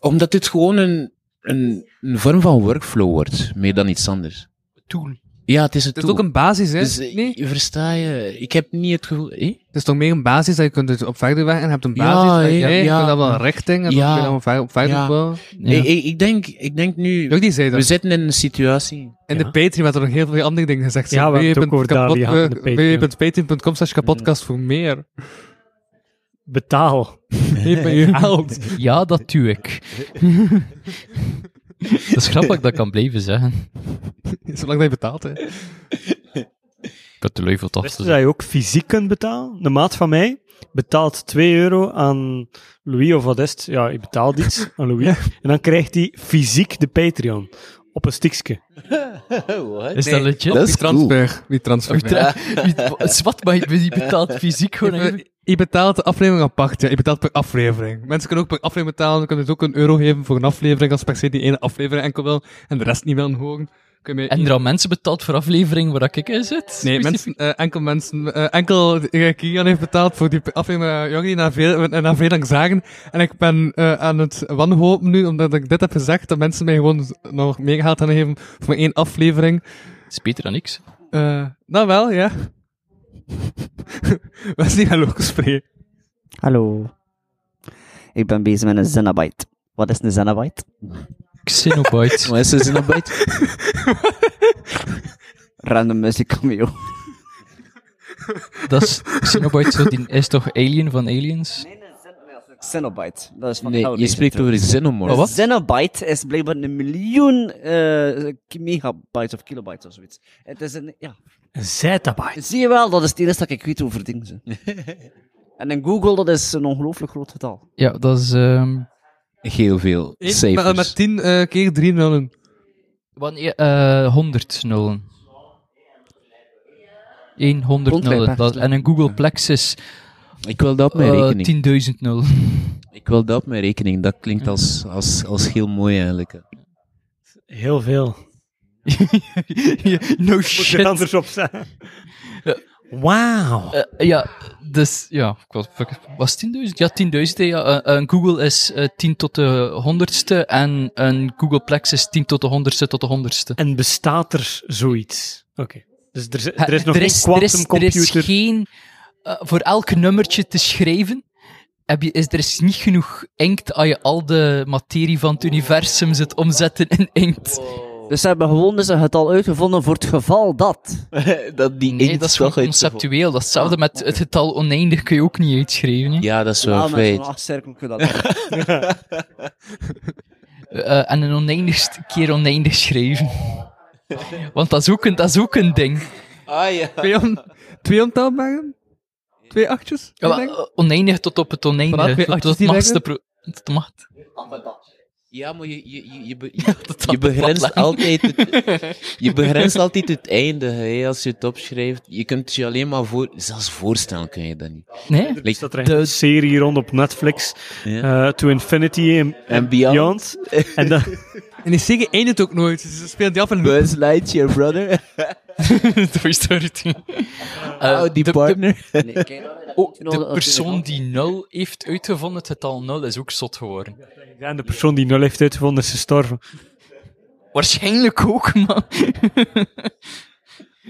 Speaker 2: omdat dit gewoon een, een, een vorm van workflow wordt, meer dan iets anders.
Speaker 4: Toen.
Speaker 2: Ja, het is het
Speaker 5: Het is ook een basis, hè?
Speaker 2: Dus, eh,
Speaker 5: nee?
Speaker 2: je versta je? Ik heb niet het gevoel. eh?
Speaker 5: Het is toch meer een basis dat je kunt het op verder weg en je hebt een
Speaker 2: Ja,
Speaker 5: basis. dat je,
Speaker 2: ja,
Speaker 5: nee, je
Speaker 2: ja.
Speaker 5: kunt dat wel een richting en
Speaker 2: Ja.
Speaker 5: dan kun je dan ver- op verder
Speaker 2: Ja.
Speaker 5: bouwen.
Speaker 2: Ik, ik, ik denk, ik denk nu.
Speaker 5: Ook die zei
Speaker 2: We
Speaker 5: dat.
Speaker 2: zitten in een situatie.
Speaker 5: In de
Speaker 9: Ja.
Speaker 5: Patreon werd er nog heel veel andere dingen gezegd.
Speaker 9: Ja, we hebben het ook over Dali gehad in de
Speaker 5: eh,
Speaker 9: Patreon.
Speaker 5: www.patreon.com slash kapodcast voor
Speaker 2: <laughs>
Speaker 5: meer.
Speaker 9: Betaal.
Speaker 5: Niet bij je geld. <laughs>
Speaker 4: Ja, dat doe ik. <laughs> dat is grappig dat ik dat kan blijven zeggen.
Speaker 5: Zolang dat je betaalt, hè.
Speaker 4: Ik had de lui voor het af
Speaker 9: Wist
Speaker 4: te
Speaker 9: je
Speaker 4: zeggen.
Speaker 9: dat je ook fysiek kunt betalen? De maat van mij betaalt 2 euro aan Louis of wat is het? Ja, ik betaal iets aan
Speaker 4: <laughs>
Speaker 9: Louis. En dan krijgt hij fysiek de Patreon. Op een stiksje.
Speaker 4: Is dat legit?
Speaker 2: dat is
Speaker 5: Wie
Speaker 2: cool.
Speaker 5: transfer. Wie transfer.
Speaker 4: Tra- wie- Zwat, maar je je betaalt fysiek
Speaker 2: <laughs>
Speaker 4: gewoon.
Speaker 5: Je
Speaker 4: even-
Speaker 5: be- Je betaalt de aflevering apart, ja. Je betaalt per aflevering. Mensen kunnen ook per aflevering betalen. Ze kunnen dus ook een euro geven voor een aflevering. Als per se die ene aflevering enkel wil en de rest niet willen horen. Kun je
Speaker 4: En er aan mensen betaald voor aflevering waar ik in zit?
Speaker 5: Nee, mensen, eh, enkel mensen, eh, enkel eh, Kian heeft betaald voor die aflevering met Jordi na veel, eh, na veel lang zagen. En ik ben eh, aan het wanhopen nu, omdat ik dit heb gezegd, dat mensen mij gewoon nog meer geld gaan geven voor maar één aflevering.
Speaker 4: Het is beter dan niks.
Speaker 5: Eh nou wel, ja. <laughs> Wesley, hallo gesprek.
Speaker 10: Hallo. Ik ben bezig met een Zenabite. Wat is een Zenabite?
Speaker 4: <laughs> Xenobyte.
Speaker 2: Maar Oh, is er zin op buiten?
Speaker 10: Random music cameo.
Speaker 4: dat is, Xenobyte zo, die is toch Alien van Aliens?
Speaker 10: Zenobite. Oh, Dat is van
Speaker 2: Nee, je
Speaker 10: Hellraiser
Speaker 2: spreekt
Speaker 10: terug.
Speaker 2: over xenomorph.
Speaker 4: Oh, wat?
Speaker 10: Zenobite is blijkbaar een miljoen eh, megabytes of kilobytes of zoiets. Het is een, ja.
Speaker 9: Een zettabyte.
Speaker 10: Zie je wel, dat is het enige dat ik weet over
Speaker 4: <laughs>
Speaker 10: dingen. zo. en in Google, dat is een ongelooflijk groot getal.
Speaker 4: Ja, dat is. ehm,
Speaker 2: Heel veel
Speaker 5: Met,
Speaker 2: cijfers.
Speaker 5: met 10 eh, keer 3 nullen.
Speaker 4: Wanneer? eh 100 nullen. 100 nullen. Dat, en een Google Plexus
Speaker 2: Ik wil dat op mijn
Speaker 4: eh, 10.000
Speaker 2: rekening.
Speaker 4: nullen. <laughs>
Speaker 2: Ik wil dat op mijn rekening. Dat klinkt als, als, als heel mooi eigenlijk.
Speaker 9: Heel
Speaker 4: <laughs>
Speaker 9: veel.
Speaker 4: no
Speaker 9: Moet er
Speaker 4: shit.
Speaker 9: anders op zijn. Wauw.
Speaker 4: Eh, ja, dus ja, ik was, was het 10.000? Ja, 10.000. Ja. Eh, een Google is eh, 10 tot de 100ste en een Googleplex is 10 tot de 100ste tot de 100ste.
Speaker 9: En bestaat er zoiets? Oké. Dus er, is- er is nog
Speaker 4: er
Speaker 9: geen
Speaker 4: is, er is, er is
Speaker 9: quantumcomputer.
Speaker 4: geen. eh, voor elk nummertje te schrijven, heb je, is, er is niet genoeg inkt als je al de materie van het universum zit omzetten in inkt.
Speaker 10: Dus ze hebben gewoon dus een getal uitgevonden voor het geval dat.
Speaker 2: <laughs> dat die
Speaker 4: Nee, dat is gewoon conceptueel. Datzelfde met het getal oneindig kun je ook niet uitschrijven. hè.
Speaker 2: Ja, dat is
Speaker 10: Ja,
Speaker 2: wel
Speaker 10: met
Speaker 2: feit.
Speaker 10: zo'n achtcirkel kun
Speaker 2: <laughs>
Speaker 10: je dat doen.
Speaker 4: Eh, en een oneindig st- keer oneindig schrijven. Want dat is ook een, dat is ook een ding.
Speaker 2: Ah ja.
Speaker 5: Twee, on, twee ontelbaren? Twee achtjes?
Speaker 4: Ja, maar,
Speaker 5: denk ik?
Speaker 4: eh, oneindig tot op het
Speaker 5: Vanaf
Speaker 4: oneindige.
Speaker 5: weer
Speaker 4: Tot, tot
Speaker 5: achter die
Speaker 4: machtste pro- tot de macht.
Speaker 2: Ja, maar je, je, je, je, be-
Speaker 4: dat
Speaker 2: je
Speaker 4: had
Speaker 2: begrenst
Speaker 4: lang.
Speaker 2: altijd het, je begrenst altijd het einde hè, als je het opschrijft. Je kunt je alleen maar voor, zelfs voorstellen kun je Dus dat niet.
Speaker 4: Nee?
Speaker 9: Er staat Dus er
Speaker 4: de-
Speaker 9: een serie rond op Netflix.
Speaker 2: Ja.
Speaker 9: eh, to Infinity and,
Speaker 2: En beyond.
Speaker 9: En dan, <laughs>
Speaker 5: En die serie eindigt ook nooit. Ze spelen die af en
Speaker 2: Buzz Lightyear, brother.
Speaker 4: Toy Story 2. Eh,
Speaker 2: Oh, die
Speaker 4: de- de-
Speaker 2: partner.
Speaker 10: Nee, ken je dat?
Speaker 4: Oh,
Speaker 10: Nou, dat
Speaker 4: de
Speaker 10: is
Speaker 4: persoon
Speaker 10: natuurlijk
Speaker 4: die nul heeft uitgevonden, het getal nul, is ook zot geworden.
Speaker 9: ja, en de persoon die nul heeft uitgevonden is gestorven.
Speaker 4: Waarschijnlijk ook, man.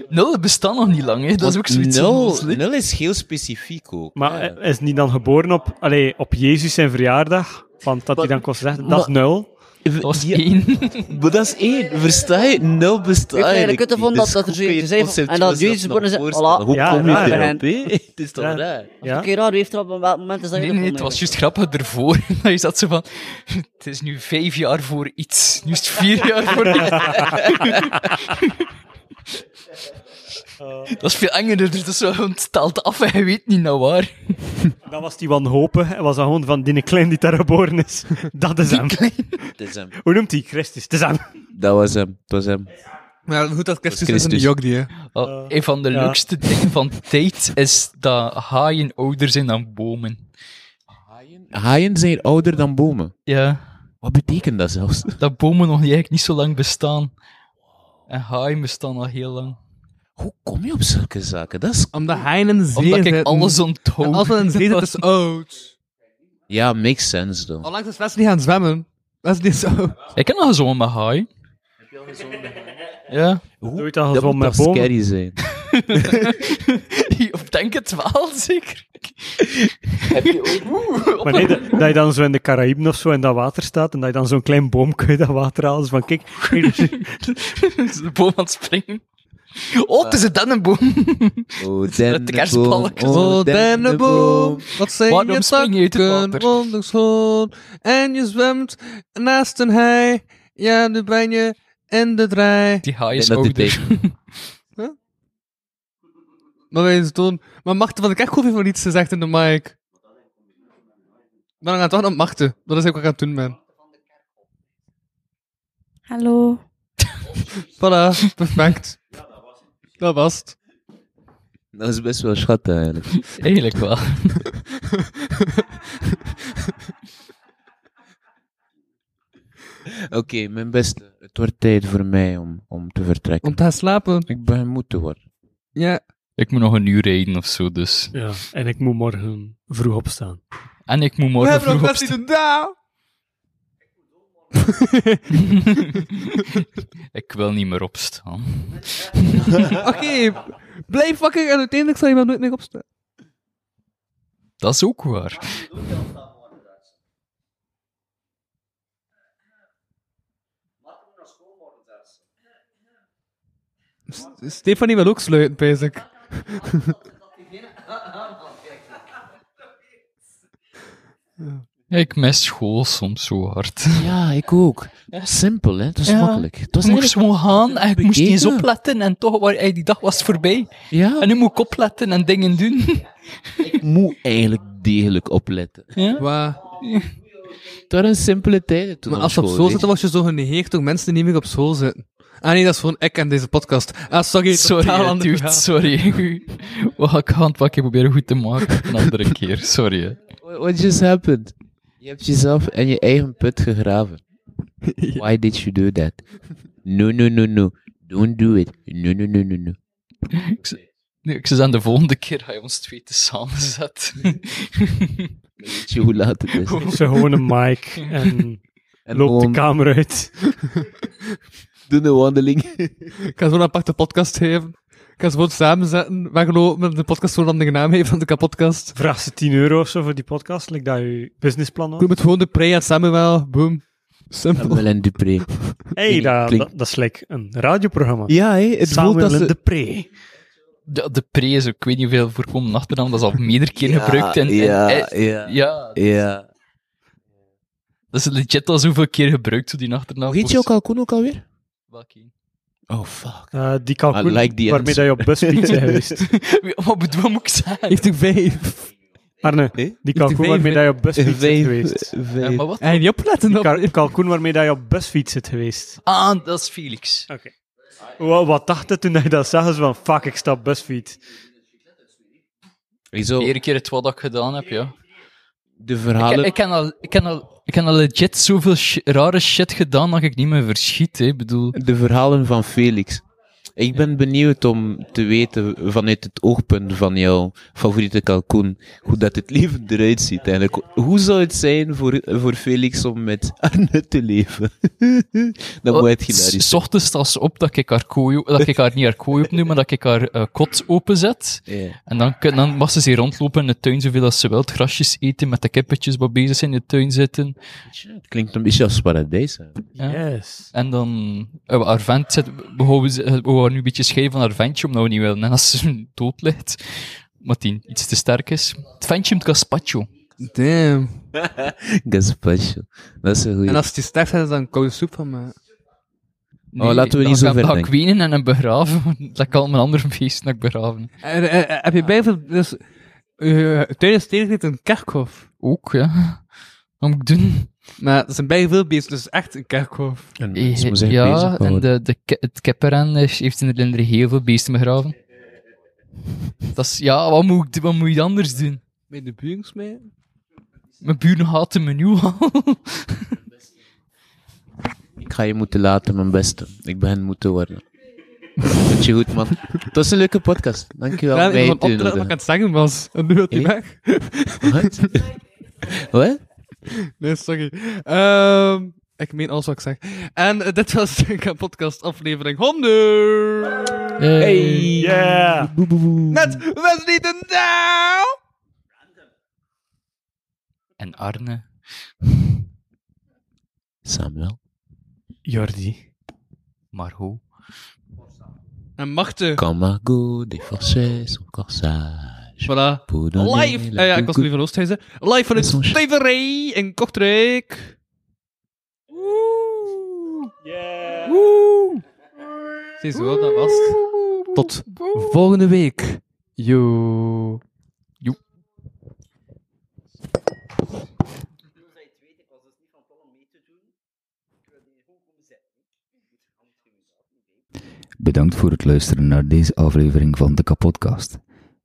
Speaker 4: nul bestaat nog niet lang, hè. Dat is ook zoiets
Speaker 2: <laughs> nul,
Speaker 4: onnozel, hè.
Speaker 2: nul is heel specifiek ook.
Speaker 9: Maar
Speaker 2: ja.
Speaker 9: hij is niet dan geboren op, allee, op Jezus zijn verjaardag? Want dat hij dan kon zeggen, dat is nul.
Speaker 4: Dat was
Speaker 2: Ja,
Speaker 4: één.
Speaker 2: <laughs> Maar dat is één, versta je? Nul bestaat
Speaker 10: Ik heb eigenlijk
Speaker 2: eigenlijk
Speaker 10: het ervan
Speaker 2: niet.
Speaker 10: dat-
Speaker 2: Dus
Speaker 10: dat er
Speaker 2: hoe
Speaker 10: zoiets
Speaker 2: kun je
Speaker 10: is,
Speaker 2: het
Speaker 10: en dat
Speaker 2: concept
Speaker 10: Jezus
Speaker 2: nog
Speaker 10: begonnen is-
Speaker 2: voorstellen?
Speaker 10: voilà.
Speaker 2: Hoe
Speaker 9: Ja,
Speaker 2: kom je
Speaker 9: raar, hè?
Speaker 2: daarop, hè? <laughs> Het is toch
Speaker 9: Ja.
Speaker 2: raar?
Speaker 9: Ja.
Speaker 10: <laughs> Oké, raar, wie heeft er op een bepaald moment is dat
Speaker 4: Nee, nee, het was juist grappig ervoor. <laughs> Dat je zat zo van, het is nu vijf jaar voor iets. Nu is het vier jaar voor iets. <laughs> Dat is veel enger, dus dat is zo, het stelt af en je weet niet naar waar.
Speaker 9: Dan was die wanhopig en was dat gewoon van die klein die daar geboren is. <laughs> Dat is hem.
Speaker 2: Het is hem.
Speaker 9: Hoe noemt hij? Christus. Het is hem.
Speaker 2: Dat was hem, het was hem.
Speaker 5: Ja, goed dat Christus,
Speaker 4: Christus.
Speaker 5: is een jok die, hè.
Speaker 4: Wel, een van de
Speaker 5: ja.
Speaker 4: leukste dingen van tijd is dat haaien ouder zijn dan bomen.
Speaker 2: Haaien zijn ouder dan bomen.
Speaker 4: Ja.
Speaker 2: Wat betekent dat zelfs? <laughs>
Speaker 4: Dat bomen nog niet- eigenlijk niet zo lang bestaan. En haaien bestaan al heel lang.
Speaker 2: Kom je op zulke zaken? Dat is...
Speaker 5: Omdat hij in een zee
Speaker 4: Omdat ik
Speaker 5: zit.
Speaker 4: alles onthoud.
Speaker 5: En Als we in een zee zitten, <laughs> is het oud.
Speaker 2: Ja, makes sense, though.
Speaker 5: Onlangs Oh, is Wesley gaan zwemmen. Wesley is oud.
Speaker 4: <laughs> Ik heb nog gezongen met haaien. Ja.
Speaker 9: Hoe je dat
Speaker 2: Dat
Speaker 9: gewoon
Speaker 2: moet
Speaker 9: met
Speaker 2: toch
Speaker 9: bomen?
Speaker 2: scary
Speaker 5: <laughs>
Speaker 2: zijn?
Speaker 4: Ik denk het wel, <laughs> zeker.
Speaker 9: Maar nee, dat, dat je dan zo in de Caraïben of zo in dat water staat en dat je dan zo'n klein boomke uit dat water haalt. Dus van kijk, hier is-
Speaker 4: de boom aan het springen. Oh, het is een <laughs> dennenboom.
Speaker 2: Oh,
Speaker 4: Met de kerstballetjes.
Speaker 5: Oh, dennenboom, wat zijn
Speaker 4: Waarom
Speaker 5: je
Speaker 4: spring je uit het
Speaker 5: takken
Speaker 4: water?
Speaker 5: wonderschoon? En je zwemt naast een hei, ja, nu ben je in de draai.
Speaker 4: Die haai
Speaker 2: Ik denk
Speaker 4: is
Speaker 2: dat dit
Speaker 4: ouder.
Speaker 5: Maar wij eens doen. Maar Machten van de Kerkhoff heeft nog iets gezegd in de mic. Maar dan gaan we toch nog Machten. Dat is ook wat ik aan het doen ben.
Speaker 11: Hallo.
Speaker 5: <laughs> Voilà, perfect. Dat was het.
Speaker 2: Dat is best wel schattig, eigenlijk.
Speaker 4: <laughs>
Speaker 5: <laughs>
Speaker 4: Eigenlijk wel.
Speaker 2: Oké, mijn beste. Het wordt tijd voor mij om, om te vertrekken.
Speaker 5: Om te gaan slapen.
Speaker 2: Ik ben moe te worden.
Speaker 5: Ja.
Speaker 4: Ik moet nog een uur rijden of zo, dus.
Speaker 9: Ja, en ik moet morgen vroeg opstaan.
Speaker 4: En ik moet
Speaker 5: We
Speaker 4: morgen
Speaker 5: hebben nog
Speaker 4: vroeg
Speaker 5: best niet
Speaker 4: opstaan.
Speaker 5: een dag.
Speaker 4: Ik wil niet meer opstaan.
Speaker 5: Oké, blijf wakker en uiteindelijk zal je wel nooit meer opstaan.
Speaker 4: Dat is ook waar.
Speaker 5: S- Stefanie wil ook sluiten, basic.
Speaker 4: Ja, ik mis school soms zo hard.
Speaker 2: Ja, ik ook. Simpel, hè? Het was
Speaker 4: Ja.
Speaker 2: makkelijk.
Speaker 5: <laughs>
Speaker 2: Het was
Speaker 4: ik moest
Speaker 2: eigenlijk...
Speaker 4: gewoon gaan en ik moest niet eens
Speaker 2: bekeken.
Speaker 4: opletten en toch, waar, ey, die dag was voorbij.
Speaker 2: Ja,
Speaker 4: En nu moet ik opletten en dingen doen.
Speaker 2: ik moet eigenlijk degelijk opletten.
Speaker 4: Ja?
Speaker 5: Waar?
Speaker 2: Het waren simpele tijden toen
Speaker 5: Maar
Speaker 2: op
Speaker 5: als je op
Speaker 2: school,
Speaker 5: school
Speaker 2: weet
Speaker 5: zit, dan was je zo genegeerd door mensen die niet meer op school zitten. Ah nee, dat is gewoon ik en deze podcast. Ah,
Speaker 2: <laughs>
Speaker 5: sorry.
Speaker 4: Sorry,
Speaker 5: totaal
Speaker 4: hè,
Speaker 5: ander
Speaker 4: dude,
Speaker 5: verhaal.
Speaker 4: sorry. <laughs> Wat ik ga het pakje proberen goed te maken een andere keer. Sorry. hè.
Speaker 2: What- What just happened? Je hebt jezelf in je eigen put
Speaker 4: <laughs>
Speaker 2: gegraven. Why did you do that? No, no, no, no. Don't do it. No, no, no, no, no.
Speaker 4: Nu, ik zeg aan de volgende keer ga je ons twee te samen zetten. <laughs>
Speaker 2: Weet je hoe laat het is?
Speaker 9: Ze gewoon een mic <laughs> en
Speaker 2: En
Speaker 9: loop de
Speaker 2: gewoon
Speaker 9: kamer uit.
Speaker 2: doen een wandeling.
Speaker 5: Ik ga zo een aparte podcast geven. Ik ga ze gewoon samenzetten, weglopen en de podcast zo'n andere naam geven dan de kapotkast.
Speaker 9: Vraag ze 10 euro of zo voor die podcast, like dat je businessplan
Speaker 5: Ik
Speaker 9: had.
Speaker 5: noem het gewoon de Prey en Samuel. Boom. Simpel.
Speaker 2: Melanie
Speaker 4: <laughs>
Speaker 2: Dupré.
Speaker 9: hey, dat,
Speaker 2: Klinkt-
Speaker 9: dat, dat is like een radioprogramma.
Speaker 2: Ja, hé, het voelt
Speaker 9: Samuel
Speaker 2: als...
Speaker 9: en de
Speaker 2: Ze...
Speaker 9: pre.
Speaker 4: De, de pre is, ook- ik weet niet hoeveel voorkomende achternaam, dat is al meerdere keer gebruikt. En, en-
Speaker 2: ja,
Speaker 4: eh,
Speaker 2: ja,
Speaker 4: ja,
Speaker 2: ja.
Speaker 4: dat is legit al zoveel keer gebruikt, zo die achternaam.
Speaker 2: Hoe heet je ook al, Koen ook alweer?
Speaker 4: Welke?
Speaker 2: Oh, fuck.
Speaker 9: Eh, die
Speaker 2: I
Speaker 9: kalkoen
Speaker 2: Ah, like the
Speaker 9: waarmee dat je op bus fiets
Speaker 2: <laughs>
Speaker 9: bent geweest.
Speaker 4: Wie- <laughs> Wat bedoel wat moet ik zeggen?
Speaker 5: Heeft u vijf.
Speaker 9: Arne,
Speaker 2: Nee?
Speaker 9: die kalkoen
Speaker 5: vijf-
Speaker 9: waarmee dat je op bus fiets bent
Speaker 2: Vijf. <laughs>
Speaker 9: geweest.
Speaker 4: Ja,
Speaker 2: Vijf.
Speaker 4: maar wat?
Speaker 5: En niet opletten
Speaker 9: Die
Speaker 5: op.
Speaker 9: kar- kalkoen waarmee dat je op busfiets zit geweest.
Speaker 4: Ah, dat is Felix.
Speaker 9: Oké. Wat, wat dacht je toen dat je dat zag? Zo van, fuck, ik stap busfiets.
Speaker 2: Ik zou
Speaker 4: De eerste keer het wat dat ik gedaan heb, ja.
Speaker 2: de
Speaker 4: Ik,
Speaker 2: verhalen...
Speaker 4: ik, ken al, ik, ken al, ik ken al legit zoveel shi- rare shit gedaan dat ik niet meer verschiet, hè. Ik bedoel...
Speaker 2: De verhalen van Felix. Ik ben benieuwd om te weten vanuit het oogpunt van jouw favoriete kalkoen hoe dat het leven eruit ziet eigenlijk. Hoe zou het zijn voor, voor Felix om met Arne te leven? <laughs> dat moet
Speaker 4: Oh,
Speaker 2: het hilarisch
Speaker 4: eh, S ochtends staat ze op dat ik haar kooi, o- dat ik haar niet haar kooi opnoem, maar dat ik haar eh, kot openzet.
Speaker 2: zijn. Ja.
Speaker 4: En dan, kun- dan mag ze hier rondlopen in de tuin zoveel als ze wil. Grasjes eten, met de kippetjes wat bezig zijn in de tuin zitten.
Speaker 2: Tja, Het klinkt een beetje als paradijs. hè.
Speaker 4: Ja.
Speaker 9: Yes.
Speaker 4: En dan, eh, haar vent zit, we houden ze- we houden nu een beetje scheef van haar ventje, omdat we niet willen. En als ze <laughs> dood ligt, omdat die iets te sterk is. Het ventje in het gazpacho.
Speaker 5: Damn.
Speaker 2: Gazpacho. Dat is een goeie.
Speaker 5: En als die sterft, is dan koude soep van mij.
Speaker 2: Oh, laten we niet zo
Speaker 4: dan ga-
Speaker 2: ver
Speaker 4: dan ga ik
Speaker 2: denken.
Speaker 4: wenen en hem begraven. <laughs> want Dat kan mijn ander feest nog begraven.
Speaker 5: En, eh, eh, heb je bijvoorbeeld... Dus, eh, tijdens de steden een kerkhof.
Speaker 4: Ook, ja. Wat moet ik doen?
Speaker 5: Maar er zijn bijna veel beesten, dus echt een kerkhof.
Speaker 4: Eh, ja, en de, de, ke- het kepperan is- heeft in de Linder heel veel beesten begraven. Dat is, ja, wat moet, ik- wat moet je anders doen?
Speaker 5: Met de buurings mee?
Speaker 4: Mijn buren haat een menu al. <laughs>
Speaker 2: Ik ga je moeten laten, mijn beste. Ik ben moeten worden. Doet je
Speaker 5: <laughs>
Speaker 2: goed, man. Het was een leuke podcast. Dankjewel.
Speaker 5: Ja, ik
Speaker 2: Wij
Speaker 5: begon op te letten
Speaker 2: doen
Speaker 5: wat ik
Speaker 2: het.
Speaker 5: aan het zeggen was. En nu wil hij
Speaker 2: Eh?
Speaker 5: weg. <laughs>
Speaker 2: Wat? Wat?
Speaker 5: Nee, sorry. Ehm, ik meen alles wat ik zeg. En eh, dit was de podcast aflevering 100.
Speaker 9: Yeah.
Speaker 5: Met Wesley de Down.
Speaker 4: En Arne.
Speaker 2: Samuel.
Speaker 9: Jordi.
Speaker 4: Maar hoe?
Speaker 5: En Machte.
Speaker 2: Camago de Forces, son corsage.
Speaker 5: Voilà.
Speaker 2: Bourdonnais,
Speaker 5: Live.
Speaker 2: la
Speaker 5: Eh, ja, ik was
Speaker 2: coucou-
Speaker 5: nu van Oosthuizen. Live vanuit
Speaker 2: Dat is ons-
Speaker 5: Steverij in Kortrijk.
Speaker 9: Yeah.
Speaker 5: Woe. Ziezo, dat was het. Tot volgende week. Yo.
Speaker 11: Bedankt voor het luisteren naar deze aflevering van de Kapodcast.